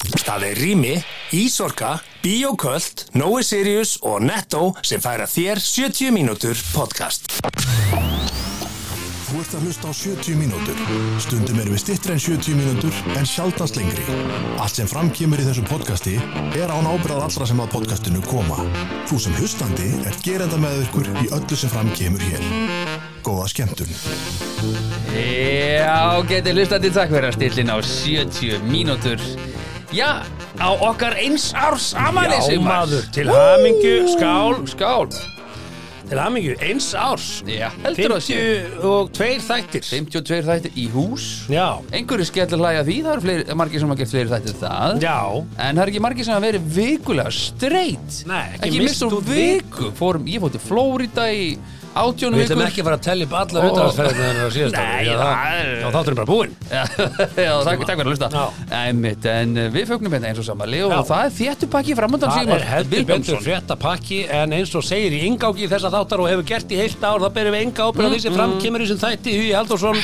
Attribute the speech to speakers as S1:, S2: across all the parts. S1: Það er Rými, Ísorka, Bíoköld, Nói Sirius og Netto sem færa þér 70 mínútur podcast.
S2: Þú ert að hlusta á 70 mínútur. Stundum erum við stittri en 70 mínútur en sjaldast lengri. Allt sem framkýmur í þessum podcasti er án ábyrðað allra sem að podcastinu koma. Þú sem hlustandi er gerenda með ykkur í öllu sem framkýmur hér. Góða skemmtun.
S3: Já, getið hlustandi takk fyrir að stillin á 70 mínútur Já, á okkar eins árs amali
S1: Já, maður, til hamingju, skál.
S3: Skál,
S1: Til hamingju, eins árs.
S3: já, heldur að séu
S1: 52 þættir.
S3: 52 þættir í hús
S1: Já,
S3: Einhverju skellur hlæja því, það eru fleiri, margir sem hafa gert fleiri þættir en það
S1: já,
S3: En það er ekki margir sem hafa verið vikulega straight
S1: Nei, ekki
S3: mist
S1: misst
S3: úr
S1: úr
S3: viku Fórum, Ég fór til Flórida í átjónu
S4: Við
S3: vikur
S4: ætlum ekki að fara að tellja upp allar
S3: Ó.
S4: utanlandsferðina þannig að síðast
S3: Nei, það er-
S4: Já, þátturinn bara búinn
S3: Já, já, takk, takk fyrir að hlusta
S4: Já.
S3: Einmitt, En eh, við fögnum hérna eins og samanli og
S4: Já.
S3: það er þéttupakki framöndan
S4: Það
S3: Sigmar
S4: er heldur betur
S3: Vilbergsson.
S4: frétta pakki en eins og segir í ingáki þessa þáttar og hefur gert í heilt ár þá berum við enga ábyrða því
S3: Mm,
S4: sem fram kemur í þessum þætti Hugi Halldórsson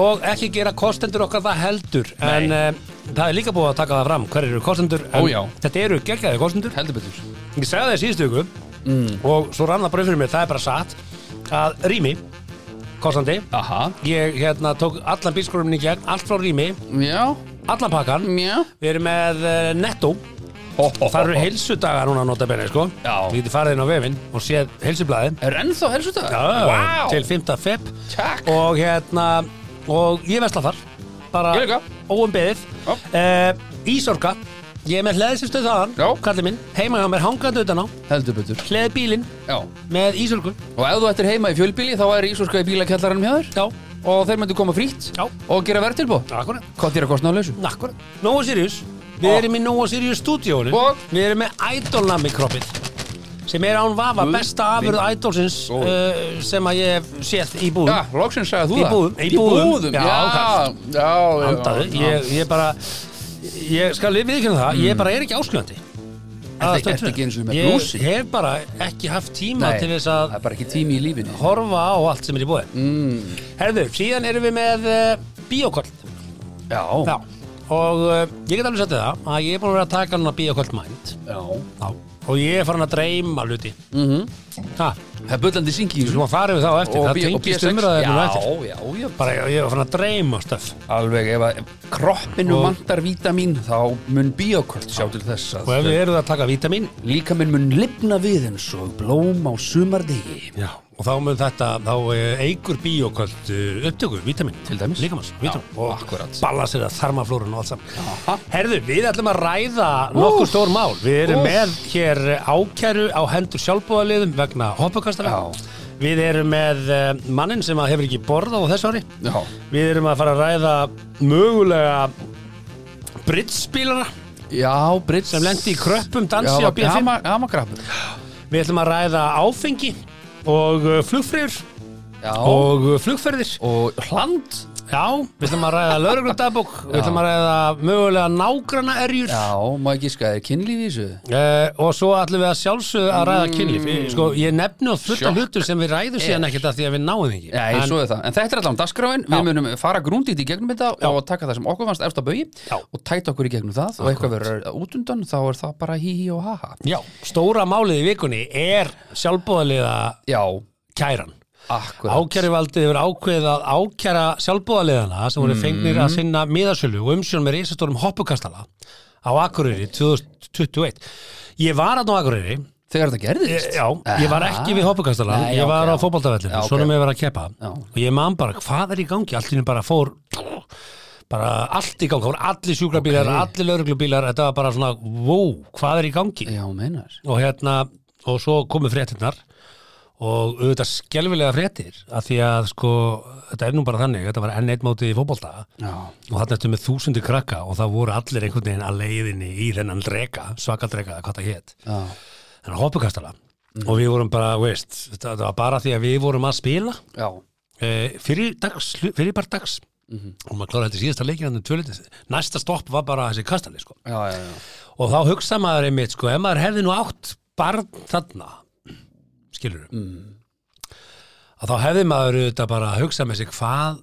S4: og ekki gera kostendur okkar það heldur en
S3: Nei.
S4: um, það er líka búið að taka það fram hverju eru kostendur en
S3: Ó, já.
S4: þetta eru geggjaði kostendur
S3: Heldur betur
S4: ég sagði það í síðustu ykkur
S3: Mm.
S4: og svo rann það bara upp fyrir mér það er bara satt að rými kostandi
S3: Aha,
S4: ég hérna tók allan bílskorumni í gegn allt frá rými
S3: já,
S4: allan pakkan
S3: já
S4: Við erum með uh, Netto
S3: ho, ho,
S4: Það eru
S3: ho.
S4: heilsudagar núna að nota benni sko
S3: Já.
S4: Þú getur farið inn á vefinn og séð heilsublaðið
S3: Er ennþá helst þetta?
S4: Já,
S3: wow.
S4: Til 5. feb
S3: Takk.
S4: Og hérna Og ég vesla þar Bara
S3: Ég líka.
S4: óumbeðið
S3: Já.
S4: uh, Ísorka Ég er með hleðið sem stöð þaðan
S3: Já.
S4: Kallið minn Heima hjá mér hangandi utan á
S3: Heldur betur
S4: Hleðið bílinn
S3: Já
S4: Með ísorku
S3: Og ef þú ættir heima í fjölbíli þá er Ísorska í bílakellaranum hjá þér
S4: Já
S3: Og þeir myndu koma frítt
S4: Já.
S3: Og gera verðtilbó
S4: Akkurat
S3: Hvað þér að kostna á lausu?
S4: Akkurat Nóa Sirius Við
S3: Og-
S4: erum í Nóa Sirius stúdíónu
S3: Og-
S4: Við erum með Idol-nami kroppið sem er án vafa
S3: Guð
S4: besta afurð Idolsins
S3: Góður.
S4: uh, sem að ég hef séð í búðum
S3: Já, loksins sagði þú
S4: Í
S3: það
S4: búðum, í
S3: Í búðum,
S4: búðum.
S3: Já,
S4: Já,
S3: já, já, já Mm.
S4: Andaðu, ég, ég bara ég skal við viðkynna það, ég bara er ekki áskjöndi
S3: Ertu- ertu ekki einu sinni með blúsi?
S4: Ég hef bara ekki haft tíma
S3: Nei,
S4: til þess
S3: það
S4: að
S3: er bara ekki tími í lífinu
S4: horfa á allt sem er í búði mm. Herðu, síðan erum við með uh, bíokoll
S3: Já,
S4: Já, og uh, ég get alveg sagt þér það að ég er búin að vera að taka núna bíokoll mænt
S3: já.
S4: Já, og ég er farin að dreyma hluti mm
S3: Mhm.
S4: -hmm. Ha,
S3: Það er bullandi syngi í
S4: við skulum að fara yfir það á eftir Það tengist umræðinu á eftir
S3: Já, já, já
S4: Bara ég, ég var farin að dreyma stöf
S3: Alveg, ef að ef kroppinu
S4: Og-
S3: vantar vítamín þá mun bíoköld sjá til þess
S4: Og ef
S3: að
S4: við erum að taka vítamin
S3: líka minn mun lifna við eins og blóm á sumardegi
S4: Já, og þá mun þetta, þá eh, eigur bíoköld upptöku, vítamin
S3: Til dæmis.
S4: Líkamanns, vítamin
S3: Já, akkurat.
S4: balansir að þarmaflórun og allt saman Herðu, við ætlum að ræða nokkuð stór mál Við erum
S3: Úff.
S4: með hér ákæru á hendur sjálfbúðaliðum vegna hoppukastara
S3: Já.
S4: Við erum með eh, manninn sem að hefur ekki borðað á þessu ári
S3: Já,
S4: Við erum að fara að ræða mögulega brittspílara
S3: já, Brits
S4: sem lendi í kröppum dansi
S3: Já,
S4: á BFM
S3: hama- Hamakrabbur
S4: Við ætlum að ræða áfengi og uh, flugfrýr
S3: Já, og,
S4: og uh, flugferðir
S3: og hland
S4: Já, við ætlum að ræða lauruglundabók Við ætlum að ræða mögulega nágrana erjur
S3: Já, má ekki skæði kynlífi í þessu
S4: Uh, og svo ætlum við að sjálfsögðu að ræða kynlíf mm. sko, ég nefni og fullt af
S3: Sjokk. Eh.
S4: hlutur sem við ræðum síðan ekkert að því að við náum því ekki
S3: Já, ég svo er það, en þetta er allan dagskráin Við munum fara grúndýtt í gegnum þetta og taka það sem okkur fannst efst á baugi
S4: Já.
S3: og tæta okkur í gegnum það og eitthvað verður útundan þá er það bara hí hí og ha ha
S4: já, stóra málið í vikunni er sjálfbóðaliða
S3: Já,
S4: kæran
S3: akkurat
S4: Ákæruvaldið hefur ákveðið að ákæra sjálfbúðaliðana sem
S3: Mm.
S4: voru fengnir að sinna miðasölu og umsjón með reisastórum hoppukastala á Akureyri 2021. Ég var að á Akureyri,
S3: Þegar þetta gerðist
S4: já, ég var ekki við hoppukastala,
S3: Ah. Nei,
S4: ég
S3: ok,
S4: var
S3: já.
S4: á fótboltavellinu,
S3: Já, ok.
S4: svona með að vera að keppa
S3: Já.
S4: og ég man bara, hvað er í gangi? Allt í henni bara fór bara allt í gangi, það voru allir sjúkrabílar, allir lauruglubílar, þetta var bara svona, wow, hvað er í gangi?
S3: Ah, Já, meinar
S4: og hérna og svo komu fréttinnar og auðvitað skelfilega fréttir af því að sko, þetta er nú bara þannig þetta var enn eitt mótið í fótbolta
S3: Já,
S4: og þarna ertu með þúsundu krakka og það voru allir einhvern veginn að leiðinni í þennan drega, svakaldrega, hvað það hét
S3: já,
S4: þennan hoppukastala og við vorum bara, veist, þetta þetta var bara því að við vorum að spila
S3: já
S4: eh, fyrir dags, fyrir bara dags og maður kláraði þetta síðasta leikin þarna um tvölitið. næsta stopp var bara þessi kastali sko
S3: Já, já, já,
S4: og þá hugsa maður einmitt sko, ef maður hefði nú átt barn þarna skilur mm. að þá hefði maður auðvitað bara að hugsa með sig hvað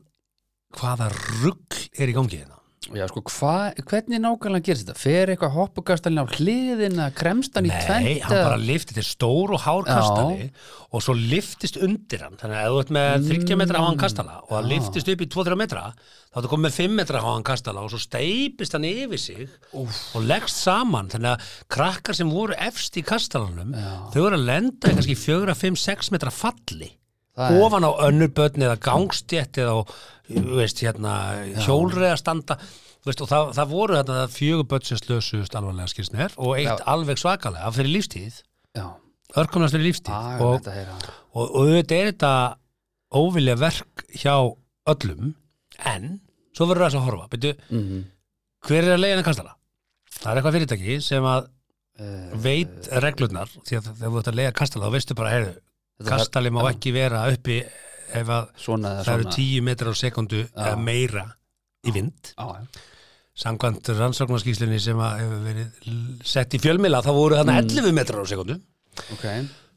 S4: hvaða rugg er í gangi hérna
S3: Já, sko, hva, hvernig nákvæmlega gerist þetta? Fer eitthvað hoppukastalinn á hliðina, kremst hann í
S4: Nei,
S3: tvend?
S4: hann bara lifti, þetta er stór og hár kastali og svo liftist undir hann þannig að ef þú ert
S3: Mm.
S4: með 30 metra háan kastala og hann liftist upp í 2-3 metra þá ertu komið með 5 metra háan kastala og svo steipist hann yfir sig og leggst saman, þannig að krakkar sem voru efst í kastalanum þau eru að lenda í kannski 4-5-6 metra falli
S3: Það er-
S4: ofan á önnur börn eða gangstjett eða á, þú veist, hérna, hjólreða standa veist, og það, það voru þetta fjögur börn sem slösuðust alvarlega skilsner og eitt
S3: Já.
S4: alveg svakalega fyrir lífstíð
S3: Já,
S4: örkomnast fyrir lífstíð
S3: það er
S4: og,
S3: Ah, þetta að heyra.
S4: og, og auðvitað er þetta óvilja verk hjá öllum en svo verður þess að horfa Beidu,
S3: Mhm.
S4: hver er að leiðina kastala? það er eitthvað fyrirtæki sem að
S3: Eh,
S4: veit reglurnar því að þegar þú ert að leiða kastala þá veistu bara heyrðu,
S3: Þetta þarf-
S4: kastali má ekki vera uppi ef að
S3: Svona eða
S4: það eru
S3: svona.
S4: tíu metrar á sekundu eða meira í vind
S3: Já, já.
S4: samkvæmt rannsóknarskíslunni sem að hefur verið l- sett í fjölmila þá voru
S3: Mm.
S4: þarna 11 metrar á sekundu
S3: ok.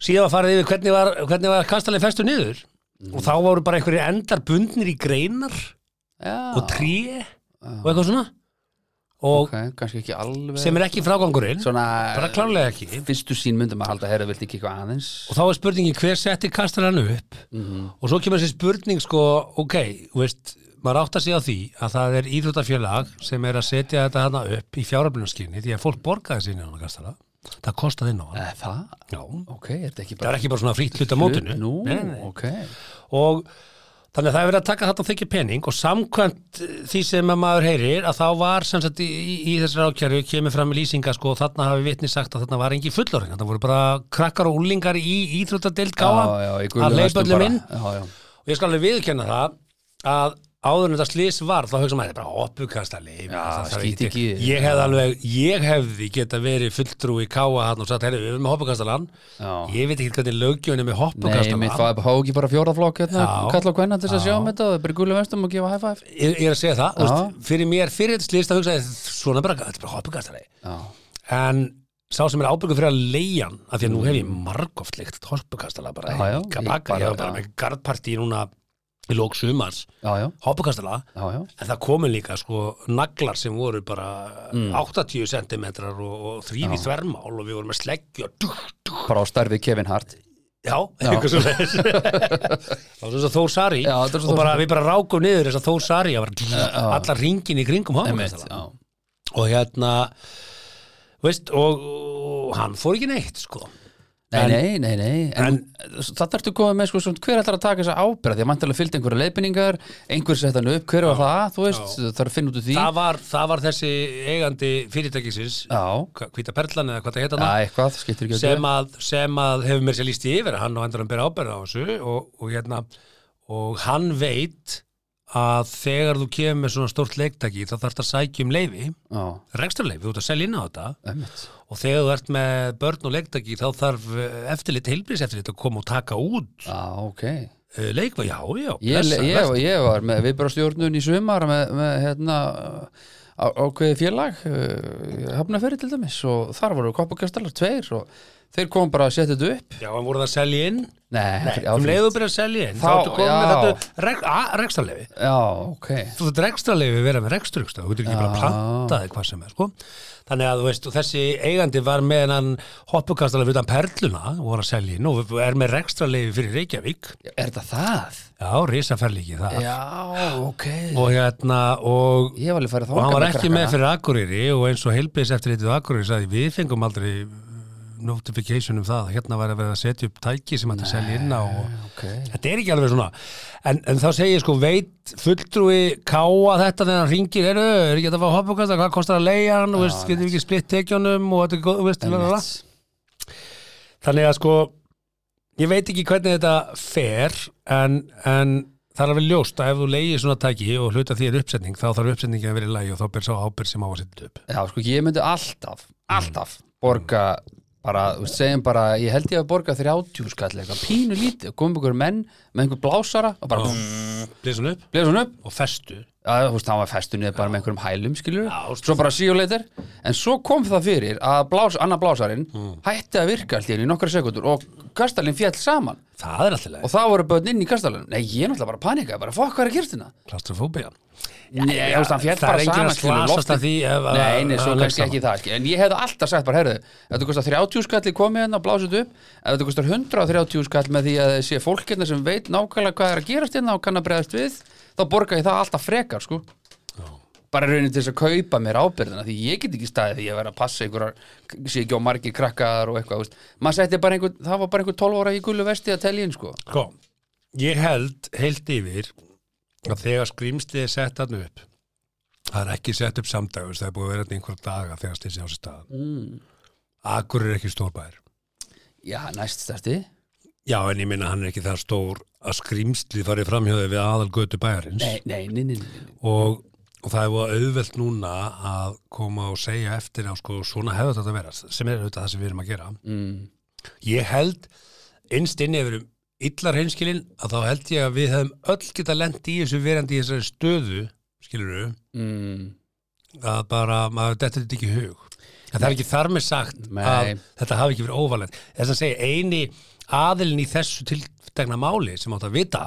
S4: síðan var farið yfir hvernig var, hvernig var kastalið festu niður og þá voru bara einhverju endar bundnir í greinar
S3: Já,
S4: og tré og eitthvað svona og
S3: ok, kannski ekki alveg.
S4: sem er ekki frágangurinn
S3: Svona,
S4: bara klárlega ekki
S3: fyrstu sín myndum að halda, herra, viltu ekki eitthvað aðeins?
S4: og þá er spurningin hver settir kastalann upp
S3: Mhm.
S4: og svo kemur þessi spurning sko, ok, þú veist maður átt að segja því að það er íþróttafélag sem er að setja þetta hana upp í fjáröflunarskinni því að fólk borgaði sinni á kastala það kostaði inn á hann
S3: Eh, það?
S4: Já.
S3: Ok, er þetta ekki
S4: það
S3: bara...
S4: er ekki bara svona frýtt hluta mótinu
S3: Nú,
S4: Nei, nei, nei.
S3: ok.
S4: og þannig að það er verið að taka þetta og þykja pening og samkvæmt eh, því sem að maður heyrir að þá var sem sagt í, í, í þessari ákjæru kemur fram í lýsinga sko og þarna hafi vitni sagt að þarna var engin fullorinn það voru bara krakkar og úlingar í íþróttadeild gáa
S3: Já, já, í gulum
S4: að leipa
S3: vestum
S4: öllum
S3: bara.
S4: inn
S3: Já, já.
S4: og ég skal alveg viðurkenna það að áður en þetta slís var þá hugsa maður þetta er bara hoppukastali það þarf
S3: skíti
S4: til.
S3: ekki.
S4: ég hefði alveg, ég hefði geta verið fulltrúi í káa hann og sagt, herri, við erum með hoppukastalan
S3: Já.
S4: ég veit ekki hvernig lögjöfni með
S3: Nei,
S4: hoppukastalan
S3: mitt, það er bara hóki bara fjóraflokk hérna,
S4: Já.
S3: kalla á kvenna til þess að sjá um þetta og það er bara gullu vestum og gefa high five
S4: ég, ég er að segja það,
S3: Já.
S4: úst, fyrir mér fyrir þetta slýst að hugsa ég, svona bara, þetta er bara hoppukastari
S3: Já,
S4: en sá sem er ábyggur fyrir að leiðan af því að nú hef ég margoft leikt hoppukastala bara,
S3: Já, já,
S4: í kabaka, ég
S3: ég bara-
S4: var bara
S3: já.
S4: með gardpartí núna í lók sumars,
S3: já, já,
S4: hoppukastala
S3: já, já.
S4: en það komu líka sko naglar sem voru bara
S3: Mm.
S4: 80 cm og, og þrýfi þvermál og við vorum með sleggju og duk, duk,
S3: bara á starfið Kevin Hart
S4: já, eitthvað svo þess það var svo Þór Sari
S3: Já, þetta var svo
S4: og
S3: Þór
S4: bara,
S3: Sari.
S4: við bara rákum niður þess að Þór Sari að bara allar ringin í kringum
S3: Einmitt,
S4: hoppukastala
S3: já.
S4: og hérna veist, og, og hann fór ekki neitt sko
S3: Nei,
S4: En-
S3: nei, nei, nei En, það ertu komið með sko, svona, hver ætlar að taka þessa ábyrða því að mæntalega fylgdi einhverja leiðbendingar einhver sett hann upp, hver var það, þú veist það er að finna út úr því
S4: það var, það var þessi eigandi fyrirtækisins
S3: Já,
S4: hvita perlan eða hvað það heita
S3: já,
S4: það
S3: eitthvað, skiptir ekki
S4: sem að, sem að hefur mér sér líst í yfir að hann á endur hann bera ábyrða á þessu og, og, hérna, og hann veit að þegar þú kemur með svona stórt leiktaki þá þarf það að sækja um leifi
S3: Já,
S4: reksturleifi, þú ert að selja inn á þetta
S3: emmitt
S4: og þegar þú ert með börn og leiktaki þá þarf eh, eftirlit, heilbrís eftirlit að koma og taka út
S3: Já, ok
S4: uh, leikva, já, já
S3: Ég,
S4: blessa,
S3: ég,
S4: blessa.
S3: ég var með viðbjörnstjórnun í sumar með, með hérna á, ákveði félag hafnafyrir til dæmis og þar voru koppukastalar tveir og þeir kom bara að setja þetta upp
S4: já, en voru það að selja inn
S3: Nei, já,
S4: um
S3: fyrir-
S4: leiðu byrja að selja inn þá,
S3: Þá-
S4: ertu komið með
S3: já.
S4: þetta rek, reksturleifi
S3: Já, ok
S4: þú þurft rekstrarleifi að vera með reksturugsta þú getur ekki bara að planta þig hvað sem er sko. þannig að þú veist, og þessi eigandi var með hann hoppukastarleifi utan perluna og var að selja inn og er með rekstrarleifi fyrir Reykjavík
S3: Er þetta það?
S4: já, risaferlíki það
S3: Já, ok
S4: og hérna, og
S3: Ég var alveg farið
S4: og
S3: þangað
S4: hann var ekki með
S3: krakkana. fyrir
S4: fyrir Akureyri og eins og heilbis eftir eitthvað Akureyri sagði við fengum aldrei eh, notification um það, hérna var að vera að setja upp tæki sem hætti að selja inn á og... þetta er ekki alveg svona en, en þá segir sko veit fulltrúi káa þetta þegar hann ringir eru, er ekki þetta að fá hoppukasta, hvað kostar að leiða hann og veist, getur við ekki splitt tekjunum og þetta er góð, veist, lalala. þannig að sko ég veit ekki hvernig þetta fer en, en það er alveg ljóst að ef þú leiðir svona tæki og hluta því er uppsetning þá þarf uppsetningin að vera í lagi og þá ber sá ábyrð sem á að setja þetta upp
S3: Já, sko, ég myndi alltaf, alltaf
S4: Mm.
S3: borga bara, þú veist, segjum bara, ég
S4: Mm.
S3: held ég að borga 30 skall eitthvað, pínu lítið, komum ykkur menn með einhver blásara og bara
S4: blés hann upp
S3: Bleið svona upp
S4: og festu
S3: að, þú veist, hann var festu niður bara með einhverjum hælum skilur, svo bara see you later en svo kom það fyrir að blás, annar blásarin hætti að virka allt í henni í nokkra sekundur og kastalinn fjall saman
S4: það er alltaf leið
S3: og það voru börn inn í kastalinn nei, ég er náttúrulega bara að panika, bara fokk hvað er að gerast hérna
S4: klastrofóbía
S3: Nei, ég, veist, hann fjall
S4: það er
S3: bara
S4: enginn
S3: saman
S4: að
S3: skilur,
S4: slasast
S3: loftið-
S4: að því ef að-
S3: nei, nei, svo
S4: að
S3: kannski
S4: leggst
S3: ekki það skilur. en ég hefði alltaf sagt bara, herðu þetta kostar 30 skall í komið hérna og blásið upp en þetta kostar 130 skall með því að það sé fólk hérna sem veit nákvæmlega hvað er að gerast hérna og kann að bregðast við þá borga ég það alltaf frekar sko bara raunin til þess að kaupa mér ábyrðina því ég get ekki staðið því að vera að passa einhverjar, sé ekki á margir krakkaðar og eitthvað, þú veist. maður setti bara einhver, það var bara einhver 12 ára í gullu vesti að telja inn sko
S4: Sko, ég held heilt yfir að þegar skrýmslið er sett hann upp það er ekki sett upp samdagus það er búið að vera þetta einhver daga þegar slýsið á sér stað mm. Akkur er ekki stórbær
S3: já, næst stærsti,
S4: Já, en ég minna hann er ekki það stór að skrýmslið farið framhjóðið við aðal götu bæjarins
S3: nei, nei, nei, nei, nei.
S4: og, og það er búið auðvelt núna að koma og segja eftir á sko, svona hefðu þetta að vera sem er auðvitað það sem við erum að gera
S3: Mm.
S4: Ég held innst inni ef við erum illar heimskilin að þá held ég að við hefum öll geta lent í þessu verandi í þessari stöðu skilur
S3: Mm.
S4: að bara, maður þetta er þetta ekki í hug en það er ekki þar með sagt
S3: Nei.
S4: að þetta hafi ekki verið óvalent þess að segja eini aðilin í þessu tiltegna máli sem átt að vita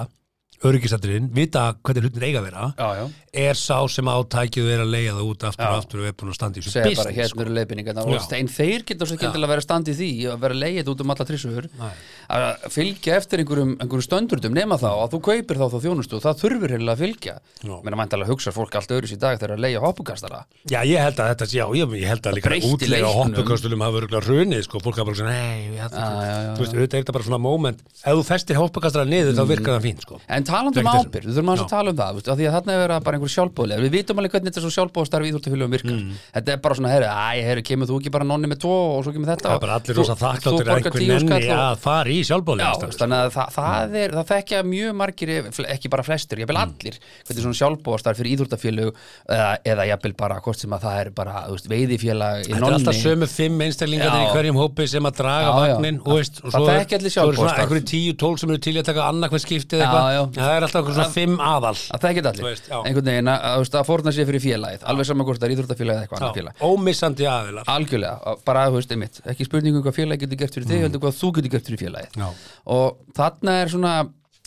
S4: öryggisætturinn, vita hvernig hlutin eiga að vera
S3: já, já
S4: er sá sem átækið er að leiða það út aftur
S3: Já.
S4: og aftur og er búin að standa í þessu
S3: segja bara
S4: business sko.
S3: hérna eru leiðbeiningarna
S4: Já.
S3: og en þeir geta svo ekki til að vera standið því að vera leiðið út um alla trísugur
S4: Nei.
S3: að fylgja eftir einhverjum, einhverjum stöndurdum nema þá að þú kaupir þá þá þjónustu og það þurfur heila að fylgja
S4: Já.
S3: menn að mæntalega hugsa fólk allt öðru í dag þegar að leiða hoppukastara
S4: Já, ég held að þetta, já, ég, ég held að líka
S3: breytti
S4: útlega
S3: leiknum.
S4: hoppukastulum hafa örgulega hrunið, sko, fólk hafa bara svona, nei, við hættum
S3: Já, já, já,
S4: þú veist, auðvitað er þetta bara svona moment, ef þú festir hoppukastara niður, þá virkar það fínt, sko.
S3: En talandi um
S4: Tekið þessum.
S3: ábyrgð, við þurfum aðeins að
S4: Já.
S3: tala um það veistu, af því að þarna er verið bara einhver sjálfbóðlega við vitum alveg hvernig þetta svo sjálfbóðstarf íþórtafélögum virkar
S4: Mm.
S3: þetta er bara svona, herri, æ, herri, kemur þú ekki bara nonni með tvo og svo kemur þetta
S4: Það
S3: og
S4: er bara allir
S3: þú-
S4: rosa
S3: þú
S4: þakkláttir að
S3: borgar
S4: einhver
S3: 10 skall
S4: nenni
S3: og-
S4: að fara í
S3: Já,
S4: sjálfbóðlega,
S3: veist, þannig að það, það, er, það þekkja mjög margir, ef- fl- ekki bara flestir, jafnvel
S4: Mm.
S3: allir, hvernig svona sjálfbóðastar fyrir íþróttafélög eða, eða jafnvel bara hvort sem að það er bara þú veist, veiðifélag í
S4: Þetta er
S3: nonni.
S4: alltaf sömu fimm einstaklingar
S3: Já.
S4: í hverjum hópi sem að draga
S3: Já, já.
S4: vagnin og veist, og
S3: Það
S4: svo
S3: þekkja allir
S4: svo eru svona
S3: sjálfboðastarf.
S4: einhverju tíu, tól sem eru til í að taka annað hver skiptið
S3: Já,
S4: eitthvað,
S3: já.
S4: En það er alltaf einhver svona fimm aðal.
S3: Að það geta allir,
S4: Þú veist, já.
S3: einhvern veginn að, að, þú veist, að forna sér fyrir félagið, alveg saman hvort það er íþróttafélag eða eitthvað annað
S4: Já,
S3: félag.
S4: Ómissandi aðilar.
S3: Algjörlega, að- bara þú veist, einmitt, ekki spurningum hvað félagið getur gert fyrir þig, heldur hvað þú getur gert fyrir félagið.
S4: Mm. Já.
S3: Og þarna er svona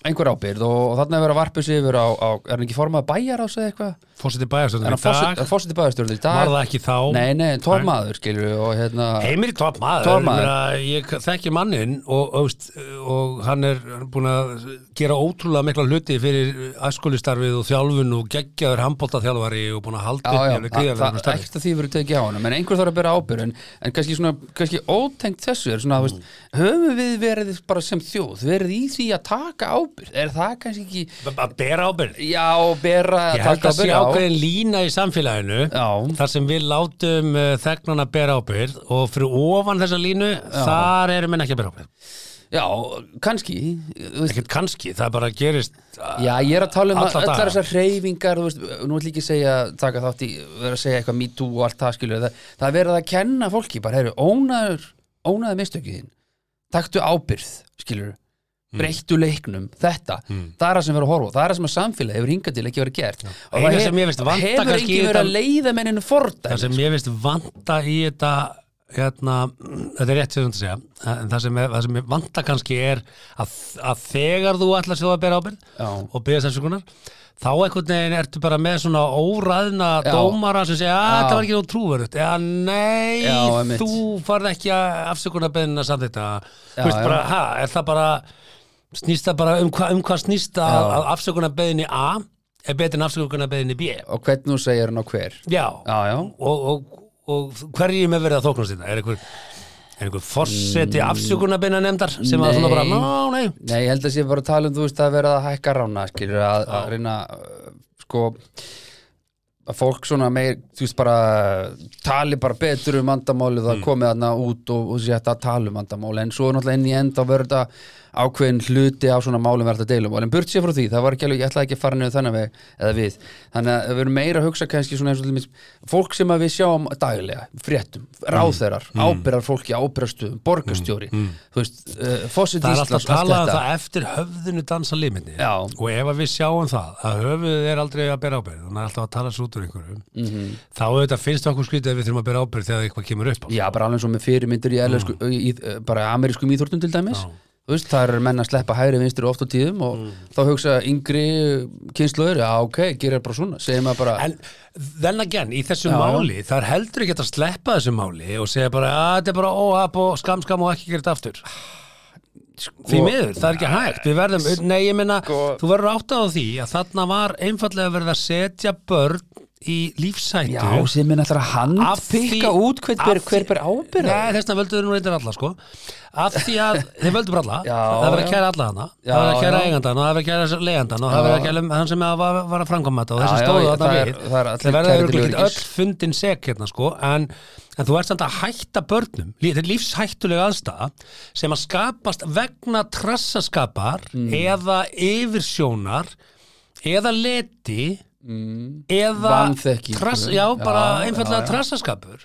S3: einhver ábyrð og, og þarna er verið að varpa sig yfir á, á er hann ekki formað bæjar á sig eitthvað?
S4: Fórseti bæjarstjórnum
S3: Er
S4: í dag,
S3: hann fórseti bæjarstjórn í dag?
S4: var það ekki þá?
S3: Nei, nei, tórmaður skilur við og hérna
S4: Heimir er topp maður,
S3: Topp maður.
S4: Ég, meina, ég þekki mannin og, og, veist, og hann er hann er búinn að gera ótrúlega mikla hluti fyrir æskulistarfið og þjálfun og geggjaður handbóltaþjálfari og búinn að halda
S3: Já, já,
S4: upp
S3: það, það,
S4: það,
S3: ekkert að því verið tekið á hann en einhver þarf að bera ábyrð en, en kannski, svona, kannski ótengt þessu er svona, mm. veist, höfum við verið bara sem þjóð verið í því að taka ábyrð er það kannski ekki,
S4: það að bera ábyrð
S3: já, bera
S4: Ég held
S3: taka
S4: að sé
S3: ábyrgð,
S4: ákveðin lína í samfélaginu
S3: Já.
S4: þar sem við látum uh, þegnana bera ábyrð og fyrir ofan þessa línu þar erum við ekki að bera ábyrð
S3: já, já, kannski þú veist,
S4: Ekkert kannski, það bara gerist
S3: Já, ég er að tala um
S4: Alla
S3: að allar
S4: daga.
S3: þessar hreyfingar, þú veist, nú ætlum ég ekki að segja, taka þátt í, vera að segja eitthvað me too og allt það, skilur, það, það er verið að kenna fólki, bara, heyrðu, ónaður, ónaður mistökiðin, taktu ábyrð, skilur,
S4: Mm.
S3: breyttu leiknum, þetta, það er það sem verið að horfa, á, það er það sem að samfélagi hefur hingað til ekki verið gert. Og
S4: Eina
S3: það
S4: sem ég veist vanta
S3: hefur
S4: kannski í
S3: ekki verið að
S4: þetta-
S3: leiða menninu
S4: það
S3: fordæmi. sko.
S4: sem ég veist vanta í þetta hérna, þetta er rétt sem þú ert að segja en það sem, er, það sem ég vanta kannski er að, að þegar þú ætlar sér að bera ábyrgð
S3: Já.
S4: og byrja samsökunar þá einhvern veginn ertu bara með svona óræðna
S3: Já.
S4: dómara sem segja að
S3: Já.
S4: þetta var ekki nóg trúverðut eða nei,
S3: Já, einmitt.
S4: þú farð ekki að afsökunarbeðina samt þetta
S3: Já,
S4: Þú veist
S3: já.
S4: bara, ha, er það bara snýst það bara um, hva, um hvað snýst það
S3: Já.
S4: að afsökunarbeðinni A er betur en afsökunarbeðinni B
S3: Og hvernig þú segir hann á hver.
S4: Já,
S3: Já, já.
S4: og, og, og hverjum er verið að þóknast þetta? Er einhver, er einhver forseti mm. afsökunarbeina nefndar sem að svona bara,
S3: Nei.
S4: ná, nei
S3: Nei, ég held að sé bara að tala um, þú veist, að vera að hækka rána, skilur, að, að reyna, uh, sko, að fólk svona meir, þú veist, bara tali bara betur
S4: Mm.
S3: um andamálið að komið þarna út og, og sé þetta að tala um andamálið, en svo náttúrulega inn í end þá verður þetta ákveðin hluti á svona málum verða að deilum og alveg burt sér frá því, það var ekki alveg, ég ætlaði ekki að fara niður þannig veg eða við, þannig að við erum meira að hugsa kannski svona eins og til dæmis, fólk sem að við sjáum daglega, fréttum,
S4: Mm.
S3: ráðherrar ábyrðar fólki, ábyrðarstöðum, borgarstjóri þú veist, uh,
S4: Það
S3: fósit
S4: er
S3: Íslands
S4: alltaf
S3: allt
S4: talað um
S3: þetta.
S4: það eftir höfðinu dansa limitni
S3: Já.
S4: og ef að við sjáum það að höfuð er aldrei að bera ábyrð þannig er alltaf að tala svo út úr einhverju þá auðvitað finnst okkur skrítið að við þurfum að bera ábyrð þegar eitthvað kemur upp á
S3: Mhm. Já, bara alveg svo með fyrirmyndir
S4: Mm.
S3: í, erlensku, í, í bara amerískum íþórtum til dæmis Þú veist, þar er menn að sleppa hægri vinstri oft á tíðum og
S4: Mm.
S3: þá hugsa yngri kynsluður, já ok, gerir bara svona segir maður bara,
S4: En then again, í þessu máli, það er heldur ekki hægt að sleppa þessu máli og segja bara að þetta er bara óhap og skam skam og ekki gera þetta aftur.
S3: Sko-
S4: Því miður, það er ekki hægt. Við verðum, nei ég meina, þú verður áttað á því að þarna var einfallega verið að setja börn í lífsættu.
S3: já, sem er náttúrulega
S4: Af því-
S3: handpikka út hver ber,
S4: af því-
S3: hver ber ábyrða
S4: Nei, þess vegna völdu þeir nú reyndar alla, sko. Af því að, þeir völdu bara alla,
S3: Já,
S4: það er verið að
S3: já.
S4: kæra alla hana,
S3: Já,
S4: það er verið að kæra
S3: já.
S4: eigandan og það er verið að kæra leigandan og það er verið að kæra um hann sem var, var að framkvæma þetta og þessi
S3: Já, já,
S4: stóðu þarna
S3: það er-
S4: við.
S3: það er allir
S4: Þeir verða
S3: kærðir til
S4: örugglega ekki
S3: öryggis.
S4: öll fundin sek hérna, sko, en, en þú ert samt að hætta börnum, lí- þetta er lífshættulega aðstæða sem að skapast vegna trassaskapar
S3: Mm.
S4: eða yfirsjónar eða leti eða
S3: Mm. Vanþekkingu.
S4: trass, já, bara
S3: Já,
S4: einfallega
S3: já, já.
S4: trassaskapur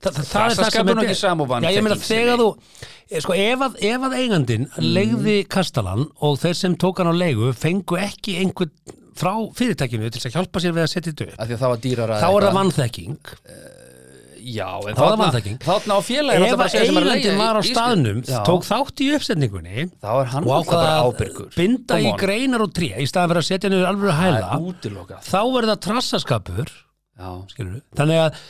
S4: Þa, það, það er það sem
S3: Trassaskapur
S4: er
S3: og ekki
S4: ber-
S3: sama og
S4: Já, ég meina
S3: vanþekking sem
S4: þegar þú eh, sko, ef, að, ef að eigandin
S3: Mhm.
S4: legði kastalan og þeir sem tók hann á leigu fengu ekki einhvern frá fyrirtækinu til þess að hjálpa sér við að setja þetta upp
S3: af því að það var dýrar
S4: þá er það vannþekking
S3: já,
S4: þá
S3: en
S4: er það
S3: þarna-
S4: vanþekking.
S3: þarna á félagi
S4: ef að eigandin var á staðnum
S3: já,
S4: tók þátt í uppsetningungu
S3: þá er hann
S4: og
S3: náttúrulega
S4: ákvaða
S3: bara
S4: að
S3: ábyrgur
S4: binda
S3: Come
S4: í
S3: on.
S4: greinar og tré í staðan fyrir að setja niður alveg
S3: það
S4: hæla
S3: er útilokað
S4: þá er það trassaskapur
S3: já,
S4: skilur þannig að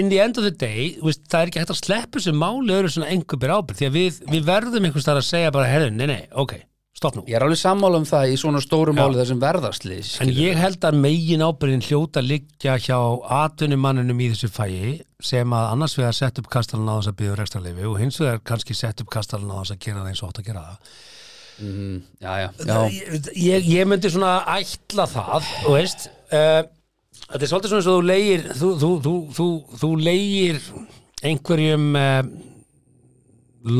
S4: in the end of the day, þú veist, það er ekki hægt að sleppa þessu máli öðru svona engu byrja ábyrgð því að við, við verðum einhvers þar að segja bara herri, nei, nei, ok, stopp nú
S3: ég er alveg sammála um það í svona stóru
S4: Já.
S3: máli þessum verðarslis
S4: en ég held að megin ábyrðin hljóta liggja hjá atvinnumanninum í þessu fæi sem að annars vegar sett upp kastalinn á þess að byggja rekstarleifi og hins vegar kannski sett upp kastalinn á þess að gera það eins og átt að gera það
S3: já, já, já.
S4: Ég- ég, ég myndi svona ætla það þú veist uh, þetta er svolítið svona eins og þú leigir þú, þú, þú, þú, þú leigir einhverjum uh,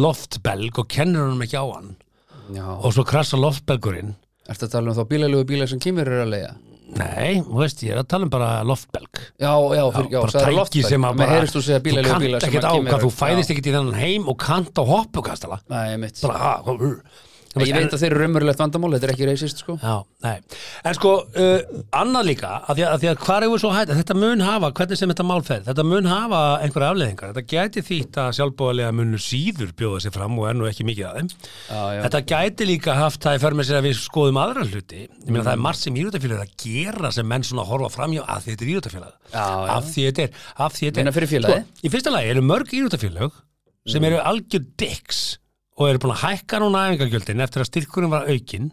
S4: loftbelg og kennir honum ekki á hann
S3: Já,
S4: og svo krassa loftbelgurinn
S3: ertu að tala um þá bílalegu bíla sem kýmur eru að leiða?
S4: nei, þú veist, ég er að tala um bara loftbelg
S3: Já, já, fyrir, já,
S4: bara tæki sem að bara
S3: heyrist þú segja bílalegu bíla
S4: kannt
S3: sem
S4: ekkert á
S3: kýmur
S4: hvað þú fæðist ekkert í þennan heim og kannt á hoppukastala
S3: Nei, ég mitt
S4: bara, ah, ha, hú,
S3: Ég veit að þeir eru raumurlegt vandamál, þetta er ekki reisist sko
S4: Já, nei. En sko, uh, annað líka, að því að, að, því að hvar hefur svo hægt, þetta mun hafa, hvernig sem þetta málferð, þetta mun hafa einhverja afleðingar. Þetta gæti þýtt að sjálfbóðalega munu síður bjóða sér fram og er nú ekki mikið að þeim.
S3: Já, já.
S4: Þetta gæti líka haft það í för með sér að við skoðum aðra hluti. Ég meina það er margt sem íðrútafélag að gera sem menn svona horfa framjá að því þetta er íðrútafélag.
S3: Já, já.
S4: Af því þetta er, af því þetta er.
S3: Vinna fyrir félagið.
S4: Sko, í fyrsta lagi eru mörg íðrútafélag sem eru algjör dicks og eru búin að hækka núna æfingagjöldin eftir að styrkurinn var aukinn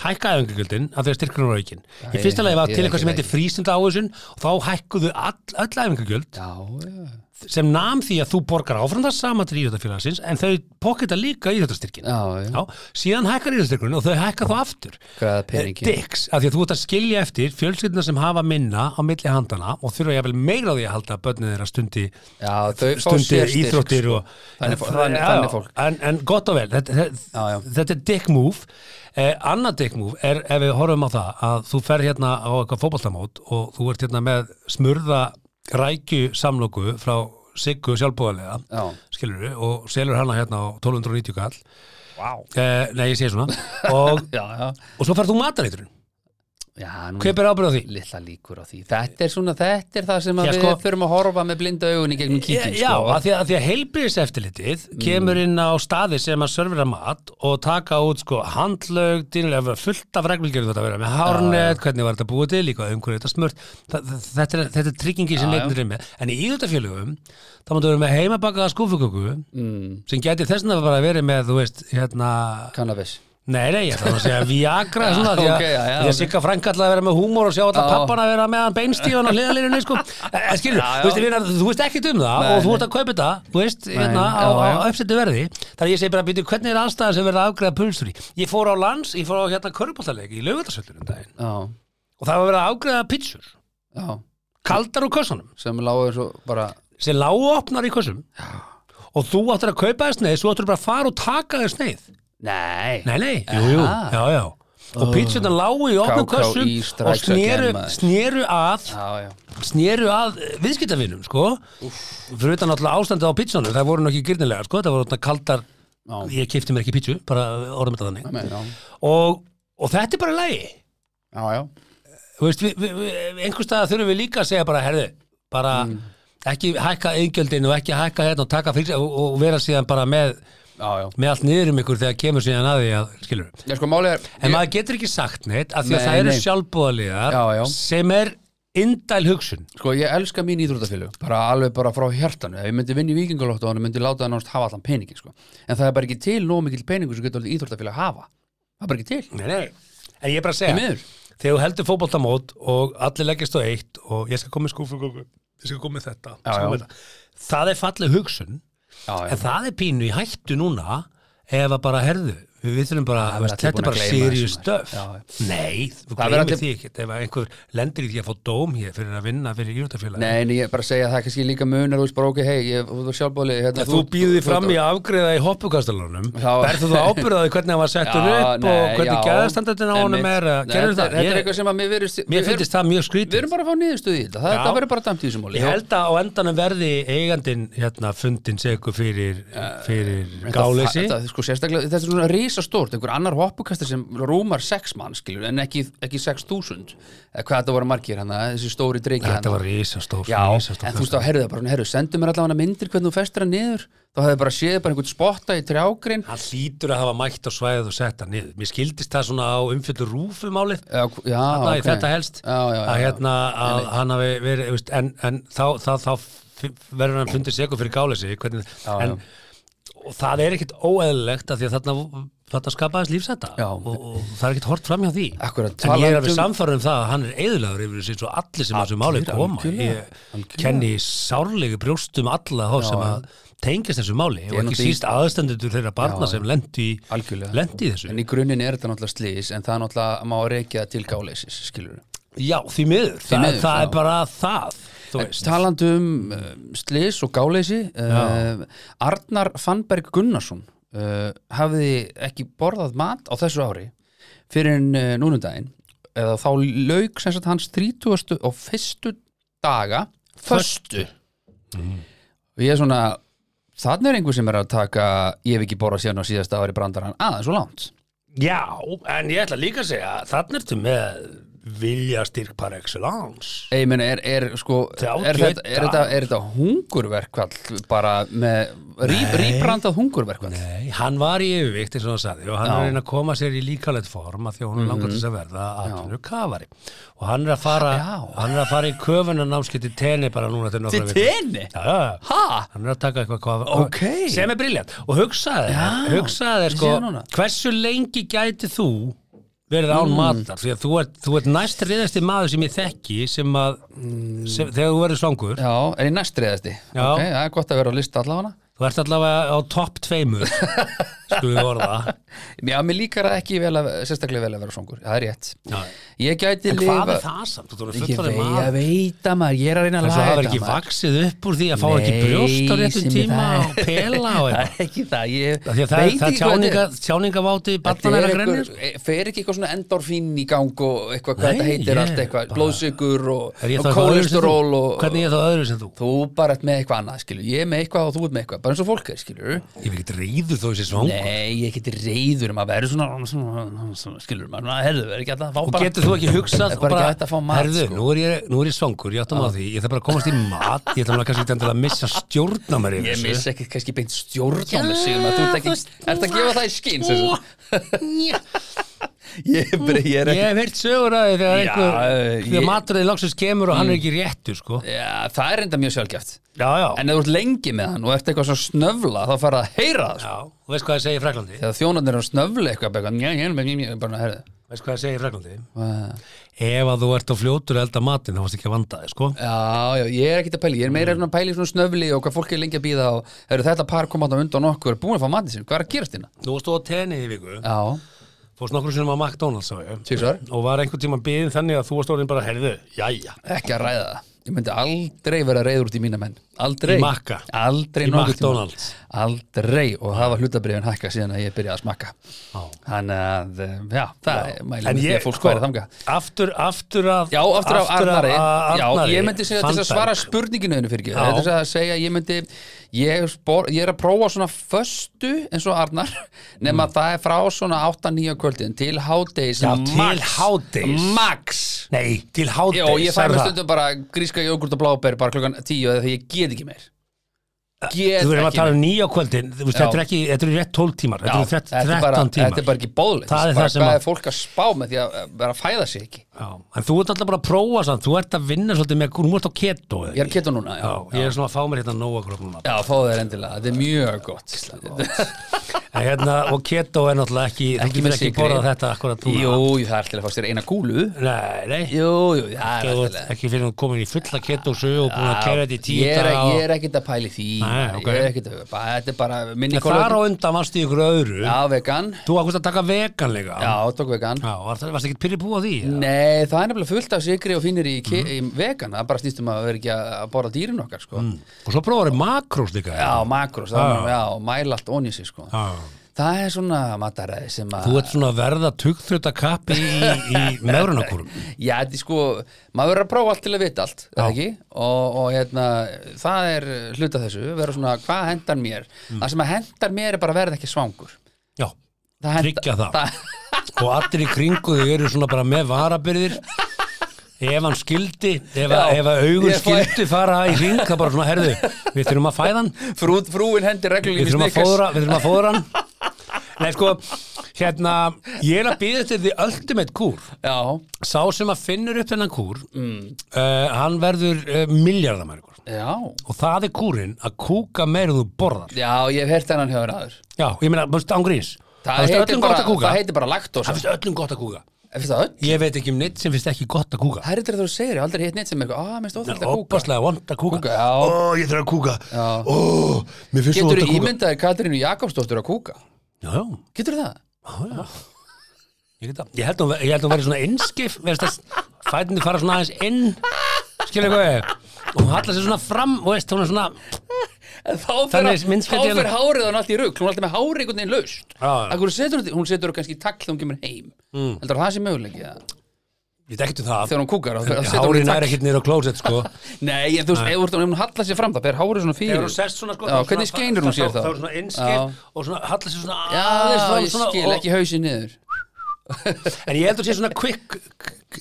S4: hækka æfingagjöldin af því að styrkurinn var aukinn. Í
S3: Æ,
S4: fyrsta lagi var
S3: ég
S4: til
S3: er
S4: eitthvað
S3: ekki
S4: sem heitir frístunda áhersun og þá hækkuðu all, öll æfingagjöld
S3: Já, já,
S4: sem nam því að þú borgar áfram það sama til íþjóttafélagsins en þau pokkita líka íþjóttastyrkin.
S3: já, já.
S4: Já, síðan hækkar íþjóttastyrkurinn og þau hækka þá aftur.
S3: Hvaða peningi
S4: Dicks, af því að þú ert að skilja eftir fjölskyldina sem hafa minna á milli handana og þurfa jafnvel meira á því að halda að börnið þeirra stundi
S3: Já, þau fá sér
S4: stundir
S3: styrk,
S4: íþróttir
S3: sko.
S4: og
S3: Þannig fó-
S4: en-
S3: þannig-
S4: já,
S3: þannig fólk.
S4: en, en gott og vel, þetta,
S3: Já, já.
S4: þetta, þetta er dick move eh, annað dick move er ef við horfum á það að þú fer hérna á eitthvað fótboltamót og þú ert hérna með smurða rækju samloku frá Siggu sjálfbúðarlega
S3: Já.
S4: skilur og selur hana hérna á 1290 kall
S3: Vá.
S4: eh, nei ég segi svona og,
S3: Já, já,
S4: og svo fer þú matareiturinn
S3: já, nú
S4: hver ber ábyrð á því?
S3: litla líkur á því Þetta er svona, þetta er það sem að
S4: Já,
S3: við
S4: sko. Eh,
S3: þurfum að horfa með blinda augun í gegnum kíkin
S4: Já,
S3: sko. Mm.
S4: af því að, af því að heilbriðiseftilitið kemur inn á staði sem að servera mat og taka út sko handlaug, dýnulega fullt af reglumgjörðum þetta að vera með hárnet, hvernig var þetta búið til, líka umhverju þetta smurt Þa, þa- þetta, er, þetta er tryggingi sem
S3: Já, já.
S4: neittnir er með. En í íðutafjölugum, þá máttu vera með heimabakaða skúfuköku
S3: mm,
S4: sem gæti þessna bara að vera með, þú veist, hérna
S3: Cannabis
S4: Nei, nei, ég ætla nú að segja Viagra svona, því að
S3: ok, já, já,
S4: því að
S3: ok.
S4: Sigga Frank alltaf að vera með húmor og sjá alltaf
S3: Já.
S4: pappan að vera með hann beinstíðan og hliðalirinu, sko Eh, skilur,
S3: Já, já.
S4: þú veist, ég meina, þú veist ekkert um það
S3: Nei,
S4: og þú
S3: nei.
S4: ert að kaupa þetta, þú veist, hérna
S3: já,
S4: á, á
S3: já.
S4: uppsettu verði þannig að ég segi bara, býtu, hvernig er aðstæðan sem verða að afgreða pulsur í? Ég fór á lands, ég fór á hérna körpallaleik í lögutarsöllur um daginn
S3: Já,
S4: og það var verið að afgreða pítsur,
S3: já,
S4: kaldar úr kössunum
S3: sem lágur svo bara
S4: sem lágu opnar í kössum og þú áttir að kaupa þess neið, svo áttir bara að fara og taka þess neið
S3: Nei,
S4: Nei, nei, jú, jú,
S3: Aha. Mm.
S4: já, já Og pítsunar lágu í opnum
S3: KKÍ
S4: kössum og
S3: strikes
S4: sneru,
S3: again, maður.
S4: sneru að
S3: Já, já.
S4: sneru að eh, viðskiptavinum sko, fyrir utan alltaf ástandið á pítsunum það voru nú ekki gyrnilega, sko, það voru þarna kaldar
S3: Já.
S4: ég kefti mér ekki pítsu, bara orðum þetta þannig
S3: Nei, já.
S4: og, og þetta er bara lægi
S3: Já, já.
S4: þú veist, við, við, við, einhvers staðar þurfum við líka að segja bara, herðu, bara
S3: Mm.
S4: ekki hækka eingjöldin og ekki hækka hérna og taka fyrir og, og vera síðan bara með,
S3: Já, já.
S4: með allt niður um ykkur þegar kemur síðan að því að, skilur
S3: Já, sko, málið er
S4: En maður getur ekki sagt neitt af því að
S3: Nei,
S4: það eru
S3: nei.
S4: sjálfbúðaliðar
S3: Já, já.
S4: sem er indæl hugsun.
S3: Sko, ég elska mín íþróttafélög, bara alveg bara frá hjartanu. Ef ég myndi vinna í vikingalóttu, hann myndi láta hann ást hafa allan peningin, sko. En það er bara ekki til nóg mikill peningur sem getur alveg íþróttafélög hafa. Það er bara ekki til.
S4: Nei, nei. En ég er bara að
S3: Því
S4: segja,
S3: miður.
S4: þegar þú heldur fótboltamót og allir leggjast á eitt og ég skal koma með skúfugóku, ég skal koma með þetta,
S3: Já,
S4: skal koma
S3: já.
S4: með þetta. Það er falleg hugsun,
S3: Já, já.
S4: en það er pínu í hættu núna ef að bara herðu. Við við þurfum bara,
S3: Það er
S4: veist,
S3: allir
S4: þetta er
S3: búin að
S4: bara
S3: gleyma
S4: serious
S3: þessu, maður.
S4: stuff.
S3: Já, já.
S4: Nei, þú
S3: Það verður
S4: gleymir
S3: allir-
S4: því ekkert ef að einhver lendir í því að fá dóm hér fyrir að vinna fyrir íhjóttafélagi.
S3: Nei, en ég er bara að segja að það er kannski líka munar, þú veist bara, ok, hei, ég- þú er sjálfbóli. Hérna,
S4: Þú býður því fram í að afgreða í hoppukastalunum
S3: Já.
S4: Berðu þú ábyrðaði hvernig hann var settur upp og hvernig gæðastandardin á honum er að- Gerðu það?
S3: Þetta er
S4: Ég-
S3: eitthvað sem að mér verist...
S4: Mér finnst það mjög
S3: Við
S4: skrítið
S3: erum bara að fá niðurstöð í þetta. Það,
S4: Já.
S3: það verður bara dæmt í þessu máli.
S4: Ég held að á endanum verði eigandin hérna fundin segur fyrir, fyrir
S3: Þetta-
S4: gáleysi
S3: þetta, sko, sérstaklega, þetta er svona risastórt einhver annar hoppukastar sem rúmar sex mann skilur, en ekki, ekki 6.000 eða hvað þetta voru margir hann þessi stóri dreiki
S4: Þetta var
S3: hann
S4: risastóf
S3: hérna. Já, en þú veist þá herðu það bara, herðu, sendu mér allavega myndir hvernig þú festir hann niður, þá hefði bara séð bara einhvern spotta í trjágrin
S4: Hann hlýtur að hafa mætt á svæðið og sett hann niður Mér skildist það svona á umfjöldur rúfumálið
S3: Já, já,
S4: Þarna í
S3: Ah, ok.
S4: þetta helst
S3: Já, já, já,
S4: að
S3: já.
S4: hérna að hann hafi verið veist, en, en þá, þá, þá f- verður hann fundið segur fyrir gáleysi hvernig, en og það er ekkit óeðlilegt af því að þarna, þarna skapaðist lífsætta
S3: Já.
S4: og, og það er ekkit hort fram hjá því
S3: Akkúrat,
S4: en ég
S3: talandi
S4: er alveg
S3: um-
S4: samfærum það að hann er eðlagur yfir þessu og allir sem að þessu máli koma
S3: algjörlega,
S4: ég kenni sárlegu brjóstum alla þá sem að tengist þessu máli og
S3: er
S4: ekki
S3: náttúrulega í-
S4: síst aðstendendur þeirra barna sem lendi í,
S3: Algjörlega.
S4: lendi í þessu
S3: en í grunninn er þetta náttúrulega slís en það er náttúrulega má reykja það til gáleysis skilur
S4: já, því miður, það,
S3: miður,
S4: það
S3: já.
S4: er bara það þú veist
S3: talandi um uh, slís og gáleysi uh, Arnar Fannberg Gunnarsson uh, hafði ekki borðað mat á þessu ári fyrir en uh, núnundaginn eða þá lauk sem sagt hans 30. og fyrstu daga föstu
S4: Mhm.
S3: og ég er svona þannig er einhver sem er að taka ég hef ekki borðað síðan á síðasta ári brandar hann aðeins og langt
S4: já, en ég ætla líka að segja þannig ertu með viljastyrk par excellence
S3: Ég meina, er, er, sko,
S4: Þrjátíu
S3: er, þetta, er,
S4: dagar.
S3: þetta, er þetta hungurverkvall bara með rýp, rýbrandað hungurverkvall?
S4: Nei, hann var í yfirvikt eins og hann sagði og hann er að reyna að koma sér í líkalett form að því að hún er langar til þess að verða aðtunur kafari og hann er að fara
S3: Já.
S4: hann er að fara í köfunarnámski til tenni bara núna til nokkra
S3: Til
S4: vikur.
S3: tenni?
S4: Já, já, já.
S3: Ha?
S4: hann er að taka eitthvað kafa
S3: Ok.
S4: sem er briljant og hugsaði þér,
S3: Já,
S4: hugsaði þér
S3: ég
S4: sko
S3: sé það núna. Mm.
S4: hversu lengi gæti þú verið án matar því að þú ert, þú ert næst reyðasti maður sem ég þekki sem að sem, þegar þú verður svangur
S3: Mm. Já, er ég næstriðasti?
S4: Já.
S3: Ok, það er gott að vera á lista allavega.
S4: þú ert allavega á topp tveimur skulum við orða
S3: Já, mér líkar það ekki vel að, sérstaklega vel að vera songur. Það er rétt.
S4: Já.
S3: Ég gæti
S4: En
S3: lifa...
S4: hvað er það samt? Þú erum
S3: Ég
S4: fullfarið
S3: vei, ég
S4: maður.
S3: veit að maður, ég er að reyna að
S4: En
S3: laga
S4: svo
S3: þetta.
S4: hafa ekki
S3: maður.
S4: vaksið upp úr því að fá ekki
S3: Nei,
S4: brjóst á réttum
S3: sem ég-
S4: tíma
S3: það-
S4: og pela og
S3: Það
S4: eitthvað.
S3: er ekki það, ég
S4: Af Því að það,
S3: veit
S4: það
S3: ekki hvað þetta
S4: tjáninga,
S3: er.
S4: tjáningaváti
S3: Þetta
S4: barnan
S3: er
S4: er að sko. grenja.
S3: einhver- e- fer ekki eitthvað svona endorfín í gang og eitthvað hvað
S4: Nei,
S3: þetta heitir
S4: ég
S3: allt eitthvað,
S4: bara-
S3: blóðsigur og,
S4: Er ég þá
S3: og
S4: eitthvað öðru sem þú?
S3: kolesterol og
S4: Hvernig er ég þá öðru sem þú?
S3: þú bara ert með eitthvað annað skilur, ég er með eitthvað og þú ert með eitthvað, bara eins og fólk er skilur
S4: Ég vil ekki reyður þó þessi svang.
S3: Nei, ég geti reyður um að vera svona, svona, svona, svona skilur maður, maður herðu, er ekki alltaf að fá
S4: Og
S3: bara
S4: getur þú ekki hugsað
S3: Það er
S4: og
S3: bara
S4: bara,
S3: ekki hægt að fá mat,
S4: herðu,
S3: sko.
S4: nú er ég, nú er ég svangur, ég áttum á því, ég ætla bara að komast í mat, ég ætla nú að kannski ekki endilega að missa stjórna mér yfir
S3: Ég
S4: þessu.
S3: miss ekki kannski beint stjórn á mig síðan að þú ert ekki, ert að gefa það í skinn sem sagt.
S4: skinn.
S3: Ég er bara- ég er
S4: Ég
S3: ekki
S4: hef heyrt sögur að því þegar
S3: Já,
S4: einhver,
S3: eh,
S4: þegar
S3: ég- Mm.
S4: maturðið loksins kemur og hann er ekki réttur, sko.
S3: Já, það er enda mjög sjálfgæft
S4: Já, já.
S3: En ef þú ert lengi með hann og ert eitthvað svona snöfla þá fara að heyra það sko.
S4: Já, þú veist hvað það segir í Fraklandi?
S3: þegar þjónarnir eru að snöfla eitthvað bara eitthvað, njá, njá, njá, njá, njá, bara herðu
S4: Veist hvað það segir í Fraklandi?
S3: Vá.
S4: Ef að þú ert á fljótur að elda matinn, þá varst ekki að vanda þig, sko.
S3: Já, já, ég er ekkert að pæli, ég er meira svona að pæli svona snöfli og hvað fólk er lengi að býða og eru þetta par koma á undan okkur, er búin að fá matið sinn, hvað er að gerast hérna?
S4: Þú varst á tenni í viku,
S3: Já,
S4: fórst nokkru sinum á McDonalds, sá ég.
S3: Tvisvar.
S4: Og var einhvern tíma biðin þannig að þú varst orðin bara herðu, jæja.
S3: ekki að ræða það Ég myndi aldrei vera reyður út í mína menn Aldrei
S4: Í Makka.
S3: Aldrei
S4: Í
S3: nokkurn tímann.
S4: McDonald's.
S3: Aldrei og hafa hlutabriðin hækka síðan að ég byrjaði að smakka
S4: Já.
S3: Þannig að, eh, já, það er mælum
S4: En
S3: með því
S4: ég,
S3: að fólk
S4: sko,
S3: væri þangað
S4: aftur, aftur að
S3: Já, aftur á Arnari,
S4: að Arnari
S3: Já, ég myndi segja til þess að svara
S4: Fannberg.
S3: spurninginu þínu fyrir ekki
S4: Já.
S3: Þetta er að segja, ég myndi ég, spor, ég er að prófa svona föstu eins og Arnar nema það er frá svona 8-9 kvöldin til hádegis
S4: Mm. Já, til
S3: max.
S4: hádegis.
S3: Max
S4: Nei, til hádegis
S3: Já, ég fæ
S4: sagði
S3: mér
S4: það.
S3: stundum bara gríska jógurt og bláber bara klukkan 10 eða því ég get ekki meir Get
S4: Þú verðum að
S3: ekki
S4: tala
S3: meir
S4: um nýja kvöldin þú veist,
S3: Já.
S4: Þetta er ekki, þetta eru rétt 12 tímar Þetta eru
S3: Já,
S4: 13
S3: þetta er bara-
S4: 13 tímar
S3: Þetta er bara ekki bóðlegt
S4: Það er það sem
S3: Hvað
S4: að-
S3: er fólk að spá með því að eh, vera að fæða sig ekki
S4: Já, en þú ert alltaf bara að prófa samt, þú ert að vinna svolítið með, hún múst á keto eða
S3: Ég er
S4: ekki?
S3: keto núna, já,
S4: Já, ég er svona að fá mér hérna nóa kroppnum
S3: Já, fáðu þér endilega, þetta er mjög gott
S4: En hérna, og keto er náttúrulega ekki, þú getur
S3: með
S4: ekki
S3: sykri.
S4: borðað þetta akkurat núna
S3: Jú, jú, það er alltaf að fá sér eina kúlu
S4: Nei, nei,
S3: Jú, jú, það er
S4: þú ert
S3: alltaf
S4: ekki fyrir hún komin í fulla keto sögu og búin að kæra þetta í tíu
S3: ég er,
S4: daga og-
S3: ég er ekkert að pæli því
S4: Nei, ok.
S3: Ég er ekkert að, bara- þetta er bara minni
S4: En þar á undan varstu í ykkur öðru
S3: Já, vegan,
S4: Þú ákvæmst að taka veganlega
S3: já, tók vegan
S4: Já, var- varstu ekki pyrri búið á því? eða?
S3: Nei, það er nefnilega fullt af sigri og fínir í, mm. í vegan, það bara snýstum að vera ekki að að borða dýrin okkar, sko
S4: Og svo prófaðu makrós líka
S3: Já,
S4: eða?
S3: makros, það er, já, og mæla allt onni sig, sko
S4: Já.
S3: Það er svona mataræði sem að
S4: Þú ert svona að verða tugþrjóta kappi í, í meðrunarkúrum
S3: Já, þetta er sko, maður verður að prófa allt til að vita allt, eða ekki? Og, og hérna, það er hluta þessu, vera svona, hvað hendar mér?
S4: Mm.
S3: Það sem að hendar mér er bara að verða ekki svangur.
S4: Já,
S3: Það hentar-
S4: tryggja það
S3: það
S4: Og allir í kringu þau eru svona bara með varabyrðir Ef hann skildi, ef,
S3: Já.
S4: ef að augun
S3: Ég fæ-
S4: skildi fara í ring, það bara svona, herðu, við þurfum að fæða hann
S3: frú, frúin hendir
S4: Við
S3: reglulega
S4: þurfum að fóðra, við þurfum að fóðra hann Nei, sko, hérna, ég er að býða til því ultimate kúr
S3: Já,
S4: Sá sem að finnur upp þennan kúr,
S3: Mm.
S4: uh, hann verður uh, miljardamæringur
S3: já,
S4: Og það er kúrin að kúka meira en þú borðar
S3: já, ég hef hert hennan hefur aður.
S4: Já, ég meina, búst, ángríns
S3: Það, heitir
S4: öllum
S3: bara,
S4: gott að kúka
S3: það heitir bara laktósa.
S4: Það finnst öllum gott að kúka
S3: Er finnst það öll?
S4: Ég veit ekki um neitt sem finnst ekki gott að kúka
S3: Það er þetta þú segir, ég hef aldrei hitt neitt sem eitthvað, "Ah, að, minnst
S4: Það
S3: óþægt
S4: er
S3: að kúka.
S4: óbáslega vond að kúka
S3: Kúka, já.
S4: Ó, ég þarf að kúka
S3: Já.
S4: Ó, mér finnst svo
S3: Getur
S4: vond að kúka
S3: ímyndaðir Katrínu Jakobsdóttur að kúka?
S4: Já, já,
S3: Getur það?
S4: já, já. Ég, get það. ég held að hún ver- ég held að hún verið svona innskif Fætinni fara svona aðeins inn Skilja hvað ég Og hún hallar sér svona fram og veist, hún er svona
S3: En þá fer,
S4: Þannig er
S3: að, þá
S4: myndskeiðið
S3: fer
S4: hérna-
S3: hárið hann allt í rugg hún er alltaf með hárið einhvern veginn laust
S4: Já, já.
S3: Af hverju setur, hún- hún setur það kannski í tagl þegar hún kemur heim mm. heldur það sé möguleiki eða?
S4: Ég veit ekkert um það
S3: þegar hún kúkar þá fer- þá setur hún í
S4: Hárin er
S3: tagl
S4: ekkert niður á klósett sko
S3: nei, en þú veist, ef þú ert- ef hún hallar sér fram það fer hárið svona fyrir
S4: Þegar hún sest svona sko
S3: já, hvernig skeinur hún sér þá?
S4: Það er svona innskip og svona hallar sér svona
S3: já,
S4: aðeins fram
S3: ég
S4: svona
S3: skil
S4: og-
S3: ekki hausin niður
S4: En ég held að sé svona quick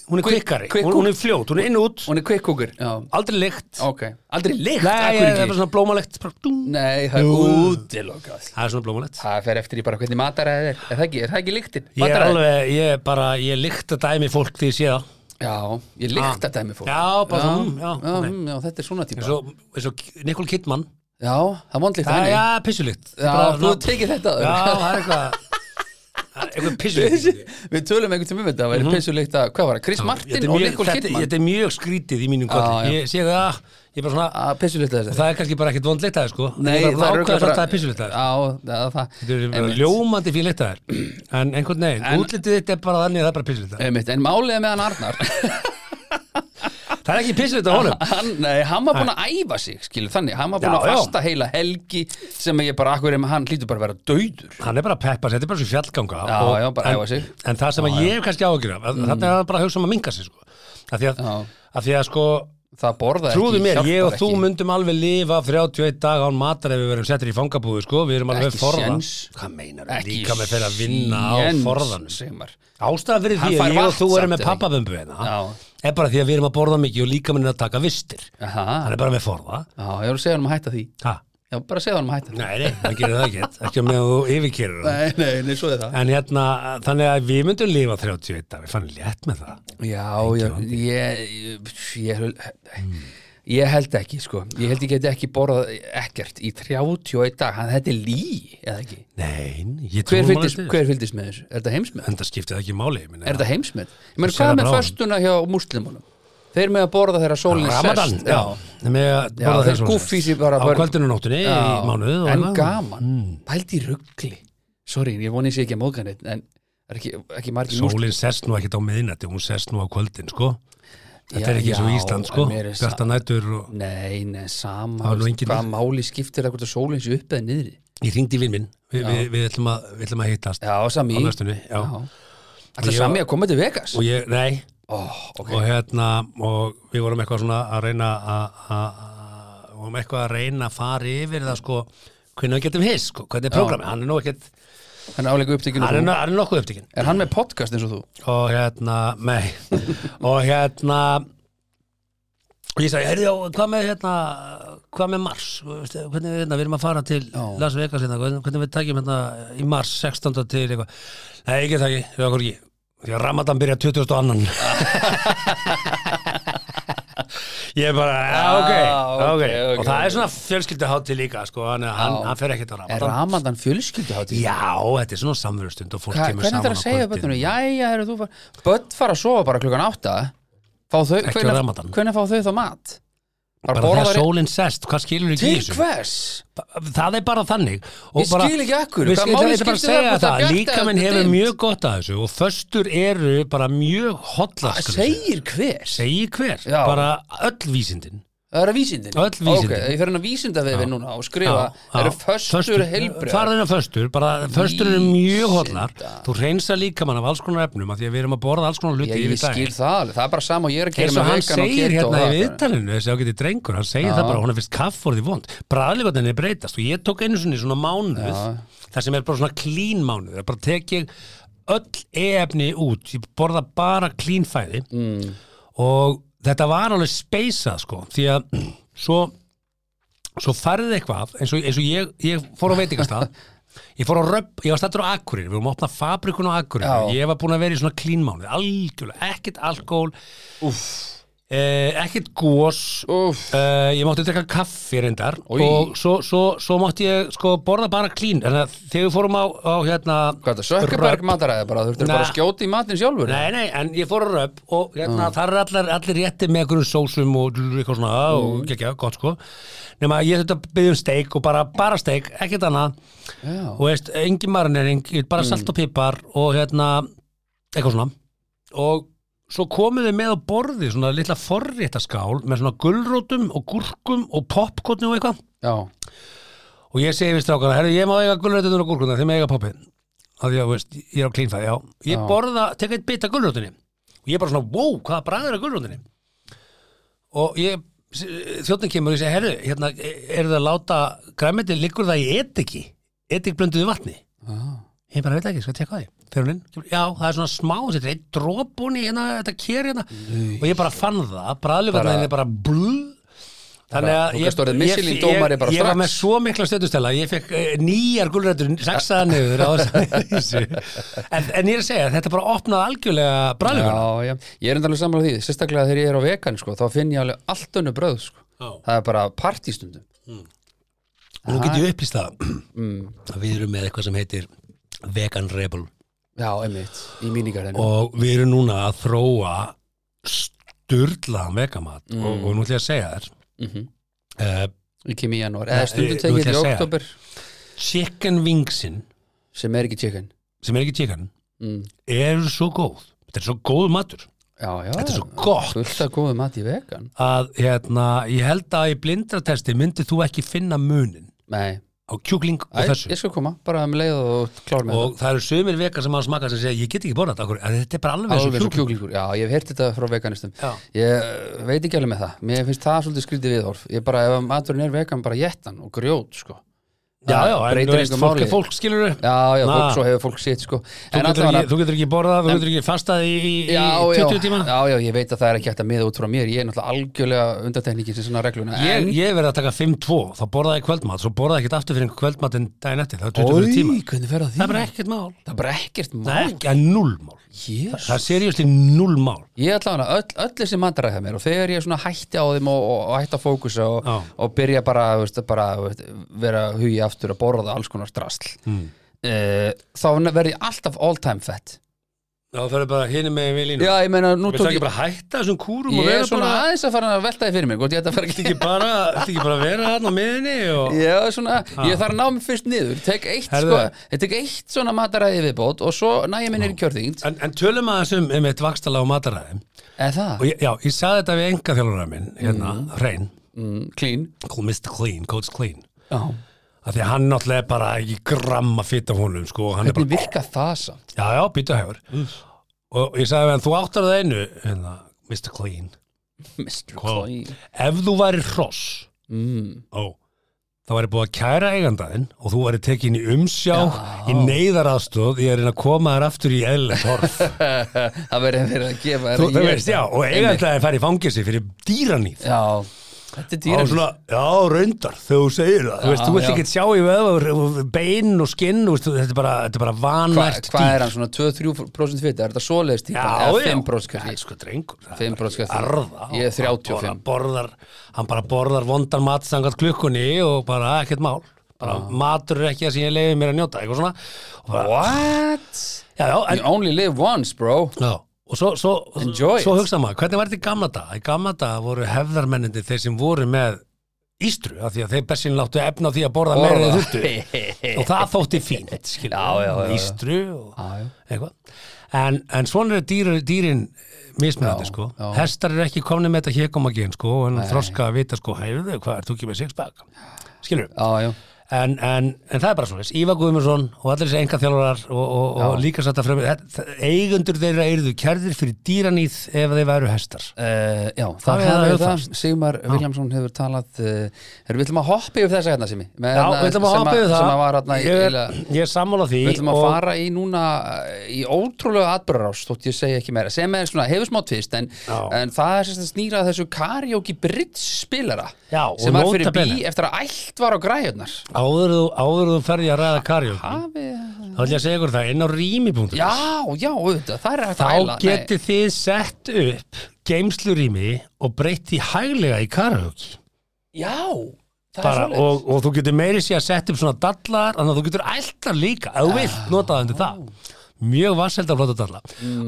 S4: Hún er
S3: Quick-
S4: kvikkari,
S3: quick
S4: hún, hún er fljót, hún er inn og út
S3: hún er kvikkúkur já,
S4: Aldrei lykt
S3: ok aldrei lykt, af
S4: Nei,
S3: hverju
S4: það er bara
S3: ekki?
S4: svona blómalegt bara dúm.
S3: nei, það er útilokað
S4: Það er svona blómalegt
S3: það fer eftir í bara hvernig mataræðið er er það ekki, er það ekki lyktin?
S4: Ég er
S3: Mataræðið?
S4: alveg, ég er bara, ég lykta dæmi fólk því ég sé það
S3: já, ég lykta dæmi fólk
S4: Ah. Já, bara
S3: já,
S4: svona, mm, já,
S3: já,
S4: ok.
S3: mm, já, þetta er svona típa
S4: Eins og, eins og Nicole Kidman
S3: já, það er vondlíkt
S4: Það, já, pissulykt
S3: Já,
S4: Bara
S3: þú
S4: svona-
S3: tekið þetta áður.
S4: Já, það er eitthvað það er Eitthvað pissulykt
S3: Við tölum einhvern tímum um þetta, það væri pissuleikt að, hvað var það, Chris
S4: Mhm. Þetta
S3: Martin
S4: er
S3: og
S4: mjög-
S3: Nicole
S4: þetta-
S3: Kidman
S4: Þetta er mjög skrítið í mínum kvöldi
S3: já.
S4: Ég sé það, ah, ég er bara svona
S3: að pissuleikta þessi
S4: Það er kannski bara ekkit vond leitaði sko
S3: Nei,
S4: Ég er bara
S3: örugglega
S4: ákveða samt að það er pissulykt
S3: Já, það er það
S4: Þetta er
S3: Einmitt.
S4: ljómandi fyrir litaðar En einhvern veginn, útlitið þitt er bara þannig að það er bara pisslitað
S3: Einmitt, en málið er með hann Arnar
S4: Það er ekki pisslitað honum
S3: hann, Nei, hann var búin að æfa sig, skilu þannig Hann var búin
S4: Já,
S3: að
S4: já.
S3: fasta heila helgi sem ég bara, akkur er hann hlýtur bara að vera dauður
S4: Hann er bara að peppa sig, þetta er bara svo fjallganga
S3: Já,
S4: og,
S3: já, bara
S4: en,
S3: æfa sig.
S4: En það sem að ég hef kannski áhyggjur af mm. Þannig að hann bara að hugsa um að minga sig sko. af, því að,
S3: Já.
S4: af því að sko
S3: Það borðaði
S4: Trúðu mér,
S3: hjálpar
S4: ég og þú
S3: ekki.
S4: myndum alveg lifa 31 dag án matar ef við verum settir í fangabúðu sko, við erum alveg
S3: Ekki
S4: forða
S3: séns.
S4: Hvað meinar
S3: Ekki
S4: líka með fyrir að vinna á
S3: séns,
S4: forðanum
S3: segir maður.
S4: Ástæðan fyrir
S3: Hann
S4: því
S3: fær
S4: að ég og
S3: vatn
S4: þú erum
S3: samt,
S4: með
S3: eða ekki?
S4: pappabömbu hérna
S3: Já.
S4: er bara því að við erum að borða mikið og líka er að taka vistir
S3: Aha.
S4: Hann er bara með forða
S3: Já, ég voru að segja hann um að hætta því
S4: ha.
S3: Já, bara segja hann um að hætta því
S4: Nei, nei, hann gerir það ekkert ekki á meðan þú yfirkerur það
S3: Nei, nei, nei, svo er það
S4: En hérna, þannig að við myndum lifa 31 dag, við fannum létt með það
S3: Já, já, ég, ég, ég,
S4: Hmm.
S3: ég held ekki, sko. Ég held ég geti ekki borðað ekkert í 31 dag. Hann, þetta er lí, eða ekki?
S4: Nei, ég
S3: Hver
S4: trúum alveg
S3: fylgist,
S4: til þess.
S3: hver fylgist með þessu? Er þetta heimsmet?
S4: En það skiptið ekki máli ég meina.
S3: Er þetta heimsmet? Ég meina,
S4: Ég sé
S3: hvað
S4: það
S3: með
S4: bara á honum.
S3: föstuna hjá múslimunum? Þeir með að borða þeirra sólinni sest.
S4: Ramadan, já, Nei, með að
S3: Já,
S4: borða
S3: þeir
S4: þessu.
S3: gúffí sér bara-
S4: Á
S3: bara-
S4: kvöldinu og nóttunni í
S3: Já,
S4: mánuð og
S3: En
S4: annað. Mm.
S3: gaman, pælt í ruggli. Sorry, ég voni ég sé ekki að móðgan eitt, en er ekki, ekki margir múslim.
S4: Sólin sest nú ekkit á miðnætti, hún sest nú á kvöldin sko Þetta er ekki eins og Ísland, sko, bjarta nætur og
S3: Nei, nei, sama
S4: Það var nú engin-
S3: Hvað máli skiptir það hvort að sólinn sé upp eða niðri
S4: ég ringdi í vinn minn, Vi,
S3: Já.
S4: við, við, ætlum að, við ætlum að hittast
S3: Já, sami
S4: á næstunni, já.
S3: Ætla
S4: Ég-
S3: sami að koma til Vegas
S4: og ég, nei,
S3: Ó, ok
S4: og hérna og við vorum eitthvað svona að reyna að- að að- vorum eitthvað að reyna að fara yfir það sko hvernig við getum hiss, sko, hvernig er prógramið hann er nú ekkert,
S3: Hann er álega upptekinu
S4: hann er,
S3: er,
S4: nú- hann er nokkuð upptíkin
S3: er hann með podcast eins og þú?
S4: og hérna, nei og hérna og ég sagði, heyrðu, já, hvað með hérna, hvað með Mars Veistu, hvernig við, hérna, við erum að fara til
S3: Já.
S4: Las Vegas hérna, hvernig, hvernig við takjum hérna í Mars 16. til eitthvað, nei, ekki takki, við okkur ekki því að Ramadan byrja 22. ég er bara, já, ok, ok,
S3: Já, Ah, ok, ok,
S4: og það
S3: ok.
S4: er svona fjölskylduhátti líka, sko, hann, hann,
S3: Já.
S4: hann fer ekkert á
S3: Er
S4: Ramadan
S3: Ramadan fjölskyldu hátíð?
S4: Já, þetta er svona samverðstund og fólk
S3: Hva,
S4: kemur
S3: hvernig
S4: saman
S3: þarf að segja
S4: á kvöldin.
S3: bönnunum? Jæja, herru, þú far... Bönn fara að sofa bara klukkan átta fá þau,
S4: Ekki á
S3: hvenær,
S4: Ramadan.
S3: hvenær fá þau þá mat?
S4: bara
S3: Bara,
S4: þegar
S3: borða þeir-
S4: sólinn sest, hvað skilur ekki í
S3: Til
S4: þessu?
S3: hvers?
S4: Það er bara þannig og
S3: Ég skil ekki af hverju,
S4: Við
S3: hvað
S4: skil-
S3: máli
S4: ég ætla bara að
S3: skiptir
S4: segja
S3: það hvort það
S4: það,
S3: bjarta
S4: líka minn
S3: eða
S4: hefur
S3: dimmt?
S4: mjög gott að þessu og föstur eru bara mjög hollast
S3: Segir hver?
S4: Segir hver,
S3: Já.
S4: bara öll vísindin
S3: Það eru vísindin?
S4: Öll vísindin.
S3: Ok, ég fer hann að vísinda við við núna og skrifa Það eru föstur helbrið
S4: Farðina föstur, bara föstur eru mjög hollar
S3: Vísinda.
S4: Þú reynsa líka mann af alls konar efnum af því að við erum að borða alls konar
S3: Ég,
S4: luti
S3: ég
S4: yfir dag
S3: skil það alveg, það er bara sama og ég er að gera
S4: eins og
S3: með
S4: hann
S3: vegan og
S4: segir
S3: keto
S4: hérna
S3: og
S4: í
S3: það.
S4: viðtalinu þessi ágæti drengur, hann segir
S3: Já.
S4: það bara hún er fyrst kaffórið í vond, bræðlíkotninni breytast og ég tók einu sinni svona mánuð það sem er bara svona clean mánuð það er bara tekið öll e-efni út ég borða bara clean fæði mm. og þetta var alveg speysað sko, því að svo, svo færði eitthvað eins og, eins og ég, ég fór á veitingastað Ég fór á röpp, ég var stættur á Akureyri, við vorum að opna fabrikun á Akureyri,
S3: Já.
S4: ég var búin að vera í svona clean mánuð, algjörlega, ekkert alkohól, eh, ekkert gós
S3: Úff.
S4: eh, ég mátti drekka kaffi reyndar
S3: Oj.
S4: og svo, svo, svo mátti ég sko borða bara klín en að þegar við fórum á, á hérna
S3: Hvað er það, Sökkeberg mataræði bara, þú ertur bara að
S4: Nei.
S3: skjóta í matinn sjálfur
S4: Nei, nei, en ég fór á röp og hérna, þar er allir, allir rétti með einhverjum sósum og eitthvað svona og gekkja, gott sko nema ég þetta byggði um steik og bara, bara steik, ekkert annað
S3: Já.
S4: og veist, engin marinering, bara salt og pipar og hérna, eitthvað svona og svo komuðu með á borði svona litla forréttaskál með svona gulrótum og gúrkum og popkotni og eitthvað
S3: Já,
S4: og ég segi við strákana, herru ég má eiga gulrötunar og gúrkunar, þeim eiga poppi að því að, þú veist, ég er á klínfæði, já ég
S3: Já.
S4: borða, tek eitt bit af gulrötunni og ég bara svona, wow, hvaða bræður er gulrötunni og ég þjóttin kemur og ég segi, herru, hérna eru það að láta græmiti, liggur það í etiki etik blönduðu vatni ég bara veit ekki, skal tekka því Fer hún inn, kemur, já, það er svona smá, þetta er eitt drópunni hérna, þetta kér hérna og ég bara fann það, bræðlífarnar henni bara blú Þannig að
S3: Þú
S4: ég,
S3: gast orðið
S4: ég,
S3: Michelin
S4: ég,
S3: dómari bara
S4: ég var
S3: strax.
S4: með svo mikla stöðustela ég fekk uh, nýjar gulrætur saksaða niður á þessu en, en ég er að segja, þetta bara opnaði algjörlega bræðlífarnar
S3: já, já, ég er enda alveg sammála því sérstaklega þegar ég er á vegan, sko, þá finn ég alveg allt önnu bröð, sko, það er bara partistundum
S4: Nú get ég upplýst það að við erum með eitthvað sem heitir Vegan Rebel
S3: Já, einmitt, í míníkarðinu
S4: og við erum núna að þróa sturlaðan vegamat og, og nú ætlum ég að segja þér uh,
S3: Ég kem í janúar, eða
S4: ég-
S3: stundu
S4: ég
S3: tekið
S4: ætla
S3: í
S4: að segja.
S3: oktober
S4: Chicken Wingsin
S3: sem er ekki chicken
S4: sem er ekki chicken
S3: Mm.
S4: eru svo góð þetta er svo góð matur
S3: Já, já,
S4: þetta er svo gott
S3: Ah, fullt að góðu mat í vegan
S4: að hérna, ég held að í blindratesti myndið þú ekki finna munin
S3: Nei,
S4: á kjúkling og
S3: Æ,
S4: þessu
S3: ég skal koma, bara með leið og klár með
S4: og það eru sömur vekar sem að smaka sem segja ég get ekki borðað þetta, af hverju?" En þetta er bara alveg
S3: Alveg
S4: eins
S3: eins
S4: og
S3: og
S4: kjúkling
S3: kjúklingur, já, ég hef heyrt þetta frá veganistum
S4: Já.
S3: Ég uh, veit ekki alveg með það Mér finnst það svolítið skrítið viðhorf Ég bara, ef að maturinn er vegan, bara jettan og grjót, sko
S4: já, já,
S3: Það
S4: en
S3: breytir
S4: þú veist,
S3: engu
S4: fólk
S3: máli.
S4: er fólk skilur þú
S3: Já, já,
S4: Na.
S3: fólk, svo hefur fólk sitt, sko En
S4: getur,
S3: allavega-
S4: ekki, þú getur ekki borðað, þú getur ekki fastað í, í í
S3: já,
S4: 20
S3: já,
S4: tíma
S3: Já, já, ég veit að það er ekki hægt að miða út frá mér Ég er náttúrulega algjörlega undartekningin sem svona regluna
S4: Ég,
S3: en,
S4: ég verði að taka 5-2, þá borðaði ég kvöldmat svo borðaði ekkert aftur fyrir kvöldmat en daginn eftir það er 24 tíma,
S3: hvernig fer það því?
S4: það er bara ekkert mál
S3: Það er bara ekkert
S4: það er
S3: mál
S4: ekki að nullmál
S3: Jésus.
S4: það er seriösti nullmál
S3: Ég ætla hana, öll, öll þessi mandara hjá mér og þegar ég svona hætti á þeim og, og, og hætti að fókusa og,
S4: Já.
S3: og byrja bara, þú veist, bara þú veist, vera hugi aftur
S4: Hmm.
S3: eh, að borða alls konar drasl mm. þá verði ég alltaf all time fat
S4: Já, það er bara hinum megin við línu
S3: Já, ég meina, nú
S4: Viltu
S3: tók
S4: ekki
S3: ég
S4: bara hætta þessum kúrum og
S3: Ég er
S4: vera
S3: svona
S4: bara
S3: aðeins að fara að velta þið fyrir mig Hvort ég ætti að fara
S4: Viltu
S3: ekki
S4: ekki bara, viltu ekki bara vera hann á miðinni og...
S3: Já, svona, ég þarf að ná mig fyrst niður Tek eitt,
S4: Herðu.
S3: sko, ég tek eitt svona mataræði viðbót Og svo næ ég minni í kjörþyngd
S4: en, en tölum að þessum um eitt vakstala og mataræði
S3: Eða það,
S4: og ég, já, ég saði þetta við enga þjálfurra minn hérna,
S3: Mhm.
S4: Hrein,
S3: Mm, clean
S4: call Mr. Clean, Coach Clean
S3: Já,
S4: af því að hann náttúrulega er bara ekki gramma fitt af húnum sko, og hann er
S3: hvernig Mm.
S4: bara,
S3: virka það samt
S4: já, já, býta hefur og ég saði við hann, þú áttar það einu hérna, Mr. Clean
S3: Mr.
S4: Hvað?
S3: Clean
S4: ef þú væri hross
S3: mm.
S4: ó, það væri búið að kæra eigandaðinn og þú væri tekin í umsjá í neyðaraðstöð, ég er að reyna að koma þér aftur í eðlilegt horf
S3: Það verður verið að gefa
S4: þú,
S3: þér að
S4: þú
S3: éta.
S4: veist, já, og eigandaðinn fær í fangelsi fyrir dýranýð
S3: Já, þetta er
S4: Já,
S3: dýra
S4: svona, já, raundar, þegar þú segir það Þú veist,
S3: Já,
S4: þú vilt
S3: já.
S4: ekki sjá í vöðvar og bein og skinn, þú veist, þetta er bara, þetta er bara
S3: Hvað
S4: vanært
S3: hva er hann, svona 2-3% fyrir Er þetta svoleiðist típa?
S4: Já,
S3: Eða
S4: já.
S3: 5%
S4: Það er
S3: kannski?
S4: sko drengur það er
S3: 5%
S4: bara arða
S3: Ég er 35.
S4: Hann bara borðar, hann bara borðar vondan matsangat klukkunni og bara ekkert mál bara matur er ekki það sem ég leiði mér að njóta eitthvað svona og bara,
S3: What?
S4: já, já, en,
S3: You only live once, bro
S4: já, og svo, svo,
S3: Enjoy
S4: svo
S3: it.
S4: hugsa maður, hvernig var þetta í gamla dag? Í gamla dag voru hefðarmennindi þeir sem voru með ístru, af því að þeir bessin láttu efna á því að borða, borða. meira þurftu og það þótti fínt, skilja
S3: Já, já, já, já.
S4: ístru og
S3: Já, já.
S4: eitthvað en, en svona er dýr, dýrin mismunandi
S3: Já,
S4: sko
S3: já.
S4: hestar er ekki komni með þetta hékomagin sko en þroska að vita sko, heyrðu, hvað er þú ekki með sixpack skilur
S3: Já, já
S4: en, en, en það er bara svona, Ívar Guðmundsson og allir þessi enga þjálfarar og, og, og líka satt að fremja, eigundur þeirra eruðu kærðir fyrir dýranýð ef þeir væru hestar
S3: Uh, já,
S4: Það
S3: það
S4: er
S3: hefur það,
S4: auðfast.
S3: Sigmar Viljámsson hefur talað uh, er, Við ætlum að hoppa yfir þessa hérna, Simi með
S4: Já,
S3: hérna,
S4: við ætlum að
S3: sem
S4: hoppa yfir
S3: sem að var
S4: það
S3: hérna í,
S4: ég,
S3: eiginlega-
S4: ég er sammála því
S3: Við ætlum að
S4: og-
S3: fara í núna eh, í ótrúlega atbyrðarás, þótt ég segja ekki meira sem er svona, hefur smá tvist en,
S4: Já.
S3: en það er sérst að snýra að þessu karaoke bridge spilara
S4: Já, og
S3: sem var fyrir
S4: nota bene.
S3: bí eftir að allt var á græjurnar
S4: áður þú, áður þú ferði að ræða karjók þá
S3: Hafi...
S4: ætlum ég að segja ykkur það, inn á rými.is
S3: Já, já, auðvitað, það er hægt að
S4: þá
S3: æla
S4: getið þið sett upp geimslurými og breytt því hæglega í karaoke
S3: Nei, Já, það
S4: bara,
S3: er svolítið
S4: og, og þú getur meiri sér að setja upp svona dallar þannig að þú getur æltar líka ef þú
S3: Ah.
S4: vilt nota það undir það mjög vasselt að flota dalla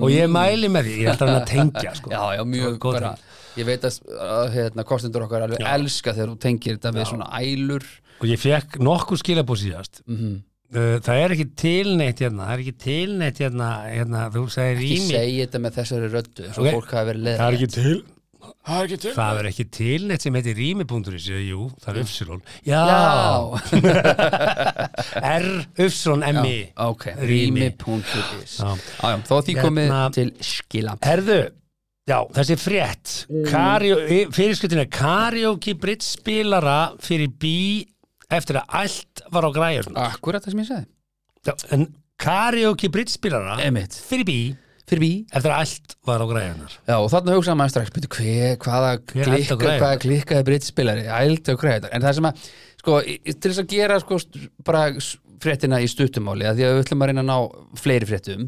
S4: og ég mæli með því, ég ætla hann að tengja sko.
S3: Já, já, mjög
S4: Góð
S3: bara
S4: tenging.
S3: Ég veit að að, hérna, kostendur okkar alveg elska þegar þú tengir þetta við svona ælur
S4: og ég fekk nokkuð skilabóð síðast
S3: Mhm.
S4: Uh, það er ekki tilneitt hérna það er ekki tilneitt hérna, hérna þú segir
S3: Ég
S4: rými
S3: segi þetta með þessari röddu eins og
S4: Ok.
S3: fólk hafi verið leðið
S4: Það er ekki til Það er ekki til neitt sem heitir rými.is Jú, það er Upsilon Já, R, Upsilon, M-I
S3: Ok,
S4: Rými.
S3: rými.is
S4: Já.
S3: Já, já, Þó að því komið
S4: Hérna-
S3: til skila
S4: Herðu, já, þessi frétt mm. Fyrirskutinu er Karaoke Bridge spilara fyrir bí eftir að allt var á græjum
S3: Akkurat það sem ég sagði
S4: En Karaoke Bridge spilara
S3: Einmitt.
S4: fyrir bí
S3: Fyrir bí
S4: eftir að allt var á græjunar
S3: Já, og þarna hugsaði maður strax byrju, hver, hvaða,
S4: Hver ældi á
S3: klikka,
S4: græjurnar?
S3: hvaða klikkaði brittspilari ældi og græði en það sem að, sko, í- í- til þess að gera sko, st- bara s- fréttina í stuttumáli að því að við ætlum að reyna að ná fleiri fréttum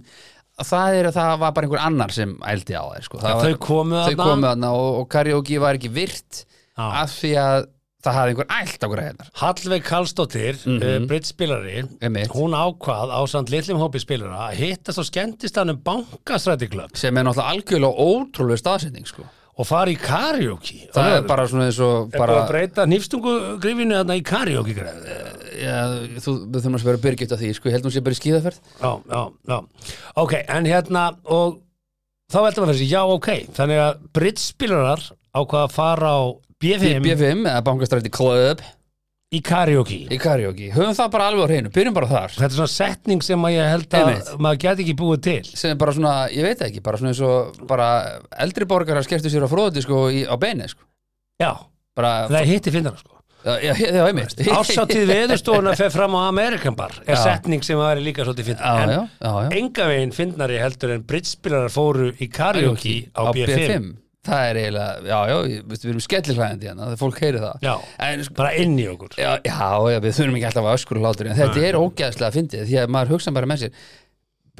S3: að það er að það var bara einhver annar sem ældi á þeir sko. Það var,
S4: Þau komu
S3: þau
S4: þarna.
S3: komu þarna og, og karaoke var ekki virt
S4: Já.
S3: af því að það hafði einhver ælt á græðinar
S4: Hallveig Karlsdóttir, mm brittspilari
S3: Mhm. Einmitt.
S4: hún ákvað á samt litlum hópi spilara að hittast á skemmtistanum bankastrætiklöpp
S3: sem er náttúrulega algjörlega ótrúlega staðsending sko.
S4: og fara í karaoke
S3: það, er bara svona eins og
S4: bara
S3: bara,
S4: að breyta nýfstungugrifinu þarna í karaoke greið
S3: ja, þú, við þurfum að spyrja Birgit að því sko, ég held hún sé bara í skíðaferð
S4: já, já, já ok, en hérna og þá veltum við þessi, já ok þannig að brittspilarar ákvað að fara á B5
S3: B5 eða bankastræti Club
S4: í karaoke
S3: í karaoke, höfum það bara alveg á hreinu byrjum bara þar,
S4: þetta er svona setning sem að ég held að
S3: Einmitt.
S4: maður geti ekki búið til
S3: sem er bara svona ég veit það ekki, bara svona eins og bara eldri borgarar skeftu sér á fróði sko í, á beini sko,
S4: já,
S3: bara
S4: það er hitti finnara sko
S3: já, já, já, einmitt
S4: Ársáttíð veðurstofuna fer fram á Amerikanbar er
S3: Já.
S4: setning sem að vera líka svolítið
S3: já,
S4: fyndnar en
S3: já, já, já.
S4: enga veginn fyndnari heldur en brittspilarar fóru í karaoke á, B5.
S3: það er eiginlega, já, já, ég- veistu, við erum skellirhæðandi hérna, það fólk heyri það
S4: Já,
S3: en sko
S4: bara inn í okkur
S3: Já, já, já, við þurfum ekki alltaf að öskur og hlátur en þetta er ógeðslega fyndið því að maður hugsa bara með sér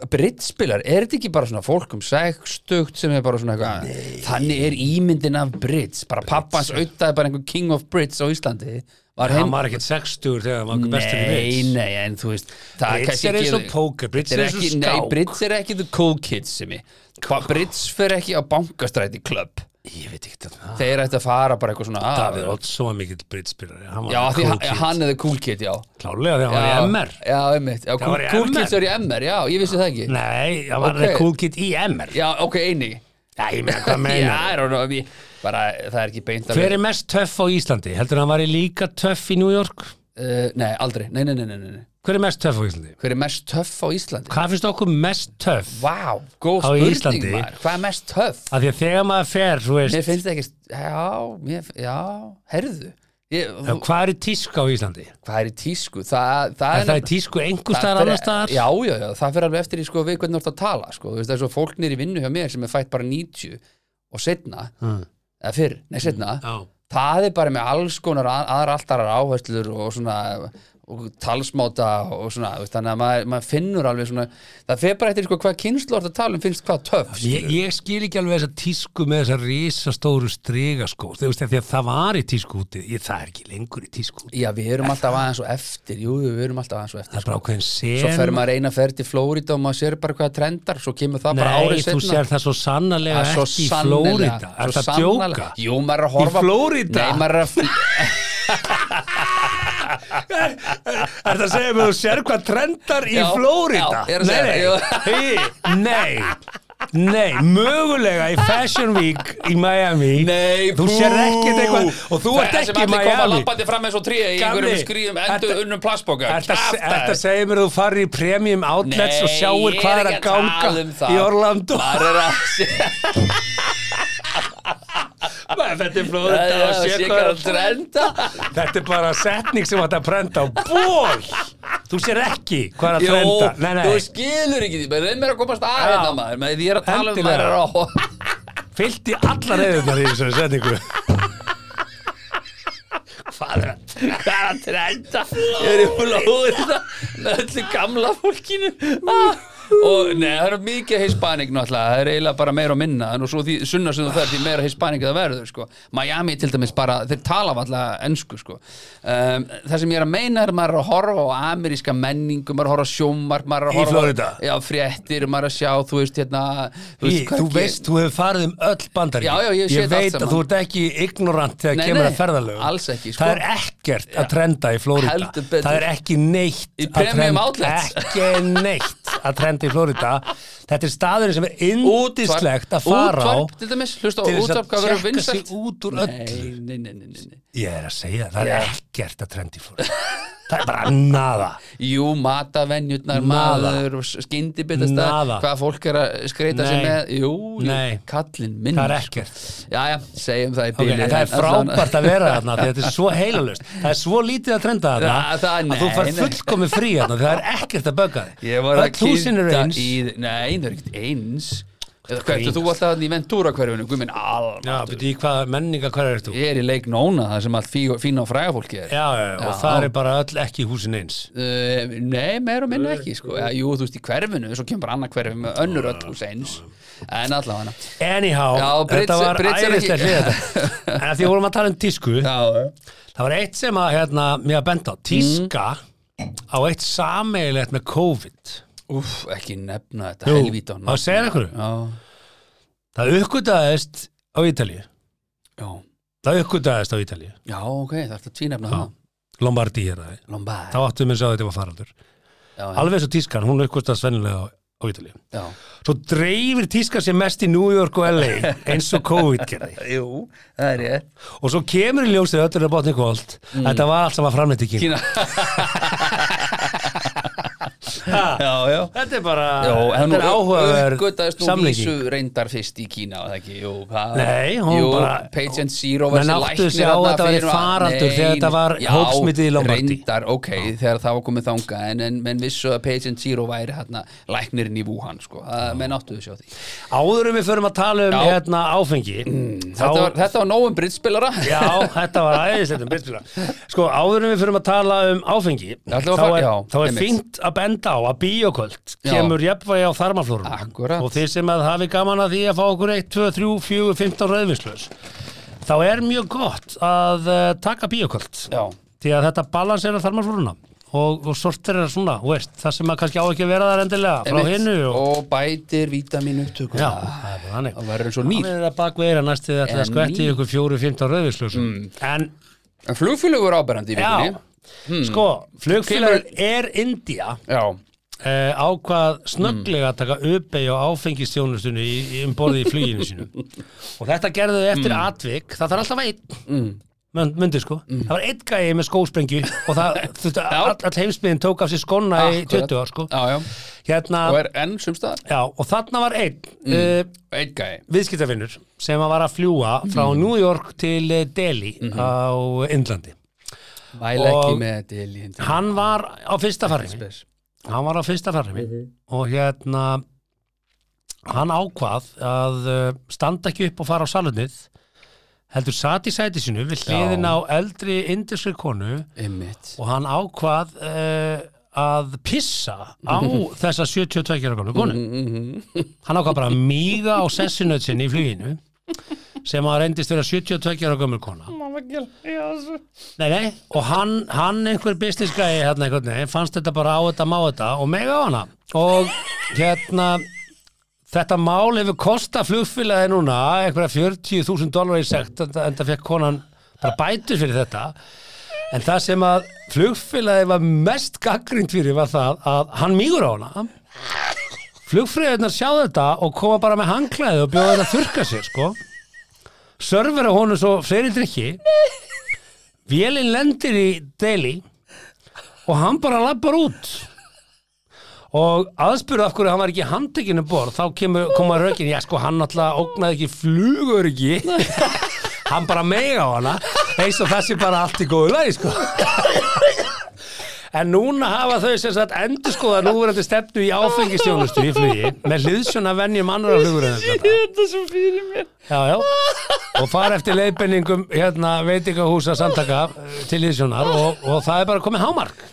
S3: brittspilar, er þetta ekki bara svona fólk um sextugt sem er bara svona eitthvað þannig er ímyndin af britts bara pappans auðtaði bara einhver king of britts á Íslandi var
S4: hann var ekkert 60 þegar hann var bestur í
S3: Nei,
S4: Brits
S3: nei, en þú veist það
S4: Brits
S3: kannski
S4: er eins og
S3: ekki-
S4: póker, Brits
S3: Þetta
S4: er eins og
S3: ekki-
S4: skák.
S3: Nei, Brits er ekki the cool kids sem ég Hva, Brits fer ekki á bankastræti klubb
S4: ég veit ekki það
S3: Þeir ætti að fara bara eitthvað svona að-
S4: Davíð Oddsson var mikill Brits-spilari hann var
S3: Ah. Já, því
S4: cool
S3: hann-
S4: kid.
S3: hann er the cool kid, já
S4: klálega þegar hann var
S3: Já,
S4: í MR
S3: Já, einmitt já, cool,
S4: var í
S3: cool
S4: MR.
S3: kids er í MR, já, ég vissi það ekki
S4: nei, hann var
S3: Ok.
S4: cool kid í MR
S3: Já, ok, eini
S4: já, ég meina hvað meina
S3: Já, I don't know, ég- bara, það er ekki beint
S4: hver er mest töff á Íslandi heldur hann var í líka töff í New York
S3: Uh, nei, aldrei, nei, nei, nei, nei, nei, nei
S4: hver er mest töff á Íslandi
S3: Hver er mest töff á Íslandi?
S4: hvað finnst okkur mest töff
S3: Vá, góð
S4: Á
S3: spurning
S4: Íslandi?
S3: maður Hvað er mest töff?
S4: af því að þegar maður fer þú
S3: Mér
S4: veist
S3: finnst það ekki, já, mér, já, herðu ég, þú-
S4: hvað er í tísku á Íslandi
S3: Hvað er í tísku? Það, það
S4: er það í
S3: nefn-
S4: tísku einhver
S3: það
S4: staðar
S3: fer-
S4: annar staðar
S3: Já, já, já, það fyrir alveg eftir í sko við hvernig þú ert að tala sko. Þú veist, Það er svo fólk nýr í vinnu hjá mér sem er fætt bara 90 og setna,
S4: Mm.
S3: eða fyrr, nei setna
S4: Já.
S3: Það er bara með alls konar að- aðra alltarar áherslur og svona og talsmáta og svona þú veist, þannig að maður, maður finnur alveg svona það fer bara eftir sko hvað kynslu orð að tala um finnst hvað töff
S4: Ég,
S3: skilur.
S4: ég skil ekki alveg þessa tísku með þessa risastóru stregaskó þú veist, af því að það var í tísku úti ég, það er ekki lengur í tísku úti
S3: Já, við erum alltaf aðeins og eftir Jú, við erum alltaf aðeins og eftir sko.
S4: það er bara ákveðin sen
S3: Svo fer maður eina ferð til Flórida og maður sér bara hvaða trendar Svo kemur það bara
S4: Nei,
S3: árið
S4: þú
S3: seinna.
S4: sér það svo sannarlega
S3: Það er svo
S4: ekki í
S3: sannarlega-
S4: Flórida Er
S3: svo
S4: það að djóka?
S3: sannarlega- Jú, maður er að horfa
S4: Flórida?
S3: Nei, maður er að
S4: Er það að segja mig þú sér hvað trendar í
S3: Já,
S4: Flórida?
S3: já, ég er að segja
S4: nei, nei, nei, nei, mögulega í Fashion Week í Miami
S3: Nei,
S4: Þú
S3: bú.
S4: sér ekkert eitthvað og þú ert
S3: Þessi
S4: ekki í
S3: allir koma
S4: Miami
S3: labbandi fram eins og tré í
S4: Gamli,
S3: einhverjum skrýðum endur
S4: ertu-
S3: unnum plastboka
S4: Þetta að segja mér að þú farir í premium outlets og sjáir hvað er að ganga
S3: um
S4: í Orlando
S3: Maður er að
S4: Þetta er
S3: Já,
S4: Flórida
S3: já, sé hvað er að trenda
S4: Þetta er bara setning sem átt að prenta á ból Þú sér ekki hvað er að
S3: Jú,
S4: prenta Nei,
S3: þú
S4: nei,
S3: skilur ekki því Leð mér að komast að
S4: Já.
S3: hérna maður maður- Því ég er að tala um
S4: Endilega.
S3: maður er að horfa
S4: fyllt í allar reyðunar í þessari setningu
S3: Hvað er að- hvað er að trenda? Ég er í Flóriða með öllu gamla fólkinu
S4: Mm.
S3: Ah, og nei, það eru mikið hispanik náttúrulega, það er eiginlega bara meira og minna en og svo því sunna sem þú fer því meira hispanik það verður sko, Miami til dæmis bara þeir tala alltaf ennsku sko um, það sem ég er að meina er að maður er að horfa á ameríska menningu, maður er að horfa á sjómar maður er að
S4: Í
S3: horfa á-
S4: Flórída?
S3: Já, fréttir, maður er að sjá, þú veist hérna þú
S4: Í,
S3: hvað
S4: Þú
S3: ger-
S4: veist, þú hefur farið um öll bandarík
S3: Já, já, ég hef séð allt
S4: veit
S3: saman.
S4: að þú ert ekki ignorant þegar
S3: Nei,
S4: kemur
S3: nei,
S4: að ferðalögum
S3: alls ekki, sko.
S4: Það er ekkert að trenda í Flórida
S3: Heldur betur.
S4: Það er ekki neitt
S3: Í
S4: að
S3: premium
S4: trenda-
S3: outlets.
S4: Ekki neitt að trenda í Flórida Þetta er staðurinn sem er indislegt að fara á
S3: útvarp, til dæmis, hlusta á
S4: til þess að
S3: útvarp hvað verður
S4: tékka sig
S3: vinsælt
S4: út úr öllu.
S3: nei, nei, nei, nei, nei.
S4: Ég er að segja, það
S3: Já.
S4: er ekkert að trenda í Flórida Það er bara nada
S3: Jú, matavenjurnar,
S4: Nada.
S3: maður, skyndibitastæð,
S4: Nada.
S3: hvað fólk er að skreita sig
S4: Nei.
S3: með, jú, jú
S4: Nei.
S3: kallinn minn.
S4: Það er ekkert
S3: Já, já, segjum það í
S4: Ok,
S3: bíli.
S4: en það er frábært að vera þarna því þetta er svo heilalust, það er svo lítið að trenda þarna
S3: Ja, það- nei,
S4: að þú fær
S3: nei.
S4: fullkomi frí þarna því það er ekkert að bögga þig
S3: Ég var að
S4: Öll húsin eru
S3: kynna
S4: eins.
S3: í, nei, það er ekkert eins. Eða hvað ertu,
S4: grínast.
S3: þú alltaf þarna í Ventura hverfinu, guðminn,
S4: Já,
S3: alveg.
S4: betur í hvað menninga hver er þú? Já,
S3: Ég er í leik nóna, það sem allt fí- fína og fræga fólki er.
S4: já, já, og
S3: Já.
S4: það er bara öll ekki húsin eins
S3: Uh, nei, meira og minna ekki sko. ja, Jú, þú veist, í hverfinu, svo kemur bara annað hverfi með önnur öll hús eins En allavega
S4: Anyhow,
S3: Já, Brits-
S4: þetta var
S3: Brits er
S4: æðislega
S3: ekki-
S4: hlið þetta En að því að vorum að tala um tísku
S3: Já, Mm.
S4: það var eitt sem að hérna, mér að benda á tíska á eitt sameigilegt með COVID
S3: Úf, ekki nefna þetta
S4: Jú,
S3: helvítan
S4: á að segja þér einhverju?
S3: Já,
S4: Það uppgötaðist á Ítalíu
S3: já,
S4: Það uppgötaðist á Ítalíu
S3: já, ok, það er að tvínefna
S4: Já.
S3: það
S4: Lombardi hér það
S3: Lombard
S4: þá áttum við að þetta var faraldur
S3: já, já,
S4: alveg svo tískan, hún aukvistast vennilega á, á Ítalíu
S3: já.
S4: svo dreifir tískan sér mest í New York og LA eins og COVID gerði
S3: Jú, það er ég
S4: og svo kemur í ljósið öllur að botni kvöld mm. þetta var allt saman framleitt í Kína
S3: Kína,
S4: Ha,
S3: já, já
S4: þetta er bara
S3: Jó, en
S4: þetta er áhugaverð
S3: uppgötaðist nú vísu
S4: samlenging
S3: reyndar fyrst í Kína var það ekki, jú, það,
S4: Nei, hún
S3: jú,
S4: bara-
S3: patient zero
S4: Menn
S3: þessi
S4: áttuðu
S3: læknir
S4: sig á
S3: þarna
S4: að þetta væri
S3: fyrir-
S4: faraldur
S3: Nei,
S4: þegar þetta var
S3: já,
S4: hópsmitið í Lombardí.
S3: reyndar, ok, þegar það var komið þanga en, en menn vissu að patient zero væri hérna, læknirinn í Wuhan, sko Það- menn áttuðu sig á því
S4: áðurum við förum að tala um
S3: Já. Mm,
S4: hérna áfengi
S3: Þetta var,
S4: þá,
S3: þetta var nóg um brittspilara
S4: já, þetta var æðislegt um bitspila sko, áðurum við förum að tala um áfengi
S3: ætlum
S4: þá
S3: að fara-
S4: er,
S3: já,
S4: þá er
S3: einmitt.
S4: fínt að benda á að bíoköld
S3: Já.
S4: kemur jafnvægi á þarmaflórum
S3: Akkúrat.
S4: og þið sem að hafi gaman að því að fá okkur 1, 2, 3, 4, 15 rauðvinslaus þá er mjög gott að uh, taka bíoköld
S3: Já,
S4: því að þetta balansera þarmaflóruna og, og sortir er svona, þú veist, það sem að kannski á ekki að vera þar endilega frá
S3: einmitt.
S4: hinnu og,
S3: og bætir vítamin upptöku
S4: já, það er bara þannig
S3: það verður eins og
S4: Hann
S3: nýr
S4: er að bakveira næstu því að það
S3: En Mm.
S4: skvetti
S3: ný.
S4: ykkur 4-15 rauðvinslausum en
S3: En flugfélög voru áberandi í
S4: já,
S3: vikunni
S4: sko, flugfélag er India
S3: Já,
S4: uh, ákvað snögglega að taka uppeyju á áfengistjónustunni í, í um borði í fluginu sínu og þetta gerðu þau
S3: Hmm.
S4: eftir atvik það þarf alltaf einn mm. myndi sko, það var einn gæi með skósprengju og það, þetta, all, all heimsbyðin tók af sér skonna í
S3: Akkurat.
S4: 20 ár sko
S3: já, já
S4: hérna,
S3: Og er Hmm. enn sem staðar
S4: já, og þarna var einn mm.
S3: Einn gæi
S4: viðskiptafinnur sem að var að fljúa frá
S3: Hmm.
S4: New York til eh, Delhi á Indlandi
S3: Mæla ekki
S4: Og-
S3: með þetta í líðin
S4: hann var á fyrsta farinu hann var á fyrsta farmi og hérna hann ákvað að uh, standa ekki upp og fara á salunið heldur sat í sæti sinu við hliðin á eldri indisri konu
S3: Einmitt
S4: og hann ákvað uh, að pissa á þessa 72 ára konu konu hann ákvað bara að míga á sessinöð sinni í fluginu sem að reyndist vera 72 ára gömul kona nei, nei, og hann, hann einhver business guy hérna einhvern veginn fannst þetta bara á þetta má þetta og mega á hana og hérna þetta mál hefur kostað flugfélagi núna einhverja 40.000 dólar í sekt en það fekk konan bara bætur fyrir þetta En það sem að flugfélagi var mest gaggrind fyrir var það að hann mýgur á hana. Flugfræðunar sjá þetta og koma bara með hangklæði og bjóða þetta að þurka sér, sko. Sörfera honum svo fleiri drikki. Vélinn lendir í Delhi og hann bara lappar út. Og aðspurðu af hverju hann var ekki handtekinu borð, þá kemur, koma rökin, já sko, hann alltaf ógnaði ekki flugur hann bara mega á hana eins og þessi bara allt í góðu lagi sko En núna hafa þau sem sagt endur skoða núverandi stefnu í áfengistjónustu í flugi með hliðsjóna venjum annara flugur en þetta.
S5: Þetta svo fyrir mér
S4: Já, já. Og fara eftir leiðbenningum hérna veitingahúsa samtaka eh, til hliðsjónar og, og það er bara komið hámark.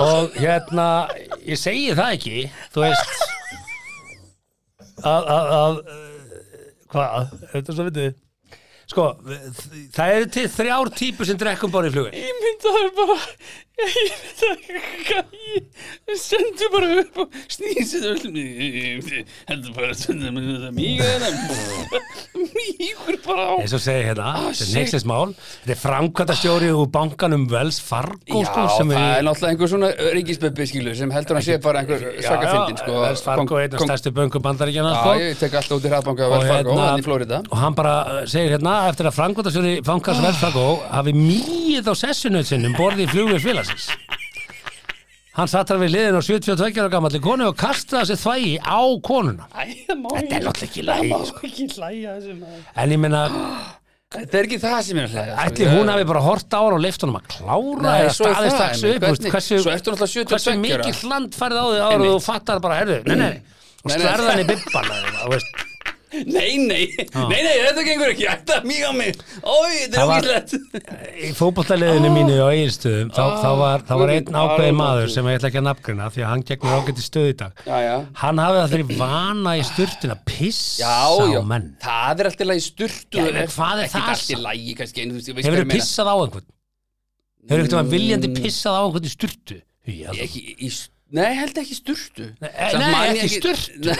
S4: Og hérna, ég segi það ekki, þú veist, að, að, að eh, hvað, þetta er svo vitið. Sko, þ- það eru til þrjár típur sem drekkum bara í flugi.
S5: Ég myndi það bara Ég myndi það hvað ég Sendu bara upp og snýsi það öll Heldur bara að senda mér það mýga hérna Mýgur bara á
S4: eins og segi hérna,
S3: Ah,
S4: þetta er
S5: shit.
S4: neiksins mál þetta er framkvæmtastjóri úr bankanum Wells Fargo
S3: Já,
S4: sko,
S3: það
S4: sem
S3: er
S4: er í
S3: náttúrulega einhver svona ríkisböbbi skilu sem heldur hann sé bara einhver sakafindin sko
S4: Wells Fargo er einn af
S3: Kong-
S4: stærstu bönkum bandaríkjana
S3: Já,
S4: sko.
S3: ég tek alltaf út í hraðbanka Wells Fargo,
S4: hérna-
S3: hann í Flórida
S4: og hann bara uh, segir hérna eftir að framkvæmtastjóri bankans Wells Fargo hafi mýið á sessunum sinnum borðið í flugvið félagsins hann satt hann við liðin á 72 ára gamalli konu og kastaði sér þvægi á konuna
S5: Æ, það má
S4: þetta er
S5: ekki
S4: náttúrulega ekki lægi
S5: Má ekki hlæja þessu maður
S4: en ég meina,
S3: Það er ekki það sem ég er að sko. hlæða
S4: ætli hún hafi bara hort á hann og leift honum að klára
S3: Nei,
S4: eða
S3: svo er
S4: staðist
S3: það,
S4: taksu upp,
S3: einmitt,
S4: þú veist,
S3: hvernig-
S4: hversu,
S3: svo ertu náttúrulega 72
S4: hversu
S3: ára.
S4: mikið hland færið á þig ára
S3: Einmitt.
S4: þú fattar bara, herðu, nei, nei og
S3: Nei, nei.
S4: slerðan í bibban eða eitthvað, þú veist.
S3: Nei, nei, nei, nei, þetta gengur ekki Þetta er mjög á mig Ói, þetta
S4: Það
S3: er
S4: var-
S3: ógætlegt
S4: í fótbollaliðinu mínu á eiginstöðum þá, þá var, þá var
S3: guð
S4: einn
S3: minn
S4: ákveðin
S3: almáttugur.
S4: maður sem ég ætla ekki að nafngrina því að hann gegnur ágæti stöð í dag
S3: Já, já.
S4: hann hafði það fyrir vana í sturtun að pissa
S3: Já,
S4: á
S3: já,
S4: menn
S3: það er alltaf lægi sturtu
S4: Já, en hvað er það
S3: Ekki alltaf
S4: samt?
S3: lægi, kannski en þú veist, ég veist hvað
S4: hefur þú
S3: ég meina. Mm.
S4: pissað á einhvern hefur þú viljandi pissað á einhvern í sturtu Já,
S3: Ég ekki, í, Nei, held ekki sturtu
S4: Nei, nei, ekki sturtu.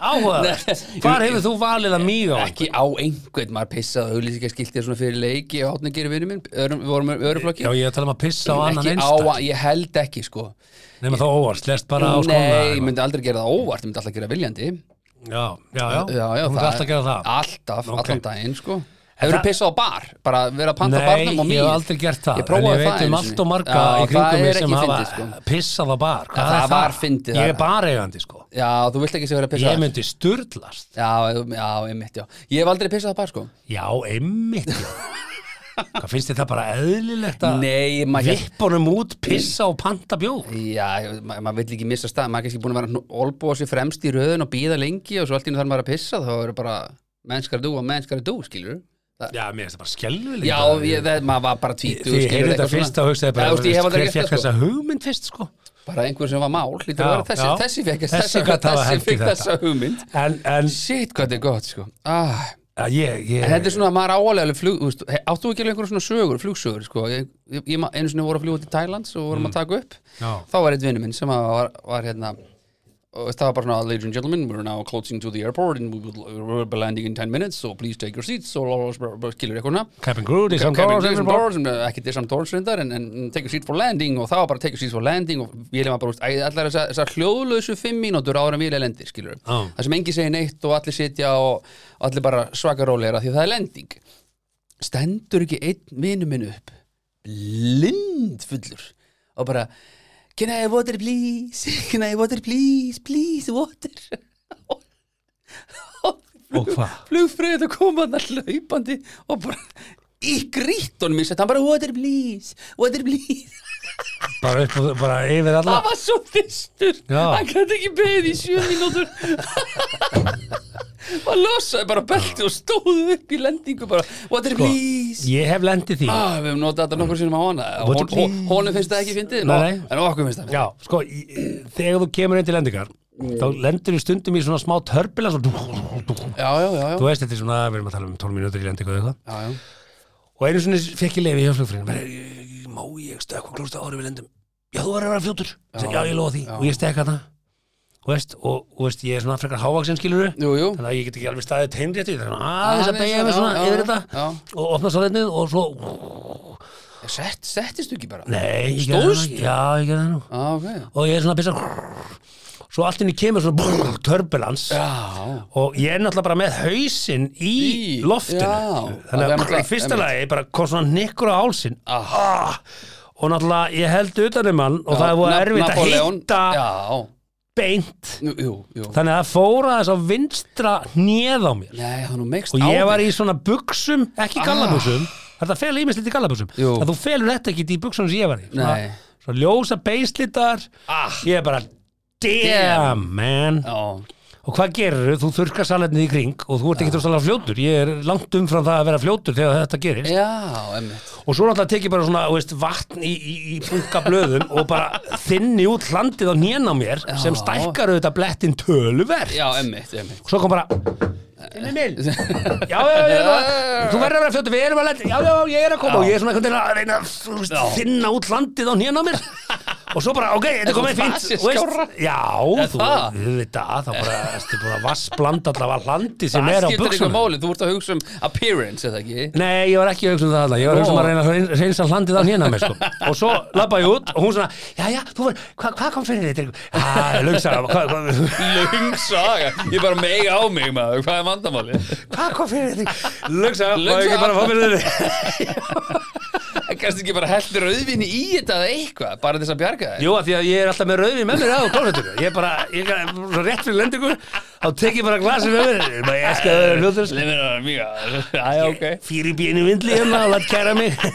S4: áhugavert
S3: Nei.
S4: hvar hefur þú valið að mýga á einhvern
S3: Ekki á einhvern, maður pissaði auðlýsingaskiltið svona fyrir leiki og hátna gerir vinnu minn, öðrum, við vorum öruflokki
S4: Já, ég er að tala um að pissa á annan
S3: ekki á,
S4: einstak
S3: að- ég held ekki sko
S4: nema þá óvart, lest bara á skóna
S3: Nei, ég myndi aldrei gera það óvart, ég myndi alltaf gera viljandi
S4: já, já, já,
S3: Já, já,
S4: þú myndi
S3: það-
S4: alltaf gera það
S3: Alltaf,
S4: Ok.
S3: allan daginn, sko Hefur þú
S4: það-
S3: pissað á bar? Bara verið að panta á
S4: Nei,
S3: barnum og
S4: ég
S3: mýð
S4: hef aldrei gert það
S3: Ég
S4: En
S3: prófaði
S4: ég
S3: það
S4: veit um
S3: einu
S4: allt
S3: sinni.
S4: og marga
S3: Já,
S4: í kringum
S3: það
S4: mig
S3: er
S4: sem
S3: ekki
S4: hafa
S3: fyndið, sko.
S4: pissað á bar Hvað
S3: Það
S4: er
S3: var fyndið,
S4: Ég
S3: það-
S4: er bareigandi sko
S3: Já, þú vilt ekki sem verið að pissa
S4: Ég myndi sturlast
S3: Já, já, einmitt, já Ég hef aldrei pissað á bar, sko
S4: Já, einmitt já. Hvað finnst þið það bara eðlilegt að
S3: Nei, maður hélt
S4: Vippunum út, pissa og panta bjóð
S3: Já, ma- maður vill ekki missa stað Maður er kannski búin að vera olbúa sér fremst í röðun og býða lengi og svo allt í einu þarf maður að pissa þá eru bara mennskar dú og mennskar dú, skilur
S4: Já, mér finnst það bara skelvilega
S3: Já, ég, það, maður var bara tvítu
S4: Því ég heyrði þetta fyrst og hugsaði bara
S3: veist, ég hef
S4: Hver
S3: aldrei
S4: fekk
S3: gert það
S4: þessa
S3: sko
S4: hugmynd fyrst sko
S3: Bara einhver sem var mál, lítur að
S4: Já,
S3: vera þessi
S4: já.
S3: Þessi fekk
S4: Þessi
S3: þessi,
S4: gat hafa
S3: þessi
S4: hent í
S3: fekk
S4: þetta.
S3: þessa hugmynd
S4: En, en,
S3: Shit, hvað þetta er gott sko ah,
S4: að ég,
S3: En þetta
S4: ég
S3: er svona, maður áalega flug, þú veist, he- Áttu ekki alveg einhverjum svona sögur, flugsögur sko ég, ég, ég, ma- Einu sinni voru að fljúga til Thailand og vorum að taka upp
S4: Mm. Já.
S3: Þá var einn vinnu minn sem að var, var hérna og það var bara svona, ladies and gentlemen, we're now closing to the airport and we will we'll be landing in 10 minutes so please take your seats so skilur eitthvað svona.
S4: Captain Groot í
S3: Kevin
S4: samkvæmur
S3: Jason Doors, eh, ekki Jason Doors reyndar en, en take a seat for landing og það var bara take a seat for landing og Vili var bara, úst, æ, allar þessar þessa hljóðlösu fimm mínútur áður en Vili lendir, skilur
S4: Já.
S3: það sem engi segir neitt og allir sitja og og allir bara svaka róleira því að það er lending stendur ekki einn vinur minn upp blind fullur og bara can I have water please, can I have water please please water
S4: Og hvað?
S3: flugfröðið að koma hann hlaupandi og bara í grítunum minn sett hann bara water please, water please
S4: Bara upp og bara yfir alla
S5: Það var svo þystur
S4: Já.
S5: Hann gæti ekki beðið í sjö mínútur Hann losaði bara belti og stóðu upp í lendingu bara
S3: water please
S4: Sko, Ég hef lendið því
S3: ah, við hefum notað þetta nokkur sinnum á hana
S4: Water
S3: Hon- hon-
S4: please.
S3: honum finnst það ekki fyndið
S4: Nei, nei.
S3: en okkur finnst það
S4: Já, Mm. sko, í- í- þegar þú kemur inn til lendingar þá lendur þú stundum í svona smá törpila svo, þú
S3: já, já, já, já.
S4: veist þetta er svona, við erum að tala um 12 mínútur í lendingu eða eitthvað
S3: já, já.
S4: og einu svona fekk ég leiði hjá flugfríðin má ég stökkva klósta ári við lendum já, þú verður að vera fljótur já, já ég lofa því, og ég stekka það og veist, og, og veist, ég er svona frekar hávaksinn skilur
S3: Jú, jú.
S4: þannig að ég get ekki alveg staðið teinrétt ég þarf aðeins að
S3: Aðeins,
S4: beigja mig
S3: já,
S4: svona
S3: já,
S4: yfir
S3: já,
S4: þetta
S3: já.
S4: og opna svolítið og svo,
S3: Sett, settist þú ekki bara
S4: nei, ég gerði það nú
S3: Stóðst?
S4: ekki. já, ég gerði það nú
S3: ah, okay.
S4: og ég er svona að pissa svo allt inni kemur svona brrr, turbulence
S3: já,
S4: og ég er náttúrulega bara með hausinn í,
S3: Í,
S4: loftinu
S3: já.
S4: þannig að
S3: Það er
S4: brrr,
S3: náttúrulega-
S4: í fyrsta lagi bara kom svona nikkur á hálsin ah. og náttúrulega ég held utan um hann og það er voru
S3: Na-
S4: erfitt að
S3: Napoleon.
S4: hitta
S3: já,
S4: beint
S3: Nú, jú, jú
S4: þannig að það fóra þess að vinstra hnið á mér
S3: nei, það nú meikst
S4: og ég
S3: á
S4: var
S3: þig.
S4: í svona buksum, ekki gallabuksum þetta fel ímislítið gallabuksum
S3: Ah. Jú.
S4: að þú felur þetta ekki í buksunum sem ég var í
S3: Nei.
S4: svo ljósa beislítar
S3: Ah.
S4: ég er bara damn man
S3: já,
S4: og hvað gerir þú þurrkar salerni í kring og þú ert ekki rosalega fljótur ég er langt umfram það að vera fljótur þegar þetta gerist
S3: já, emmitt
S4: og svo náttúrulega tekið bara svona þú veist, vatn í, í, í punka blöðum og bara þinni út hlandið á nén á mér sem stækkar auðvitað blettin töluvert
S3: já, emmitt, emmitt
S4: og svo kom bara Tilli minn, já, já, já, já, þú verður að vera fljótur, við erum að lenda, já, já, já, ég er að koma og ég er svona einhvern veginn að reyna að þú veist, þinna út landið á hnén á mér og svo bara, ok, þetta er komið
S3: það
S4: fínt
S3: sé
S4: þú veist,
S3: skárra?
S4: Já,
S3: Er
S4: þú
S3: það?
S4: veit að, þá bara, erstu bara vassbland allavega landið sem
S3: Það
S4: er á
S3: skiptir eitthvað
S4: buksunum
S3: máli, þú ert að hugsa um appearance eða ekki
S4: Nei, ég var ekki að hugsa um það allavega, ég var að hugsa um að reyna að hrein- hreinsa hlandið á hnén á mér, sko og svo labba ég út og hún svona, já, já, þú var, hva- hvað kom fyrir þér? Ah, lungsara, hvað, hvað,
S3: Lung saga, ég bara mega á mig maður, hvað er vandamáli?
S4: hvað kom fyrir þér? Lungsara, og
S3: Lugsa.
S4: ekki bara að fá fyrir þér
S3: Kannski ekki bara heldur auðvinni í þetta eða eitthvað, bara þess að bjarga þér
S4: Jú, af því að ég er alltaf með rauðvin með mér á klósetinu. Ég er bara, ég er svo rétt fyrir lendingu, þá tek ég bara glasið með mér. Ég er bara, ég elska það er hljóður.
S3: Leif mér að mjög að, aðja ok
S4: Fyrir bínu vindli hérna og látt kæra mig.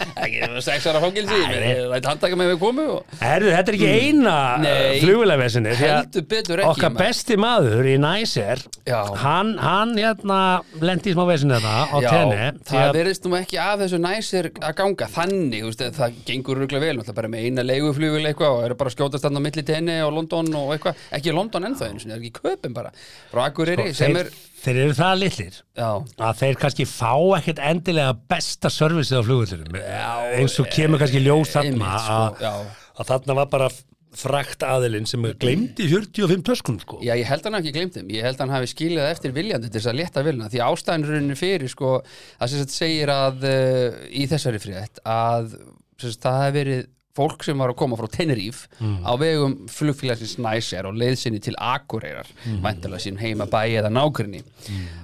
S3: Ekki, það var sex ára fangilsi, ég læt handtaka mig við komu og
S4: Herðu, þetta er ekki eina uh,
S3: Mm. Nei.
S4: flugvilavesinni.
S3: heldur betur ekki
S4: Okkar besti maður í Næsir,
S3: Já.
S4: hann, hann hérna lendi í smá vesinu þetta á
S3: Já,
S4: tenni. því
S3: það
S4: að-
S3: verðist nú ekki af þessu næsir að ganga þannig, þú veist, en það gengur röglega vel, náttúrulega bara með eina leiguflugil eitthvað og eru bara að skjótast þarna á milli tenni og London og eitthvað, ekki í London ennþá einu sinni, það er ekki í köpum bara, frá Akureyri
S4: Sko,
S3: sem
S4: Þeir,
S3: er,
S4: þeir eru það litlir
S3: já,
S4: að þeir kannski fá ekkert endilega besta servicið á flugvöldunum eins og kemur kannski ljós þarna
S3: einmitt, sko,
S4: að-
S3: já.
S4: að þarna var bara frakt aðilinn sem glemdi 45 töskum sko.
S3: Já, ég held hann hafi ekki glemt þeim, ég held hann hafi skilið það eftir viljandi til þess að létta vilna, því ástæðanrunni fyrir sko, það sem sagt segir að uh, í þessari frétt að sem sagt, það hef verið fólk sem var að koma frá Tenerife á vegum flugfélagsins Næsjar og leiðsynni til Akureyrar, mm. væntalega sín heima bæi eða nágrinni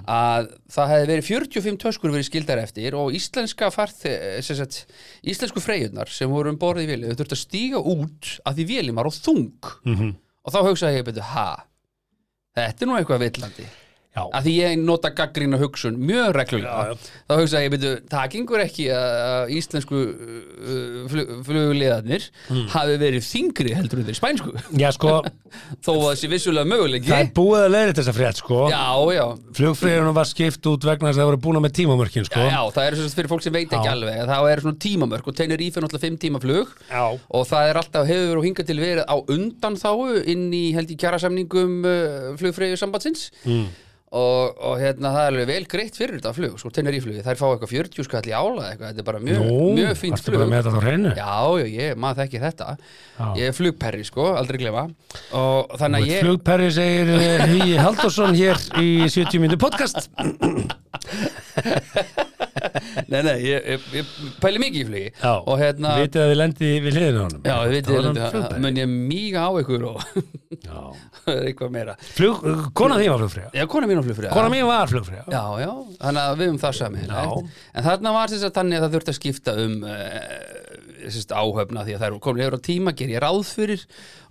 S3: að það hefði verið 45 töskur verið skildar eftir og íslenska farð sem sagt, íslensku freyjurnar sem voru um borðið í vilja, þau þurftu að stíga út að því vélum var á þung og þá hugsaði ég betur, ha, þetta er nú eitthvað villandi
S4: Já.
S3: að því ég nota gaggrína hugsun mjög reglulega
S4: Já, já.
S3: þá hugsa ég, byrju, það gengur ekki að að íslensku uh, flug, flugliðarnir
S4: Hmm.
S3: hafi verið þingri heldur en þeir spænsku
S4: Já, sko,
S3: þó að það sé vissulega möguleiki
S4: það er búið að leiðri þessa frétt, sko.
S3: já, já,
S4: Flugfríðunum var skipt út vegna þess að það voru búin með tímamörkin, sko.
S3: Já, já, það er svo fyrir fólk sem veit ekki
S4: Já.
S3: alveg að það er svona tímamörk og teinir ífinn alltaf fimm tíma flug
S4: Já.
S3: og það er alltaf hefur og hingað til verið á undan þáu inn í held í kjærasamningum uh, flugfreyju sambandsins mm. og, og hérna það er alveg vel greitt fyrir þetta flug, sko teinir íflugið, þær fá eitthvað 40 skall í ála eitthvað, þetta er bara mjög,
S4: Nú,
S3: mjög fínt
S4: ertu bara
S3: flug
S4: með þetta á hreinu?
S3: Já, já, ég, maður þekki þetta
S4: Já.
S3: Ég er flugperri, sko, aldrei glefa og þannig að
S4: Ég...
S3: ég
S4: Flugperri segir eh, Hugi Haldursson hér í 70 minni podcast
S3: Nei, nei, ég, ég, ég pæli mikið í flugi
S4: Já,
S3: og hérna
S4: vitið að þið lendi við hliðinu á honum
S3: Já, við
S4: Það var
S3: veitum,
S4: hann flugperri.
S3: mun ég míga á ykkur og
S4: Já.
S3: það er eitthvað meira
S4: Flug, Kona þín var flugfríða
S3: Já, kona mín á flugfríða
S4: Kona mín var flugfríða
S3: Já, já, þannig að við um það sami En þarna var þess að þannig að það þurfti að skipta um uh, áhöfna því að það eru komin yfir á tíma, ger ég ráð fyrir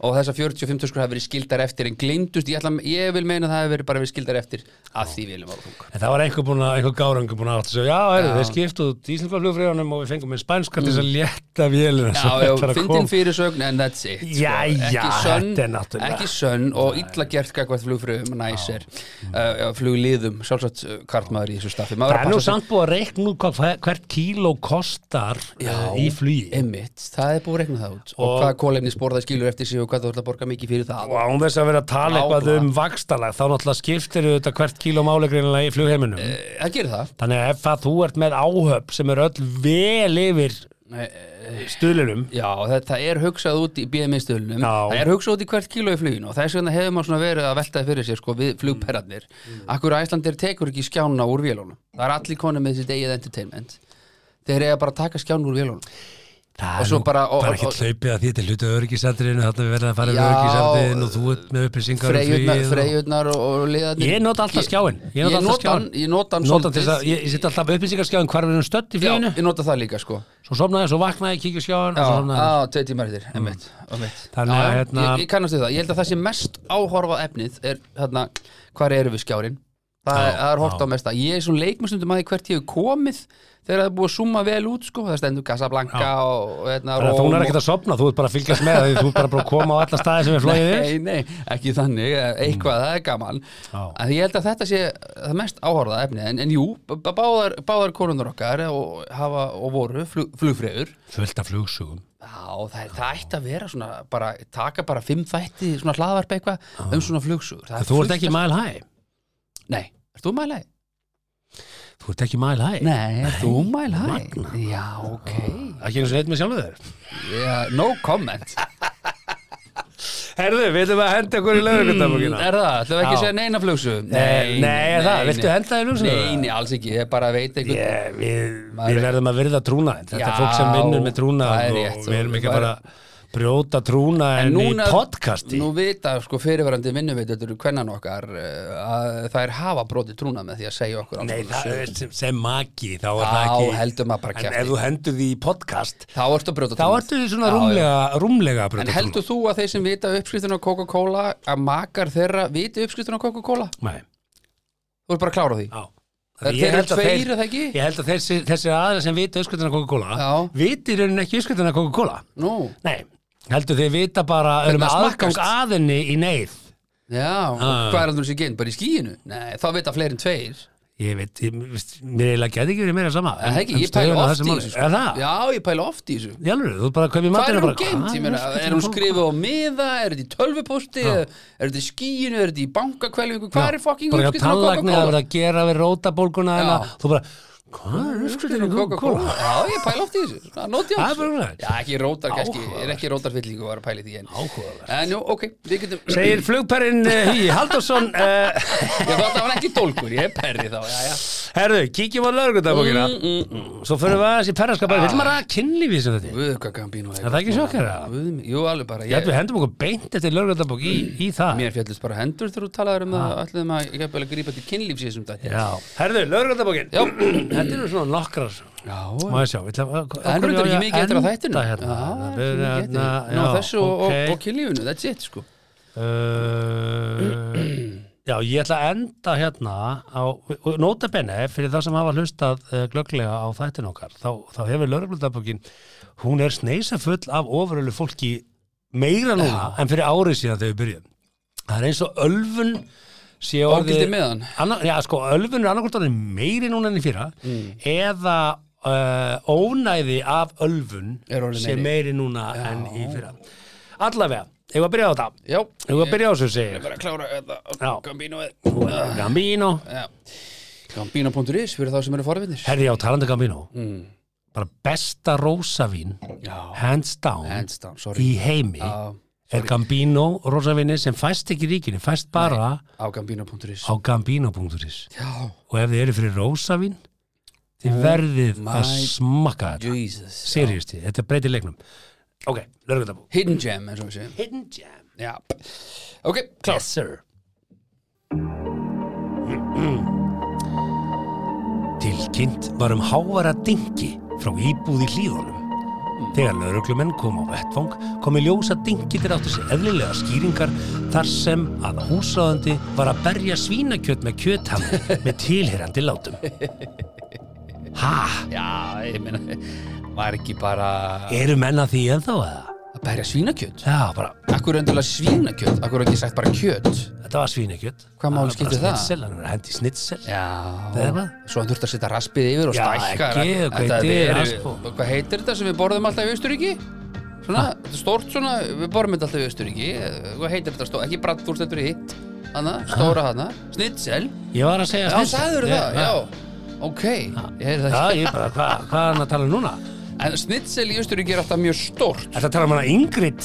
S3: og þessar 45 töskur hafa verið skildar eftir en gleymdust, ég, ætla, ég vil meina að það hafi verið bara verið skildar eftir að því viljum áfung
S4: En það var einhver búin að, einhver gárangur búin að átt að segja, já, heyrðu,
S3: Já. Mm.
S4: þeir skiptu út íslenska flugfríðunum og við fengum með spænska til þess að létta vélina
S3: Já,
S4: sem
S3: já,
S4: ætlar að
S3: fyndin
S4: koma.
S3: fyrirsögn en that's it sko.
S4: Jæja,
S3: ekki sönn,
S4: þetta er náttúrulega-
S3: ekki sönn og illa gert gagvært flugfröðum, næsir uh, flugliðum, sjálfsagt uh, karlmaður í þessu staffi Maður
S4: Það er
S3: verður
S4: nú
S3: að passa sig.
S4: samt búið að reikna út hvað- hvert kíló kostar já, í flugi
S3: Einmitt, það er búið að regna það út og,
S4: Og-
S3: hvaða kólefni spór það skilur eftir sig og hvað þú ætla að borga mikið fyrir það
S4: Og án þess að vera að tala eitthvað
S3: Nákvæmlega.
S4: um vakstalag þá náttúrulega skiptir þetta hvert kíló málegrinlega í flugheiminum
S3: Eh, Það gerir það
S4: Þannig að ef að þú ert með áhöf sem er öll vel yfir
S3: Eh,
S4: stuðlunum
S3: Já, þetta er hugsað út í BMI-stöðlunum
S4: Já.
S3: Það er hugsað út í hvert kíló í fluginu og þess vegna hefur maður svona verið að veltaði fyrir sér sko, við flugperrarnir
S4: Mm.
S3: Akkur Æslandir tekur ekki skjána úr vélunum Það er allir konum með sitt eigið entertainment Þeir eiga bara að taka skjána úr vélunum
S4: Það
S3: Og
S4: er
S3: svo
S4: nú
S3: bara- og-
S4: bara
S3: og-
S4: ekkert hlaupið að því þetta er hlutu örgisendurinn þannig að við verðum að fara
S3: Já,
S4: við örgisendurinn og þú ert með upplýsingar um
S3: Freyjurnar,
S4: flugið og-
S3: freyjurnar og, og liðarnir
S4: Ég nota alltaf skjáinn. Ég
S3: Ég
S4: nota alltaf
S3: nota hann
S4: skjáinn.
S3: Ég nota hann
S4: Nota til
S3: svolítið.
S4: þess að ég, ég setja alltaf upplýsingarskjáin hvar við erum stödd í
S3: Já,
S4: fluginu
S3: ég nota það líka sko
S4: svo sofnaði, svo vaknaði, kíkja skjáin
S3: Já,
S4: og
S3: Ah,
S4: svo sofnaði
S3: á, tvei tímar eftir, einmitt, einmitt.
S4: Mm. Þannig að,
S3: Já, já,
S4: hérna-
S3: ég, ég kannast við það, ég held að það sem mest áhorfa efnið er, hérna, hvar eru við skjárin það,
S4: Já,
S3: er- það er hort á
S4: já.
S3: mesta, ég er svona leikmastundum að því hvert ég hef komið þegar það er búið að summa vel út, sko það stendur Casablanca
S4: Já.
S3: og, og hérna,
S4: Þannig að þú er ekkert að sopna, þú ert bara að fylgjast með því þú ert bara að koma á alla staði sem er flóið yfir
S3: Nei, nei, ekki þannig, Eh, eitthvað, það er gaman
S4: Mm. Já.
S3: en ég held að þetta sé það mest áhorða efnið, en, en jú b- b- báðar, báðar konunar okkar og, hafa, og voru flug, flugfregur
S4: Fullt af flugsugum
S3: Já, það, það ætti að vera svona bara, taka bara fimm þætti, svona hlaðvarp eitthvað um svona flugsugur Það er
S4: Þú ert
S3: fullt
S4: ekki
S3: af-
S4: mile high
S3: Nei, ert þú mælæg?
S4: Þú ert ekki mile high
S3: Nei, ert þú mælæg? Já, ok
S4: Ekki eins og eitt með sjálfur þér
S3: yeah, No comment
S4: Herðu, við ætlum að henda okkur í lögurkundabókina
S3: Mm, Er það, ætlum við ekki
S4: Já.
S3: að segja neina flugsugum?
S4: Nei, nei, er það? Viltu henda það í flugsögu?
S3: Nei, nei, alls ekki, ég bara veit einhvern
S4: Yeah, við,
S3: Maður-
S4: við verðum að virða trúna þetta
S3: Já,
S4: er fólk sem vinnur með trúna
S3: það er
S4: og
S3: rétt,
S4: við erum ekki
S3: það
S4: að
S3: er-
S4: bara að brjóta trúna en, í podcasti
S3: Nú vita sko fyrirverandi vinnuveitur hvernan okkar eh, að þær hafa brotið trúna með því að segja okkur alls
S4: Nei,
S3: konar
S4: það
S3: sögur.
S4: er sem, sem maki þá er
S3: Já,
S4: það ekki
S3: heldur maður bara
S4: En
S3: kjafti.
S4: ef þú hendur því í podcast
S3: Þá ertu að brjóta
S4: þá
S3: trúna
S4: ertu því svona
S3: Já, já.
S4: rúmlega, rúmlega að
S3: En
S4: brjóta
S3: heldur þú að þeir sem vita uppskriftin á Coca-Cola að makar þeirra viti uppskriftin á Coca-Cola?
S4: trúna Nei,
S3: Þú er bara að klára á því
S4: á Ég
S3: Það- þeir eru
S4: held að
S3: tveir,
S4: þeir-
S3: er það ekki?
S4: Ég held að þessir, þessir aðra sem vita uppskutina Coca-Cola
S3: Já.
S4: viti raunin ekki uppskutina Coca-Cola
S3: Nú,
S4: Nei, heldur þeir vita bara
S3: Hvernig
S4: erum
S3: það
S4: aðgang
S3: smakkast?
S4: aðinni í neyð Ah.
S3: já, hvað er alveg sér genn? Bara í skíinu? Nei, þá vita fleiri en tveir
S4: Ég veit, ég, veist, mér eiginlega geti ekki verið meira sama
S3: En það ekki, ég
S4: stöðuna
S3: pæla oft
S4: þessum
S3: í
S4: máli.
S3: þessu
S4: Er
S3: sko.
S4: það?
S3: Já, ég pæla oft í þessu
S4: Já, þú bara kaupir
S3: Hvað
S4: matinn
S3: er
S4: og
S3: hún
S4: bara Ah,
S3: geimt? Ég meina,
S4: uppskriftin
S3: er hún
S4: Coca-Cola?
S3: skrifið á miða? Er þetta í tölvupósti? Er þetta í skíinu? Er þetta í bankakvelvingu? Hvað er í fucking
S4: bara
S3: uppskriftin á
S4: tannlagnir að vera
S3: Coca-Cola?
S4: að gera við rótabólguna
S3: Já.
S4: en þú bara, hvað er uppskriftin
S3: Uppskriftin á
S4: á Coca-Cola?
S3: Coca-Cola? Já, ég pæla oft í þessu Svona, Nóti
S4: Það er bara
S3: hans
S4: svona.
S3: Já, ekki rótar, kannski
S4: Áhugavert.
S3: Er ekki rótarfyllingu að vera að pæla í því en
S4: Áhugavert.
S3: En jú, ok, við getum
S4: segir flugperrin uh, Hugi Halldórsson uh,
S3: Ég þátt að hann ekki dólkur, ég er perri þá já, já.
S4: herðu, kíkjum á lögurkundabókina svo fyrir við aðeins í perraskapa við viljum að ræða kynlífið sem þetta er.
S3: Mm, Ah. Guð, hvað gambínu
S4: Er það ekki sjokkera?
S3: Guð, minn, jú, alveg bara
S4: ég held
S3: ég,
S4: við hendum okkur beint eftir lögurkundabók í, í það
S3: Mér fjallist bara hendur þegar þú talaður um það Ætluðum að ég hef vel að grípa til kynlífs í þessum dætti
S4: Já. herðu, lögurkundabókin
S3: Já.
S4: þetta eru svona nokkrar
S3: Já,
S4: Má ég sjá, við ætlum að...
S3: það er reyndar ekki mikið eftir að þættinu
S4: Hérna,
S3: Já,
S4: Við-
S3: ekki mikið
S4: hérna,
S3: eftir.
S4: já,
S3: Ná, þessu og,
S4: ok.
S3: og, og kynlífinu, that's it sko
S4: Uh, Já, ég ætla að enda hérna á, og nota bene fyrir það sem hafa hlustað uh, glögglega á þættin okkar, þá, þá hefur lögreglundabókin, hún er sneisa full af ofurölu fólki meira núna en fyrir árið síðan þegar við byrjuðum. Það er eins og ölfun sé orðið...
S3: Ógildi meðan.
S4: Anna, já, sko, ölfun er annarkvort orðið meiri núna enn í fyrra
S3: Mm.
S4: eða uh, ónæði af ölfun
S3: Er orðið
S4: sé
S3: meiri.
S4: meiri núna enn í fyrra. Allavega, ef að byrja á þetta,
S3: Já,
S4: ef að byrja á þessu segir.
S3: bara að klára þetta
S4: Já.
S3: Gambínoið
S4: Gambino
S3: Já. Gambino.is fyrir þá sem eru forvinnir
S4: Herri á talandi um Gambino
S3: Mm.
S4: bara besta rósavín
S3: Já,
S4: hands down
S3: hands down, sorry
S4: í heimi
S3: á,
S4: er Gambino rósavinni sem fæst ekki í ríkinu fæst bara
S3: á Gambino.is
S4: á gambino.is
S3: Já,
S4: og ef þið eru fyrir rósavín þið verðið að
S3: Oh my
S4: smakka þetta
S3: Jesus
S4: seriðusti, þetta breytir leiknum ok, lörgundabú
S3: Hidden gem, eins og við segjum
S4: Hidden Jam
S3: Já, ok, klár
S4: Yes sir Tilkynnt var um hávara dingi frá íbúð í hlíðunum Þegar lauruglumenn kom á vettvang kom í ljós að dingi þeir áttu sér eðlilega skýringar þar sem að húsráðandi var að berja svínakjöt með kjöthamni með tilherandi látum Ha?
S3: Já, ég meina, var ekki bara
S4: Eru menn að því ennþá eða?
S3: að berja svínakjöt
S4: Já, bara,
S3: Akkur er endilega svínakjöt, akkur er ekki sagt bara kjöt
S4: þetta var svínakjöt
S3: Hvað máli
S4: var bara
S3: skiptir það?
S4: Snitsel, hann var hendi snitsel
S3: Já
S4: Það er það.
S3: Svo hann þurft að setja raspið yfir og
S4: Já,
S3: stækka
S4: ekki, hvað
S3: Þetta
S4: heitir
S3: er-
S4: rasp og-
S3: Hvað heitir þetta sem við borðum alltaf í Austuríki? Svona, þetta er stórt svona, við borðum þetta alltaf í Austuríki Hvað heitir þetta stórt? Ekki brattúrst, þetta er hitt Hanna, stóra hanna, snitsel
S4: Ég var að segja
S3: Já,
S4: snitsel.
S3: sagður
S4: Ég-
S3: það, já Ok, ég heyrði
S4: Já,
S3: það
S4: ég bara, hvað hva er hann að tala um núna?
S3: En snitsel í Austuríki er alltaf mjög stórt
S4: Þetta tala um hana Ingrid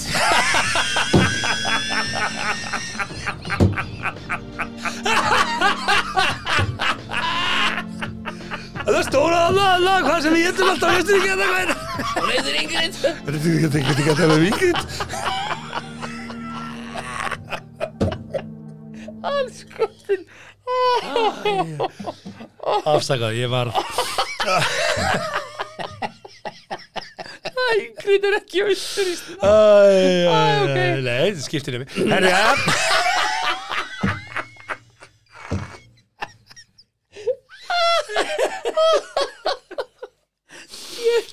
S4: Það er stóra annað, annað, hvað sem við getum alltaf veistu ekki að það hvað er
S3: Hún heitir Ingrid
S4: Þetta er ekki ekki að tala um Ingrid
S3: sko.
S4: Alls gottin Afsakað, ég var
S3: Ingrid er ekki í Austuríki
S4: Æ,
S3: ok.
S4: Nei, þetta skiptir nefnir Herri, ja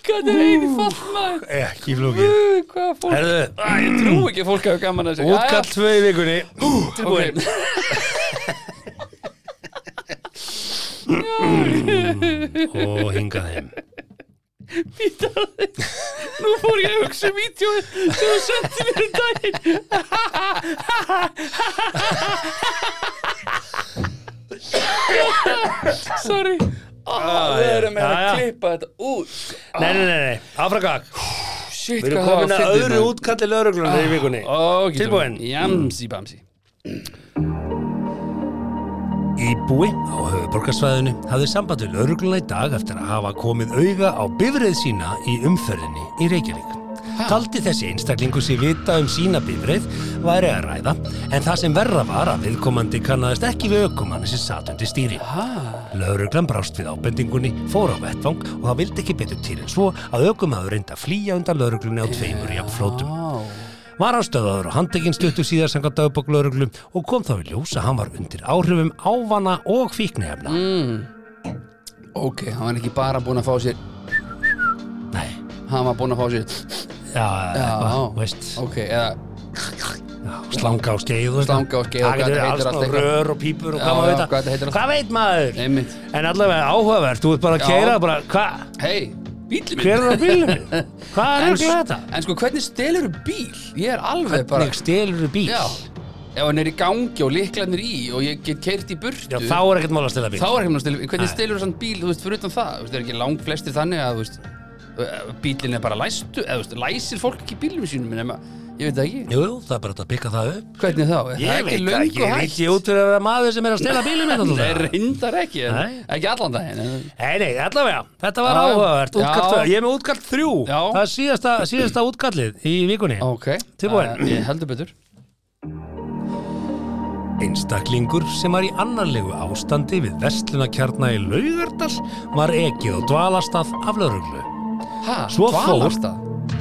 S3: Hvað er einfalt maður?
S4: Ekki flókið
S3: Guð, Hvað fólk
S4: Herðu,
S3: Æ, Ég trú ekki að fólk hafa gaman að segja
S4: útkall tvö í vikunni Tilbúin
S3: Ok.
S4: Og hingað heim
S3: Nú fór ég að hugsa um ítjóð sem þú sendið mér um daginn Sorry oh, Við erum með
S4: Ah, já, já.
S3: að klippa þetta út
S4: Nei, nei, nei, nei, afrakak
S3: Shit,
S4: Við erum komin að
S3: hérna?
S4: öðru útkalli lögreglunum í vikunni Tilbúin Mm.
S3: Jamsi bamsi
S4: Íbúi á höfuborgarsvæðinu hafði samband við laurugluna í dag eftir að hafa komið auga á bifrið sína í umferðinni í Reykjavík. Taldi þessi einstaklingu sér vita um sína bifrið væri að ræða en það sem verra var að viðkomandi kannaðist ekki við ökumann sem satt undir stýri. Lauruglan brást við ábendingunni, fór á vettvang og það vildi ekki betur til en svo að ökumæður reynda að flýja undan lauruglunni á tveimur jafnflótum. Var hann stöðaður og handtekinn stuttu síðar sanga dagbóklauruglu og kom þá í ljós að hann var undir áhrifum ávana og fíknefna.
S3: Mm. Ok, hann var ekki bara búinn að fá sér
S4: Nei,
S3: Hann var búinn að fá sér
S4: já, eitthvað,
S3: já.
S4: veist,
S3: Ok, eða
S4: já, slanga á skeið og eitthvað.
S3: Slanga á skeið og
S4: Það
S3: hvað
S4: getur
S3: þetta
S4: alls
S3: heitir allt
S4: konar
S3: eitthvað.
S4: rör og pípur og
S3: Já,
S4: hvað
S3: já,
S4: maður veit
S3: hvað þetta heitir
S4: að,
S3: allt.
S4: hvað veit maður?
S3: Einmitt.
S4: En allavega áhugavert, þú ert bara að
S3: Já.
S4: keira, bara, hvað,
S3: Hei, bílum
S4: hver er á bílum minn? Hvað er
S3: En,
S4: ekki þetta?
S3: en sko, hvernig stelur bíl? Ég er alveg bara
S4: Hvernig stelur þú bíl?
S3: Já, ef hann er í gangi og líklanir í og ég get keirt í burtu
S4: Já, þá er ekkert mál að stela bíl.
S3: þá er ekki maður að stela Hvernig stelur þann bíl, þú veist, fyrir utan það Þú veist, það er ekki lang flestir þannig að, þú veist bílinn er bara læstu eða, þú veist, læsir fólk ekki bílum sínum nema, ég veit það ekki,
S4: Jú, jú, það er bara hægt að pikka það upp.
S3: hvernig þá Er
S4: Ég
S3: það
S4: veit það
S3: ekki
S4: ekki,
S3: löngu
S4: ég veit
S3: hægt
S4: ekki út fyrir að vera maður sem er að stela bílum hérna, minn.
S3: Nei,
S4: náttúrulega.
S3: reyndar ekki, en-
S4: Nei.
S3: ekki allan daginn en-
S4: Nei, nei, allavega, þetta var
S3: Já,
S4: áhugavert
S3: já.
S4: útkall tvö. Ég er með útkall þrjú
S3: Já.
S4: Það er síðasta, síðasta útkallið í vikunni
S3: Ok,
S4: Tilbúin.
S3: það- ég heldur betur
S4: Einstaklingur sem var í annarlegu ástandi við vestlunakjarna í Laugardal var ekið og dvalastað af lauruglu
S3: Ha,
S4: Svo fór-
S3: dvalast það?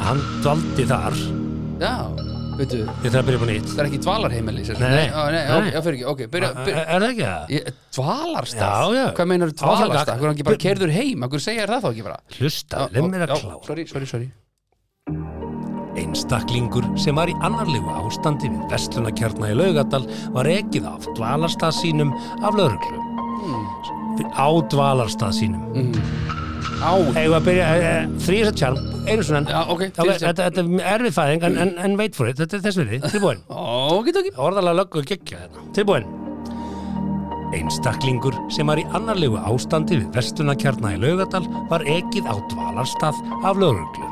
S4: Hann dvaldi þar
S3: Já, veitu,
S4: Ég þarf að byrja upp á nýtt.
S3: það er ekki dvalarheimili sem sagt.
S4: Nei, nei.
S3: Á, nei, nei.
S4: Nei.
S3: Já, fyrir ekki, ok, byrja,
S4: Er
S3: byrja
S4: er það ekki það?
S3: ég, Dvalarstað?
S4: Já, já.
S3: Hvað meinar
S4: Áfram,
S3: dvalarstað?
S4: Gagn.
S3: Hvað er hann ekki bara kerður heim? Hvað segja það þá ekki bara?
S4: Hlusta,
S3: Já,
S4: leið mér að
S3: já,
S4: klára.
S3: Sorry, sorry, sorry
S4: Einstaklingur sem var í annarlegu ástandi við vestlunarkjarna í Laugadal var ekið af dvalarstað sínum af lauruglu.
S3: Hmm.
S4: Á dvalarstað sínum. Mm.
S3: Á,
S4: Eða að byrja, e, e, þrýs að tjarn, einu svona enn.
S3: Já, ok,
S4: Þá,
S3: þrír sem-
S4: þetta, þetta er erfið fæðing, en, en, en wait for it, þetta er þess við þið, tilbúin.
S3: ok, ok
S4: Orðalega löggu geggja þetta. Tilbúin. Einstaklingur sem var í annarlegu ástandi við vestunarkjarna í Laugadal var ekið á dvalarstað af lauruglu.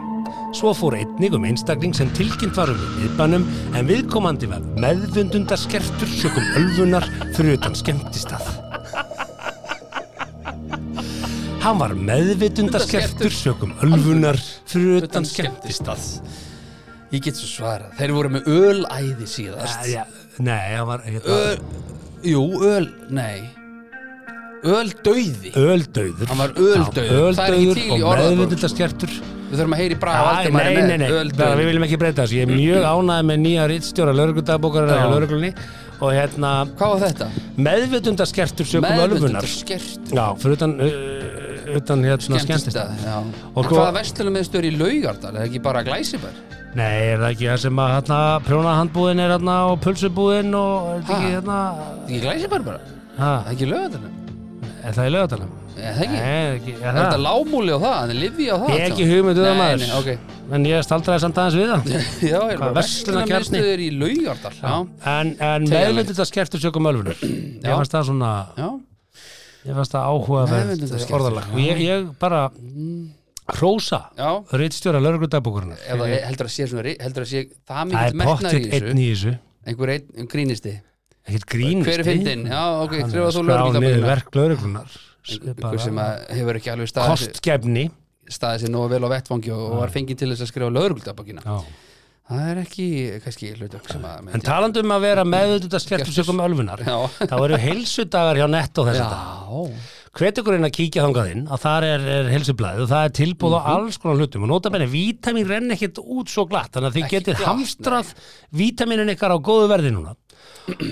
S4: Svo fór einnig um einstakling sem tilkynnt var um í miðbænum en viðkomandi var meðvundunda skertur sjökum ölfunar fyrir utan skemmtistað. Hann var meðvitunda skertur sjökum ölfunar fyrir utan skemmtistað.
S3: Ég get svo svarað Þeir voru með ölæði síðast
S4: Ja, nei, hann var... hérna,
S3: Öl, jú, öl, nei Öldauði
S4: Öldauður
S3: Hann var öldauður. Það er ekki til í
S4: Öldauður og
S3: orðaborðinu.
S4: meðvitaðskertur
S3: Við þurfum að heyri braga
S4: Nei,
S3: Valdimar
S4: nei, nei, nei, bara við
S3: Öldauði
S4: viljum ekki breyta þessu Ég er mjög ánægð með nýja rittstjóra Lörgudagbókarinn
S3: Já.
S4: á Lörglunni Og hérna,
S3: Hvað var þetta?
S4: meðvitaðskertur sögum
S3: Meðvitundar
S4: ölfunar
S3: skert
S4: Já, fyrir utan, uh, utan hérna skemmtist
S3: Skemmtistað já.
S4: Og
S3: En
S4: sko-
S3: hvaða vestlunum með stöður í Laugardal? Er það ekki bara glæsibær?
S4: Nei, er það ekki það sem að hérna Prjónahandbúðin er hérna og pulsubúðin Og er það ekki
S3: Ha?
S4: hérna
S3: Er það ekki glæsibær bara?
S4: ha,
S3: Er það ekki Laugardalum?
S4: Er það í lögatalum?
S3: Er það
S4: Nei,
S3: ekki?
S4: er ekki, er
S3: Er þetta
S4: það?
S3: lámúli á það? Er það lifi á
S4: Ég er
S3: það? allt
S4: ekki
S3: saman?
S4: hugmynduð að
S3: Nei,
S4: maður
S3: nei, ok
S4: En ég staldraði samt aðeins við það
S3: Já, er
S4: Hvað,
S3: bara
S4: verslunarkjarni?
S3: verslunarmiðstöður í Laugardal Já,
S4: En, en
S3: Tegjanlegt.
S4: meðvindið þetta skertur sjökum ölfunar Ég
S3: Já.
S4: fannst það svona
S3: já
S4: Ég fannst það áhugaverð
S3: Meðvitundar skertur,
S4: orðalag Og ég, ég bara Hrósa
S3: Já.
S4: Ritstjóra lörgurdagbúkurinn
S3: Eða heldur að sé svona ri- Heldur að sé það
S4: Það
S3: mikið
S4: er
S3: metnar í
S4: pottitt
S3: þessu
S4: einn í þessu
S3: Einhver einn um grínisti
S4: Ekkert grínist
S3: Hver er fyndin? Já, ok,
S4: Hann er
S3: skrifa
S4: að
S3: þú
S4: skrá niður
S3: lögreglutabókina
S4: verk lörgurnar
S3: Einhver sem að hefur ekki alveg staðið sig-
S4: Kostgefni
S3: staðið sér nógu vel á vettfangi og og var fengið til þess að skrifa lögreglutabókina
S4: Já.
S3: Það er ekki, kannski, hlutök sem að
S4: En talandi um að vera meðvindið þetta skertur sjökum ölfunar
S3: Já.
S4: Þá eru heilsudagar hjá netto þess að
S3: Já,
S4: hvetegurinn að kíkja þangað inn að þar er, er helsublaðið og það er tilbúð
S3: Mhm.
S4: á alls konar hlutum og nota benni, vítamin renn ekkert út svo glatt þannig að þið
S3: Ekki
S4: getið
S3: glatt,
S4: hamstrað vítaminin ykkar á góðu verði núna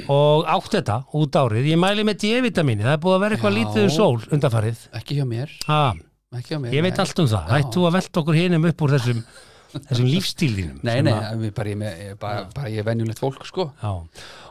S4: og átt þetta út árið ég mæli með D-vitamini, það er búið að vera eitthvað
S3: Já.
S4: lítið um sól undanfarið
S3: ekki hjá mér
S4: ha,
S3: Ekki hjá mér
S4: ég veit
S3: nei.
S4: allt um það, hættu að velta okkur hinum upp úr þessum, þessum lífstílinum
S3: Nei, nei, ég bara, ég, ég, bara, bara ég er venjulegt fólk, sko
S4: Já,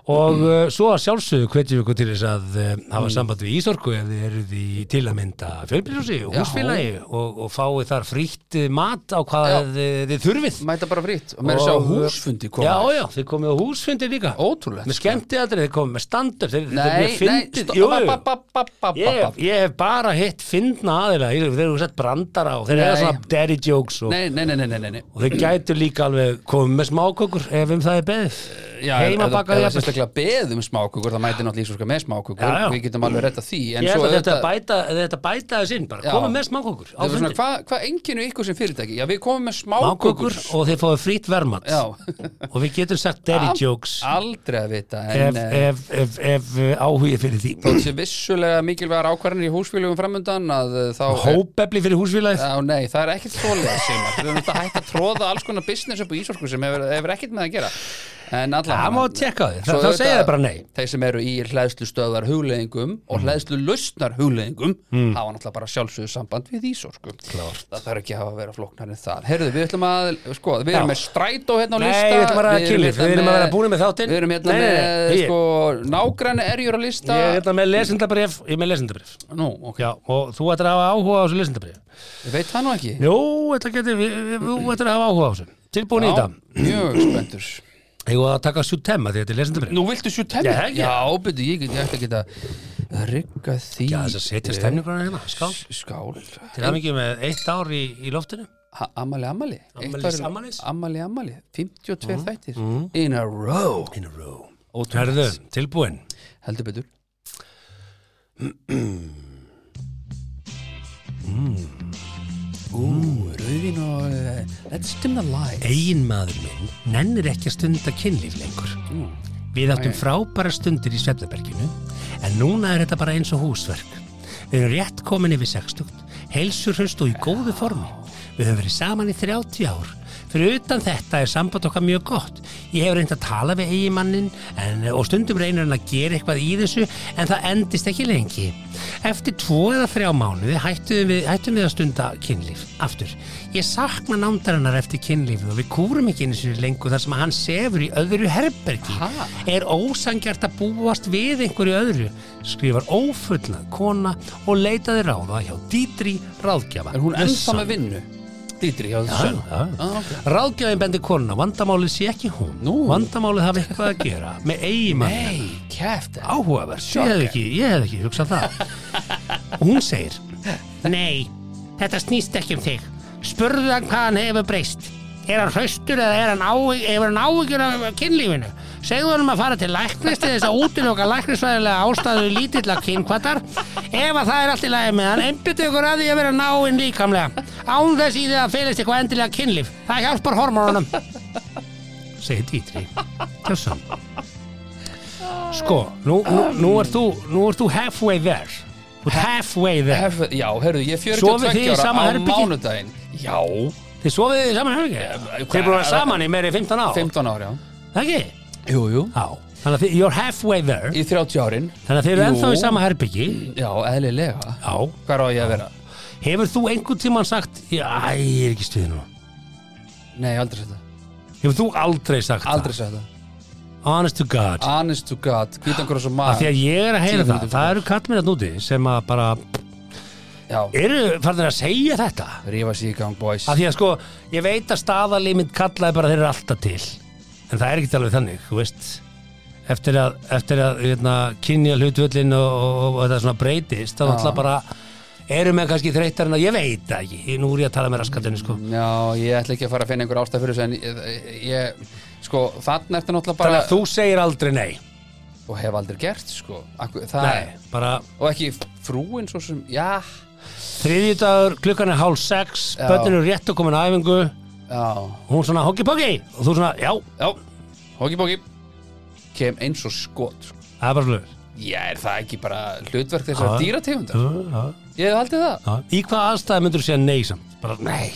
S4: og mm. svo að sjálfsögðu hvetjum við ykkur til þess að uh,
S3: Mm.
S4: hafa samband við Ísorku ef þið eruð í til að mynda fjölbyrjósi og
S3: Já.
S4: húsfélagi og, og fáið þar frítt eh, mat á hvað
S3: Já.
S4: þið, eh, þið þurfið.
S3: Mæta bara fritt og meira að sjá
S4: Og-
S3: húsfundi koma
S4: Já, já, þið komið á húsfundi líka.
S3: Ótrúlegt sko.
S4: Með skemmti aldrei, þið komið með stand-up, þið, þið
S3: Nei,
S4: mjög
S3: nei,
S4: fyndið.
S3: stopp,
S4: Jú,
S3: ba-
S4: jú.
S3: ba- ba- ba- ba-
S4: Ég,
S3: ba- ba-
S4: ég hef bara hitt fyndna aðila, ég- þeir eru sett brandara og þeir eru
S3: Nei.
S4: svona daddy jokes og,
S3: Nei, nei, nei, nei, nei, nei, nei.
S4: og þeir gætu líka alveg komið með smákökur ef um það er beðið.
S3: Já, ef- ef-
S4: Heimabakaði
S3: ef það
S4: jafnvel.
S3: sérstaklega beðum smákukur það mæti náttúrulega íslenska með smákukur
S4: hérna. Já, já.
S3: við getum alveg retta því en
S4: Ég held
S3: svo
S4: að þetta
S3: auðvitað-
S4: bæta, þetta bæta þess inn bara,
S3: Já.
S4: koma með smákökur á
S3: þetta er svona,
S4: fundin
S3: hvað hva enginu ykkur sem fyrirtæki já, við komum með smákukur
S4: smákökur og þið fáið frýtt vermat
S3: já,
S4: og við getum sagt daddy jokes
S3: aldrei að vita
S4: ef,
S3: en eh,
S4: ef, ef, ef eh, áhugi fyrir því
S3: þótt sé vissulega mikilvægar ákvarðanir í húsfélögum framundan að eh, þá
S4: hópefli fyrir húsfélagið
S3: Já, nei, það er ekkert svolega sem að við erum þetta hægt að tróða alls konar business upp í Ísorku sem hefur, hefur ekkert með að gera en allan
S4: það má tjekka þið, þá segja þið bara nei Mm.
S3: þeir sem eru í hlæðslustöðar hugleðingum og hlæðslu lausnar hugleðingum hafa náttúrulega bara sjálfsögðu samband við Ísorku Klart. það þarf ekki að hafa að vera flóknar en það Herðu, við ætlum að, sko, við erum
S4: Já.
S3: með strætó hérna á
S4: Nei,
S3: lista
S4: við ætlum að ræða kynlíf.
S3: hérna
S4: Við erum að vera búnir með þáttinn.
S3: Við erum hérna
S4: Nei, nei,
S3: með,
S4: nei, ég-
S3: sko, nágrann erjur á
S4: ég
S3: lista
S4: er hérna með lesendabrif, ég er með lesendabrif
S3: Nú, ok,
S4: Já, og þú ættir að hafa áhuga á þessu lesendabrif
S3: ég veit það nú ekki
S4: Jú, þetta geti, við- við- þú ættir að hafa áhuga á þessu tilbúin í
S3: Já,
S4: þetta,
S3: mjög spenntur
S4: ég var að taka sjútema því þetta er lesendabrif
S3: Nú viltu sjútt hemmi?
S4: Já, ekki.
S3: Já, betur, ég get ég ætti að geta rigga því
S4: Já, þess að setja stemningurna hérna, skál
S3: Skál
S4: Til það mikið með eitt ár í, í loftinu
S3: Ha- Amali, amali Eitt
S4: Ammalis,
S3: ár-
S4: ammalis.
S3: Amali, amali 52
S4: Mm,
S3: þættir In a row
S4: In a row Herðu, tilbúin
S3: Heldur betur
S4: Mm.
S3: Ú, rauðin og eh, Let's dim the light
S4: Egin maður minn nennir ekki að stunda kynlíf lengur Við áttum frábæra stundir í Svefnaberginu En núna er þetta bara eins og húsverk Við erum rétt komin yfir sextugt Heilsurhust og í góðu formi Við höfum verið saman í 30 ár Fyrir utan þetta er samband okkar mjög gott. Ég hef reynd að tala við eigimannin en, og stundum reynir hann að gera eitthvað í þessu en það endist ekki lengi. Eftir tvo eða þrjá mánuði hættum við, hættum við að stunda kynlíf. Aftur, ég sakna nándarinnar eftir kynlífið og við kúrum ekki einu sinni lengur þar sem að hann sefur í öðru herbergi. Er ósangjart að búast við einhverju öðru? Skrifar ófullnað kona og leitaði ráða hjá Dítri ráðgjafa.
S3: Er hún ennþá
S4: Sunn.
S3: með vinnu? Dítri hjá þessu sönn
S4: Já, já.
S3: ah, okay.
S4: Ráðgjafin bendir konuna, vandamálið sé ekki hún
S3: Nú.
S4: Vandamálið hafi eitthvað að gera Með eigimann
S3: Nei, kæft
S4: Áhugaverð, ég hef ekki, ég hef ekki hugsað það Og hún segir Nei, þetta snýst ekki um þig Spurðu hann hvað hann hefur breyst Er hann hraustur eða er hann áhygg, hefur hann áhyggjur af kynlífinu Segðu hann um að fara til læknist eða þess að útiloka læknisvæðilega ástæðu lítilla kynkvatar Ef að það er allt í lagi með hann einbyttu ykkur að því að vera náinn líkamlega Án þess í því að felist eitthvað endilega kynlíf Það hjálpar hormónunum Segir Dítri Kjössan Sko, nú, nú, nú, ert þú, nú ert þú halfway there Þú ert halfway there
S3: Hef, já, heyrðu, ég er
S4: Sofið
S3: 42
S4: þið í
S3: ára
S4: sama
S3: á
S4: herbergi?
S3: mánudaginn Já,
S4: Þið sofið þið saman herbergi? Þið búið að vera saman í meiri 15 ár?
S3: 15 ára,
S4: Það ekki?
S3: já Jú, jú
S4: Já. Þannig að þið, you're halfway there.
S3: Í 30 árin
S4: Þannig að þið eru
S3: Jú.
S4: ennþá í sama herbyggi.
S3: Já, eðlilega
S4: Já.
S3: Hvar á ég að vera?
S4: Hefur þú einhvern tíman sagt, já, æ, ég er ekki stuðið nú.
S3: Nei, aldrei sér það
S4: Hefur þú aldrei sagt
S3: Aldrei sér það
S4: það? Honest to God.
S3: Honest to God Hvítan hverju svo
S4: Af
S3: maður
S4: því að ég er að heyra
S3: Tíu
S4: það.
S3: mínútur
S4: Það eru kallmennat núti sem að bara,
S3: Já,
S4: eru farnir að segja þetta?
S3: rífa sig í gang, boys
S4: Af því að sko, ég veit að staðalímynd kallaði bara þeir eru alltaf til. En það er ekki alveg þannig, þú veist. Eftir að, eftir að hérna, kynja hlutvöllin og, og, og þetta svona breytist, þá ætla bara, eru með kannski þreytar en að ég veit það ekki. Ég- Nú er ég að tala með raskatinu, sko.
S3: Já, ég ætla ekki að fara að finna einhver ástæð fyrir þessu en ég, ég sko, þannig ertu náttúrulega
S4: Þannig
S3: bara
S4: að þú segir aldrei nei.
S3: og hef aldrei gert, sko Akkur, það,
S4: Nei, bara
S3: og ekki frúin svo sem, já,
S4: þriðjudagur, klukkan er hálf sex,
S3: Já.
S4: börnin eru rétt og komin á æfingu,
S3: já
S4: hún svona hokki-pokki og þú svona, já,
S3: Já, hóki bóki Kem eins og skot
S4: það er bara slöður.
S3: Já, er það ekki bara hlutverk þessar
S4: Já.
S3: dýrategundar? Ég hef haldið það
S4: Í hvað aðstæði myndur þú segja nei samt? Bara nei.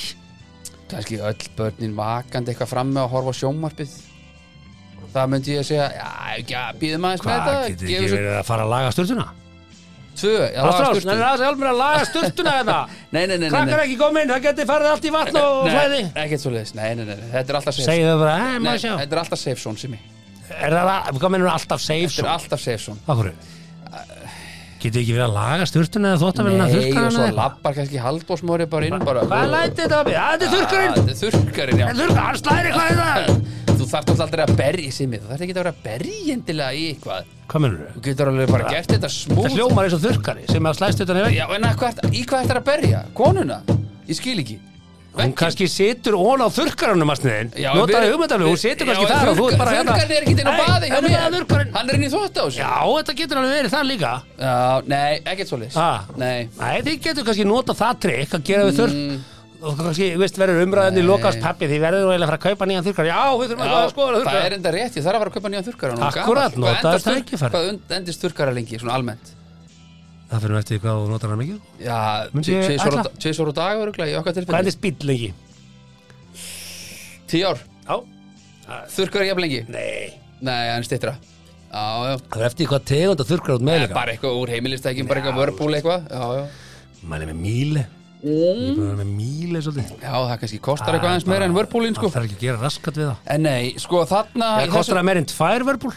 S3: Kannski öll börnin vakandi eitthvað frammi að horfa á sjónvarpið Það myndi ég að segja Já, ekki að býðum aðeins með
S4: Hvað,
S3: þetta
S4: getur
S3: Gefum
S4: ekki
S3: svo
S4: verið að fara að laga störtuna?
S3: tvö já,
S4: Ástrás,
S3: sturtu.
S4: það er aðeins að hjálpa mér að laga sturtuna þetta
S3: Nei, nei, nei, nei,
S4: Krakkar
S3: nei.
S4: ekki komin, það geti farið allt í vatn og flæði
S3: Nei, ekkert svo leiðis, nei, nei, nei, nei, þetta er alltaf safe
S4: Segðu það bara, hei,
S3: Nei,
S4: maður sjá
S3: þetta er alltaf safe son sem ég
S4: Er það, að- hvað mennur alltaf safe
S3: Þetta er
S4: svo?
S3: alltaf safe son
S4: Akkur Getur ekki verið að laga sturtuna eða þóttavelina
S3: Nei, og svo
S4: þurrkarana
S3: lappar kannski haldbósmóri bara inn bara
S4: Hvað læti þetta að mig? Ah, Þetta er
S3: Ah,
S4: þurrkarinn
S3: Þetta er þurrkarinn, já
S4: En þurrkar, hann slæri eitthvað hérna. í það
S3: Þú þarft alltaf aldrei að berja sem Þú þarft ekki að vera að berja endilega í eitthvað
S4: Hvað mennur þú?
S3: Þú getur alveg bara gert þetta smúð
S4: Það hljómar eins og þurrkari sem að slæst utan í veginn
S3: Já, en að hvað, ert- í hvað þetta er að berja? Konuna? Ég skil ekki
S4: Hún
S3: Vegginn?
S4: kannski situr ón á þurrkaranum að sniðin
S3: Já, en
S4: Notaði
S3: við-
S4: hugmyndalegu, hún situr kannski
S3: Já, en
S4: þar og þú er
S3: þurrka-
S4: bara hérna-
S3: Þurrkarinn er ekki inn á
S4: Nei,
S3: baði hjá
S4: en það er
S3: mér
S4: þurrkarinn.
S3: Hann er inn í þvótt á sig
S4: Já, þetta getur alveg verið það líka
S3: Já, nei, ekkert svo leys
S4: Ha?
S3: Nei
S4: Nei, þið getur kannski nota það trikk að gera við þurr
S3: Mm.
S4: og kannski, þú veist, verður umræðinni lokast pappi, því verður þú eiginlega að fara að kaupa nýjan þurrkar Já, við þurfum eitthvað að skoða
S3: það er
S4: þurrkar
S3: enda rétt, ég þarf að fara að kaupa nýjan þurrkara hún er
S4: Akkúrat,
S3: gamall. Hvað
S4: notaðu
S3: endast þurr-
S4: tækifærið.
S3: Hvað und- endist þurrkara lengi, svona almennt?
S4: Það fyrir eftir hvað þú notar hann mikið
S3: Já,
S4: Myndi ég
S3: tvisvar á-
S4: ætla.
S3: tvisvar á dag, öruglega, í okkar
S4: Hvað
S3: tilfelli
S4: endist bíll lengi?
S3: Tíu ár,
S4: Já,
S3: þurrkara jafn lengi
S4: nei
S3: Nei, hann stittra Já, já
S4: Það er eftir hvað tegund að þurrkar út með
S3: Eða
S4: líka sko.
S3: bara eitthvað úr heimilistækjum, bara eitthvað vörbúl eitthvað Já, já
S4: Mæli með míli Ég búið að vera með míli svolítið
S3: Já, það kannski kostar eitthvað aðeins meira en vörbúlin, sko
S4: Það þarf ekki að gera raskat við það
S3: En nei, sko, þarna í
S4: Það kostar
S3: þessu-
S4: það meir en tvær vörbúl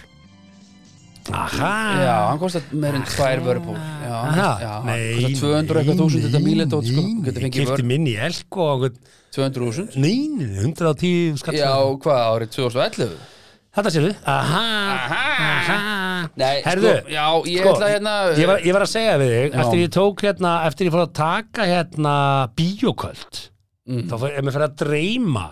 S4: Aha
S3: Já, hann kostar meira en tvær vörbúl Já, hann
S4: Aha,
S3: kostar- já, hann
S4: nei,
S3: kostar 200 eitthvað þúsund þetta mílitótt, sko Þú Getur fengið
S4: Kifti
S3: vörb,
S4: minni í elko og einhvern-
S3: 200 þúsund
S4: Nei, nei, 110 skatt
S3: Já, hvað, árið 2011
S4: Þetta séu við Aha,
S3: Aha.
S4: aha.
S3: Nei,
S4: Herðu,
S3: sko, já, ég ætla hérna
S4: ég, var, ég var að segja við þig
S3: Já.
S4: Eftir ég tók hérna, eftir ég fór að taka hérna Bíoköld
S3: Mm.
S4: Þá fór, ef mér fyrir að dreyma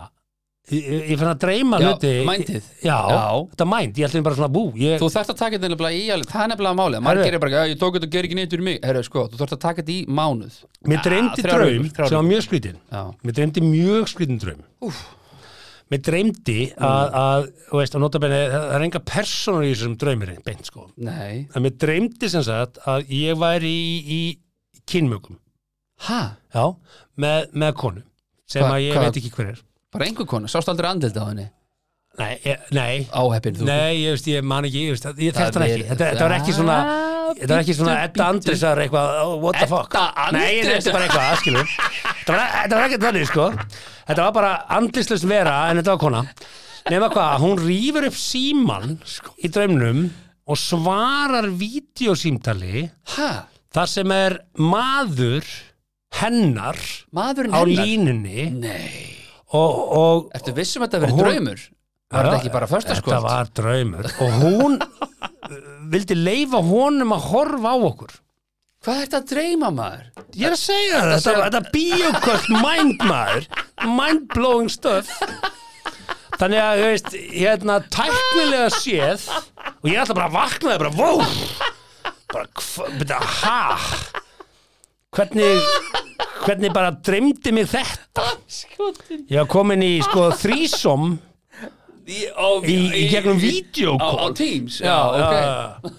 S4: Ég, ég ég fyrir að dreyma
S3: Já,
S4: hluti
S3: mindið.
S4: Já,
S3: Já.
S4: þetta mind, ég ætla mér bara svona bú ég,
S3: Þú þarft að taka þetta nefnilega í alveg, það er nefnilega málið Margir er bara, "Já, ég tók þetta og ger ekki neitt fyrir mig Herru, sko, þú þarft að taka þetta í mánuð
S4: Mér dreymdi
S3: þrjár
S4: draum
S3: vikur, þrjár
S4: sem var mjög skrítin
S3: Já.
S4: Mér dreymdi mjög skrítin draum Úf. Mér dreymdi
S3: Mm.
S4: að, að, þú veist, að nota benni, það er enga personur í þessum draumir beint sko.
S3: Nei,
S4: En mér dreymdi sem sagt að ég væri í, í kynmökum
S3: hæ?
S4: Já, með, með konu sem
S3: Hva-
S4: að ég
S3: hvað-
S4: veit ekki hver er
S3: bara einhver konu, sást aldrei andildi á henni
S4: Nei, ég- nei,
S3: áheppin þú
S4: nei, ég veist, ég man ekki, ég veist, ég
S3: Það
S4: þekkt hann ekki.
S3: er-
S4: Þetta, þetta var ekki svona,
S3: Ah,
S4: þetta var ekki svona
S3: bíddu,
S4: Edda
S3: bíddu.
S4: Andris var eitthvað, oh, what the fuck.
S3: Edda
S4: Nei,
S3: Andrés?
S4: nei, þetta er bara eitthvað, skilur. Þetta var, þetta var ekkert þannig, sko. Þetta var bara andrislust vera, en þetta var kona. Nefna hvað, hún rýfur upp síman sko, í draumnum og svarar vídeosímtali
S3: Hæ?
S4: þar sem er maður hennar
S3: Maðurinn
S4: á
S3: hennar?
S4: línunni
S3: Nei
S4: og, og,
S3: Ertu vissum að þetta verið
S4: Og hún-
S3: draumur? Var þetta ekki bara
S4: Þetta
S3: förstaskvöld?
S4: var draumur og hún uh, vildi leifa honum að horfa á okkur
S3: Hvað er þetta að dreyma maður?
S4: Ég er að segja það, þetta, þetta bíoköld mind maður, mind blowing stuff Þannig að, þú veist, hérna tæknilega séð og ég ætla bara að vakna það bara, vó bara, hva, byrja, ha hvernig hvernig bara dreymdi mig þetta
S5: Skotin
S4: Ég var komin í, sko, þrísom
S5: Í, á-
S4: í, í gegnum
S5: Á,
S4: videokól
S5: á Teams
S3: Já, ok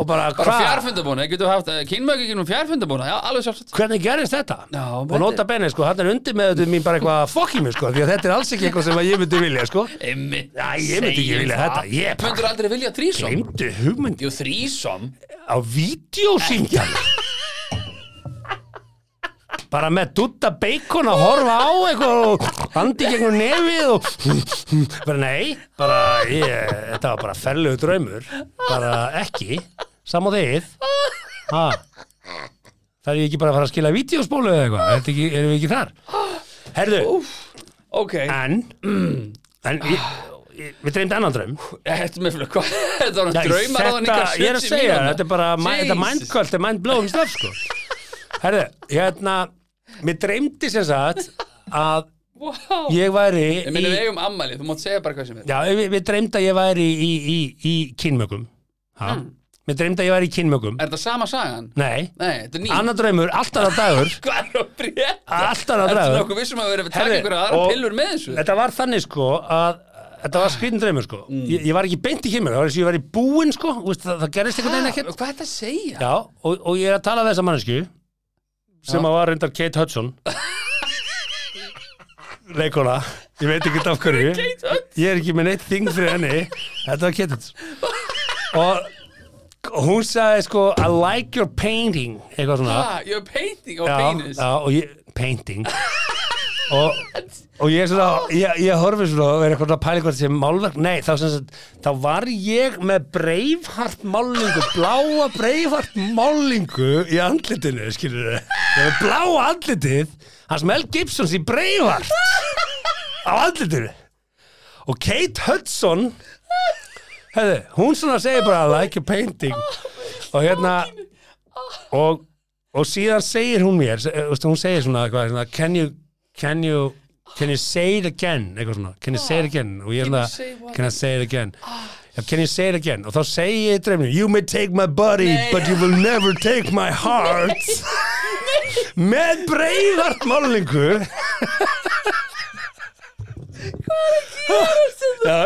S4: og bara,
S3: Bara
S4: hva-
S3: fjárfundabúna, getur haft kynmögg gegnum fjárfundabúna, já, alveg sjálfsagt
S4: hvernig gerist þetta?
S3: Já,
S4: og
S3: þetta-
S4: nota benni, sko, hann er undir með þetta mín bara eitthvað fokk í mig, sko, því að þetta er alls ekki eitthvað sem að ég myndi vilja, sko Æ,
S5: Einmitt.
S4: ég myndi ekki vilja þetta, ég bara
S3: Möndur aldrei vilja þrísom?
S4: glemdi hugmyndi
S5: Jú, þrísom
S4: á vídeosýndal bara með dutta bacon að horfa á eitthvað og handi gegnum nefið og bara nei, bara ég, þetta var bara ferlegu draumur bara ekki, sam og þið ha Það er ég ekki bara að fara að skila vídeospólu eða eitthvað, Er þetta ekki- erum við ekki þar? Herðu,
S5: Ok
S4: en, en ég, ég, við dreymdi annan draum.
S3: Þetta með flökk, hvað? Þetta var
S4: Nei,
S3: hann draumar á hann
S4: þetta-
S3: ykkar 70
S4: Ég er að segja,
S3: mínútna.
S4: þetta er bara ma- þetta er
S3: Jesus.
S4: mindkvöld, þetta er mindblowing stuff sko. Herðu, hérna mér dreymdi sem sagt að
S3: Vá.
S4: ég væri
S3: Ég minna við
S4: í,
S3: eigum ammæli, þú mátt segja bara hvað sem er
S4: já, mér mér dreymdi að ég væri í, í, í, í kynmökum ha?
S3: Hmm.
S4: mér dreymdi að ég væri í kynmökum
S3: Er þetta sama sagan?
S4: nei,
S3: Nei, þetta er ný
S4: annar draumur, alltaf það dagur
S3: Hvað er að breyta?
S4: alltaf það
S3: Þetta er
S4: dagur
S3: nokkuð vissum að við erum að taka
S4: Herri,
S3: einhverja aðra
S4: og-
S3: pillur með þessu
S4: Þetta var þannig sko að Þetta var skrítin draumur sko
S3: Hmm.
S4: ég, ég var ekki beint í kynmökum, það var eins og ég var í búinn sko þú veist, það, það gerist einhvern veginn ekkert
S3: Ah, Hvað er þetta að segja?
S4: Já, og, og ég er að tala við þessa mannesku sem að var reyndar Kate Hudson leikona ég veit ekki af hverju ég er ekki með neitt þing fyrir henni þetta var Kate Hudson og og hún sagði sko I like your painting eitthvað svona
S3: Ah, Your painting og
S4: já,
S3: penis
S4: já, og ég, painting og, og ég er svona ég, ég horfi svona og er eitthvað að pæla eitthvað sem málverk, nei, þá, sem sagt, þá var ég með breifhart málingu bláa breifhart málingu í andlitinu, skilur þau með bláa andlitið hans Mel Gibsons í breifhart á andlitinu og Kate Hudson hefði, hún svona segir bara I like your painting og hérna og, og síðan segir hún mér se- eh, veistu, hún segir svona eitthvað svona, can you can you can you say it again eitthvað svona can you say it again og ég er
S3: you say
S4: svona
S3: what?
S4: can I say it again Já, can you say it again og þá segi ég í dreifinu you may take my body but you will never take my heart með breyðart málingu Já.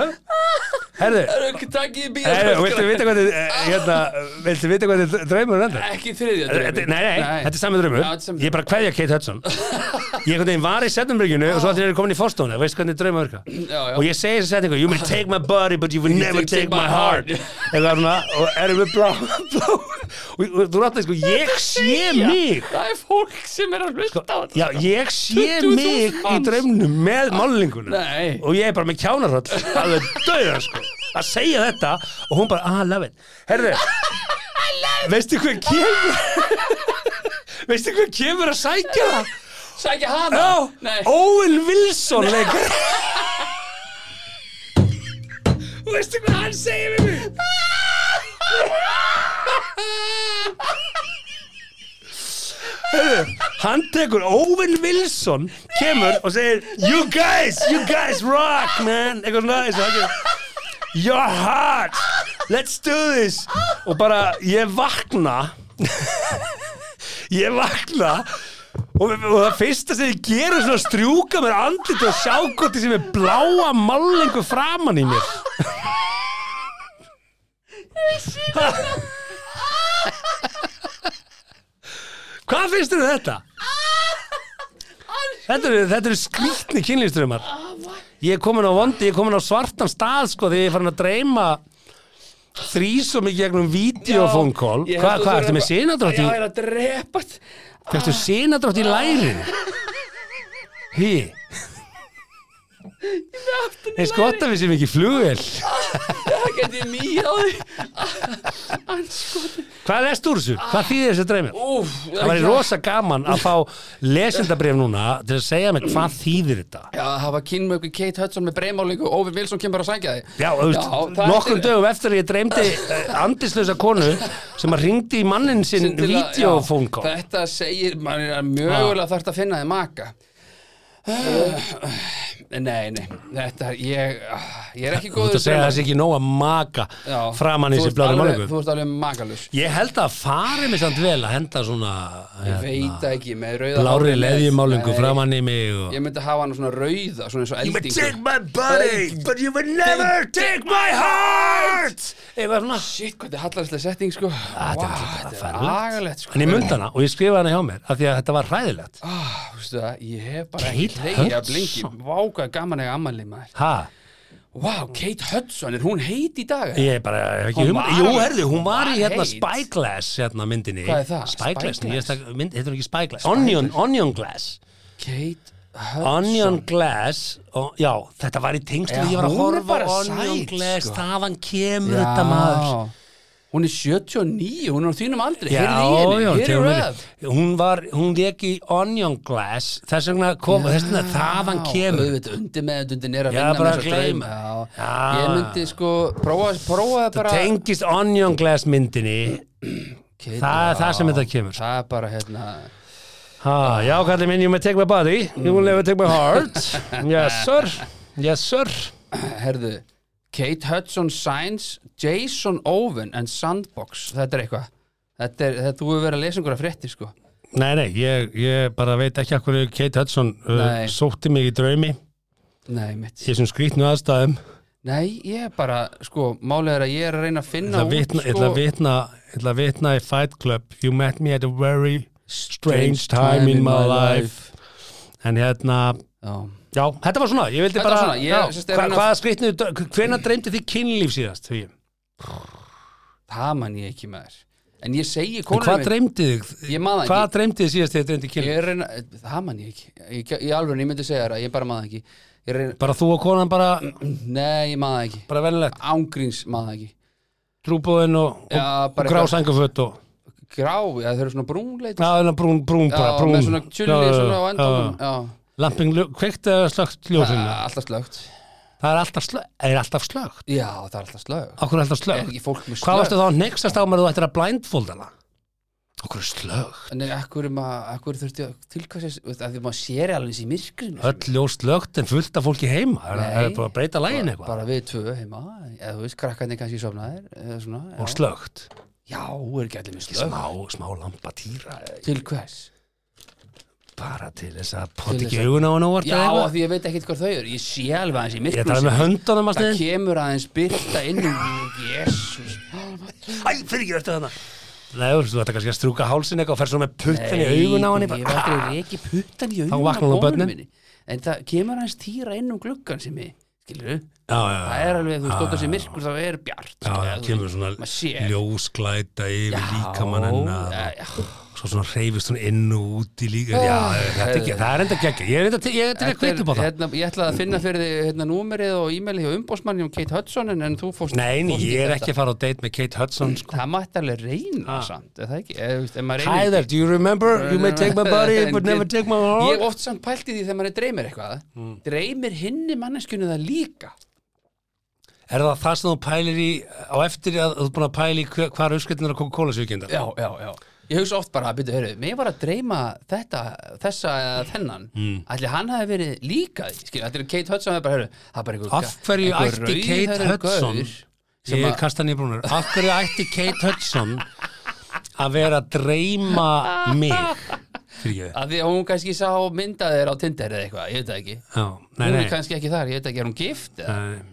S4: Herðu,
S3: Ekki takk í bíó
S4: herðu, viltu vita hvað þið, eh, hérna, viltu vita hvað þið draumur endur?
S3: Ekki þriðja
S4: Þetta-
S3: draumi.
S4: Nei, nei, þetta er sami draumur
S3: Já, þetta er sami
S4: Ég er bara að kveðja Kate Hudson Ég einhvern veginn var í setnumbyrginu og svo allir eru komin í fórstónu Veist hvernig draumur virka
S3: já.
S4: Og ég segi þessi setningu You may take my body but you will never
S3: take-
S4: take my heart Eða svona Og erum við blá blá- Og og þú rátt að sko Ég sé mig
S3: Það er fólk sem er að hlusta á þetta
S4: Sko, Já, ég sé
S3: 20.000
S4: mig í
S3: manns.
S4: draumnum með málninguna
S3: Nei.
S4: og ég er bara með kjánarhöll alveg döða sko að segja þetta og hún bara, ah, I love it Herðu, veistu hvað kemur veistu hvað kemur að sækja það?
S3: Sækja hana
S4: Já,
S3: Nei
S4: Owen Wilson leikar Veistu hvað hann segir við mig? Heyrðu, Hann tekur Owen Wilson kemur og segir You guys, you guys rock man eitthvað svona eins og hann gerir Your heart, let's do this og bara ég vakna ég vakna og, og það fyrsta sem ég gera er svona að strjúka mér andlit og sjá hvort ég sem er bláa mallingu framan í mér Ha? Hvað finnst þér um þetta? Þetta eru, þetta eru skrýtni kynlýströmmar ég er komin á vondi, ég er komin á svartan stað sko þegar ég er farin að dreyma þrísum í gegnum videofónkól
S5: Já, ég
S4: hvað
S5: held
S4: hva,
S5: þú
S4: ertu
S5: þurfir
S4: með
S5: að-
S4: sinadrátt í
S5: Já, ég er að drepast
S4: fyrstu sinadrátt í lærin hý eins gott að við séum ekki í flugvél
S5: Það geti ég mýja á því Anskoti
S4: hvað er stúr þessu, hvað þýðir þessi dreymir
S5: Úf,
S4: það væri rosa gaman að fá lesendabref núna til að segja mig hvað þýðir þetta
S3: Já, það var kynmöku Kate Hudson með breymálingu Óvi Vilsson kemur að sækja þig
S4: Já, þú veist,
S3: það er-
S4: nokkrum dögum eftir að ég dreymdi eh, andislausa konu sem að ringdi í mannin sinn
S3: til að-
S4: videofónkó
S3: já, Þetta segir, maður er mögulega þarft að finna þið maka Eh, Nei, nei, þetta er ég, ah, ég er
S4: Þú
S3: ekki
S4: ert
S3: góður
S4: að segja að það sé ekki nóg að maka
S3: Já.
S4: framan í
S3: Þú
S4: sér
S3: ert
S4: blári
S3: alveg-
S4: málugum
S3: Þú ert alveg makalus
S4: Ég held að fari mig samt vel að henda svona
S3: Ég veit
S4: hérna,
S3: það ekki með rauða
S4: blári
S3: hárið með-
S4: leðjumálingu
S3: Nei,
S4: framan í mig og...
S3: Ég myndi hafa hana svona rauða, svona eins og
S4: You would
S3: eldingu
S4: take my body but you would never take my heart Eitthvað svona
S3: Shit, hvað þetta er hallarslega setting, sko
S4: Ah, Þetta er
S3: Vá,
S4: náttúrulega
S3: þetta er agalegt,
S4: ferlegt
S3: sko
S4: En ég myndi hana og ég skrifaði hana hjá mér af því að þetta var hræðilegt
S3: Ah, veistu það, ég hef bara
S4: Kate
S3: ekki hleyið að
S4: Hudson.
S3: blingi Vá, hvað er gaman að ammali maður
S4: Ha,
S3: Vá, Kate Hudson, er hún heit í dag? eða?
S4: ég bara hef ekki
S3: Hún
S4: hugmynd-
S3: var
S4: Jú,
S3: alveg-
S4: herðu, hún var í
S3: var
S4: hérna
S3: heit.
S4: Spyglass hérna myndinni
S3: Hvað er það?
S4: Spyglass,
S3: Spyglass?
S4: nýjasta mynd, heitir hún ekki Spyglass Onion, onion glass
S3: Kate Hudson
S4: Onion Glass og, Já, þetta var í tengstu
S3: Já,
S4: Ég var að
S3: hún er
S4: horfa
S3: bara
S4: á Onion
S3: sæt,
S4: Glass
S3: sko.
S4: Þaðan kemur
S3: Já.
S4: þetta maður
S3: Hún er 79, hún er á þínum aldri
S4: Já,
S3: Heyrðu í henni,
S4: já,
S3: heyrðu
S4: tegum
S3: röð.
S4: við. hún var, hún leik í Onion Glass þess vegna kom, þess vegna þaðan
S3: Já,
S4: kemur
S3: auðvitað, undir með undir er að
S4: Já,
S3: vinna
S4: bara
S3: með
S4: að
S3: þessa drauma.
S4: gleyma.
S3: Já.
S4: Já.
S3: Ég myndi sko prófa, prófa það bara
S4: tengist Onion Glass myndinni
S3: Kate,
S4: það
S3: já.
S4: er það sem þetta kemur
S3: Það er bara hérna
S4: ha, Já, kallið minn, you may take my body you will never take my heart Yes, sir Yes, sir
S3: Herðu, Kate Hudson Sainz Jason Owen and Sandbox Þetta er eitthvað Þetta er, þetta þú hefur verið að lesa einhverja frétti sko
S4: Nei, nei, ég, ég bara veit ekki að hverju Kate Hudson uh,
S3: Nei.
S4: sótti mig í draumi í
S3: Nei, mitt
S4: þessum skrýtnu aðstæðum
S3: Nei, ég er bara, sko, málið er að ég er að reyna að finna
S4: Ég ætla að vitna, ég
S3: út,
S4: ætla
S3: sko
S4: að vitna, ég ætla að vitna í Fight Club You met me at a very strange time in my life En hérna,
S3: Já,
S4: já, þetta var svona Ég vildi
S3: Þetta
S4: bara,
S3: var svona, ég-
S4: já,
S3: sérst, er
S4: hva,
S3: hann að-
S4: hvaða skrittnu Hvenær dreymdi þið kynlíf síðast? Því?
S3: það man ég ekki maður En ég segi
S4: En
S3: konunum
S4: Hvað dreymdi þið?
S3: Ég man það
S4: Hvað
S3: ekki.
S4: dreymdi þið síðast þegar þið dreymdi
S3: Ég
S4: kynlíf?
S3: er að reyna, það man ég ekki Ég, ég alveg, ég myndi segja þér það, ég bara man það ekki Ég er að reyna,
S4: Bara þú og konan bara,
S3: nei, ég man það ekki
S4: bara venilegt
S3: Ángríns man það ekki
S4: Trúbóðin og, og,
S3: Já,
S4: og
S3: bara
S4: grá
S3: eitthvað-
S4: sængaföt og
S3: Grá, já, þau eru svona brúnleit
S4: Já, hérna brún, brún, bara brún
S3: með svona tjulli svona á endanum Já,
S4: Lamping, kveikt eða slögt ljósinu
S3: alltaf slögt
S4: Það er alltaf slögt, er alltaf slögt
S3: Já, það er alltaf slögt
S4: Akkur er alltaf
S3: Er
S4: slögt
S3: ekki fólk með
S4: Hvað varstu
S3: slögt?
S4: þá að nexast á mér að þú ættir að blindfolda hana? Okkur slög
S3: Nei, akkur, er maður- akkur þurfti að tilkvæmst að því maður sér alveg eins í myrkrinu
S4: Öll ljós slögt en fullt af fólki heima Er
S3: Nei.
S4: það er búið að breyta lægin eitthvað?
S3: bara við tvö heima eða þú veist, krakkarnir kannski sofnaðir eða svona,
S4: Og
S3: já,
S4: slögt
S3: já er ekki allir með slögt
S4: Smá, smá lampa týra
S3: til hvers?
S4: Bara til þess að poti
S3: Til
S4: ekki
S3: þess að-
S4: augun á hana og orta
S3: Já, af
S4: eitthvað
S3: því ég veit ekkert hvað þau eru ég sé alveg aðeins í
S4: Ég tala
S3: myrkrinu
S4: með höndunum að
S3: það
S4: sniðin
S3: kemur aðeins byrta inn um í jésus
S4: Æ, fyrir ekki eftir hana Nei, þú veist, þú ætti kannski að strúka hálsin eitthvað og fer svo með puttin í Ah! augun á
S3: ég
S4: hann
S3: var aldrei reiki puttan í augun
S4: vaknar hún á börnin.
S3: minni en það kemur aðeins týra inn um gluggan sem ég skilur
S4: Já, já,
S3: það er alveg, þú stóttar sér myrkur þá er bjart sko,
S4: já, já,
S3: Þú-
S4: kemur svona
S3: maður sér.
S4: ljósglæta yfir líkamann hennar
S3: Já, já.
S4: svo svona reyfist hún inn og út í líka já, þetta er ekki, það er enda geggja ég er enda til ég er til að
S3: Þetta er-
S4: kveita upp á það
S3: hérna, ég ætlaði að finna fyrir þig hérna, númerið og e-mailið hjá umbósmanni um Kate Hudson en, en þú fórst
S4: nei, nei,
S3: fórst
S4: ég er
S3: þetta.
S4: ekki að fara á date með Kate Hudson sko.
S3: það mætti alveg reyna samt, er það ekki? Eða, þú veist, ef maður reynir
S4: hi
S3: ekki.
S4: there, do you remember you may take my body but never take my
S3: ég
S4: heart Hmm.
S3: oft samt pælti því þegar maður dreymir eitthvað dreymir hinni manneskunni það líka
S4: er það það sem þú pælir í á eftir að þú er búin að pæli hvað er uppskriftinu að Coca-Cola sjökjönda
S3: já, já, já ég hugsa oft bara, byrju, heyrðu, mér var að dreyma þetta, þessa eða þennan
S4: Hmm.
S3: mm. allir hann hafi verið líka því, skil, allir Kate Hudson hafi bara, heyrðu, það er bara einhver
S4: Af hverju
S3: einhver
S4: ætti Kate
S3: rauðhærður
S4: Hudson?
S3: gaur sem
S4: ég
S3: að-
S4: er kastan í brúnur af hverju ætti Kate Hudson að vera að dreyma mig fyrir
S3: að því að hún kannski sá mynda þér á Tinder eða eitthvað, ég veit það ekki
S4: ekki
S3: hún er kannski ekki þar, ég veit ekki, er hún gift? eða?
S4: kannski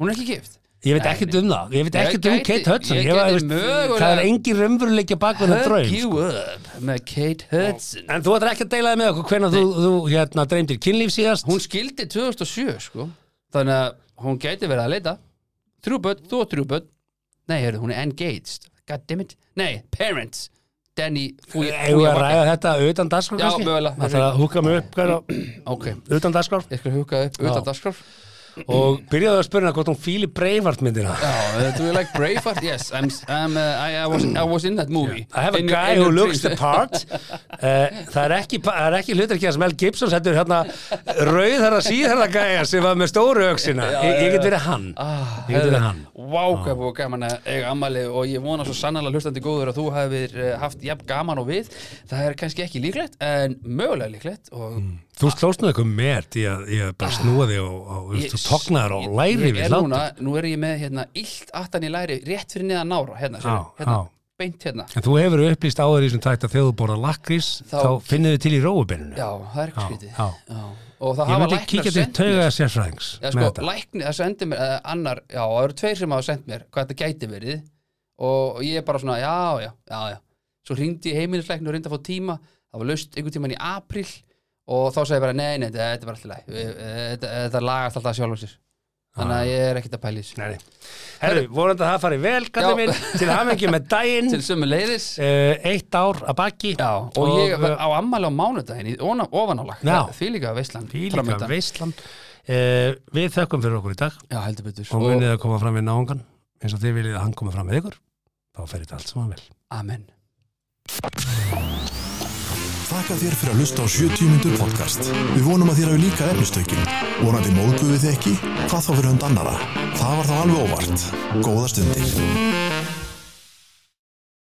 S3: hún er ekki gift
S4: Ég veit ekkert um það, ég veit
S3: Ég
S4: ekkert um
S3: gæti-
S4: Kate Hudson
S3: ég
S4: ég var,
S3: gæti
S4: veist,
S3: mögulega-
S4: Það er engin raunveruleikja bak við það
S3: Hug
S4: um draum sko.
S3: you up með Kate Hudson
S4: En þú ætlar ekki að deila það með okkur hvenær þú, þú hérna, dreymdir kynlíf síðast
S3: hún skildi 2007 sko þannig að hún gæti verið að leita þrjú börn, þú og þrjú börn nei, heyrðu, hún er engaged goddammit, nei, parents Danny
S4: Eigum við að ræða þetta utan dagskrá
S3: Já,
S4: kannski?
S3: mögulega.
S4: Það þarf að húka mig upp hverja,
S3: ok,
S4: utan dagskrá
S3: ég skal huga upp
S4: Já.
S3: utan dagskraf
S4: og byrjaðu að spyrna hvort hún fíli breifart myndina
S3: Já, uh, do you like Braveheart? Yes, I'm, I'm, uh, I, I, was, I was in that movie
S4: I have a
S3: In-
S4: guy
S3: in
S4: who
S3: a
S4: looks
S3: dream.
S4: the part uh, Það er ekki, það er ekki hlutur ekki að Mel Gibson settur hérna rauðara síðara gæja sem var með stóru öxina ég, ég get verið hann
S3: Ah,
S4: Ég get verið
S3: herðu,
S4: hann
S3: Vá, hvað búið gaman að eiga ammali og ég vona svo sannlega hlustandi góður að þú hefur eh, haft jafn gaman og við það er kannski ekki líklegt en mögulega líklegt og
S4: Þú slóst nú eitthvað með því að ég bara snúaði og, og, og þú tognaður og
S3: Ah. ég-
S4: læri
S3: ég
S4: við
S3: er
S4: hlátt
S3: núna, Nú er ég með hérna illt aftan í læri rétt fyrir neðan nára hérna,
S4: Já,
S3: sérðu, hérna
S4: já.
S3: beint hérna
S4: En þú hefur upplýst áður í þessum tætt að þegar þú borða lakrís þá,
S3: Þá-
S4: finnir þið til í róubenninu
S3: Já, það er ekki skrítið
S4: já.
S3: Já. Og það
S4: Ég
S3: hafa
S4: myndi
S3: læknar
S4: kíkja til
S3: sent mér
S4: tauga sérfræðings
S3: Já,
S4: með
S3: sko,
S4: þetta.
S3: lækni, það sendi mér eða annar, já, það eru tveir sem hafa sendt mér hvað þetta gæti verið og ég er bara svona, já, já, já, já svo hringdi ég heimilislækni og reyndi að fá tíma það var laust einhvern tíman í april og þá sagði ég bara, nei, nei, þetta þetta er bara alltaf læg þetta, þetta lagast alltaf sjálf sér þannig að ég er ekkert að pæli
S4: Ah. Nei, nei. Herru, vonandi að það fari vel, kallið minn, til hamingi með daginn,
S3: til sömu leiðis
S4: uh, eitt ár að baki.
S3: já, og, ég
S4: eh,
S3: var á ammali á mánudaginn í- ofan ofan á lag,
S4: Já.
S3: því líka veistlan
S4: Því líka veistlan. Uh, við þökkum fyrir okkur í dag
S3: já, heldur betur
S4: og
S3: og,
S4: munið að koma fram við náungan eins og þið viljið að hann koma fram við ykkur. Þá fer þetta allt saman vel.
S3: amen
S2: Þakka þér fyrir að hlusta á 70 mínútur podcast. Við vonum að þér hafi líka efnistökin. Vonandi móðguðu þið ekki, hvað þá fyrir hund annara. Það var þá alveg óvart. Góða stundir.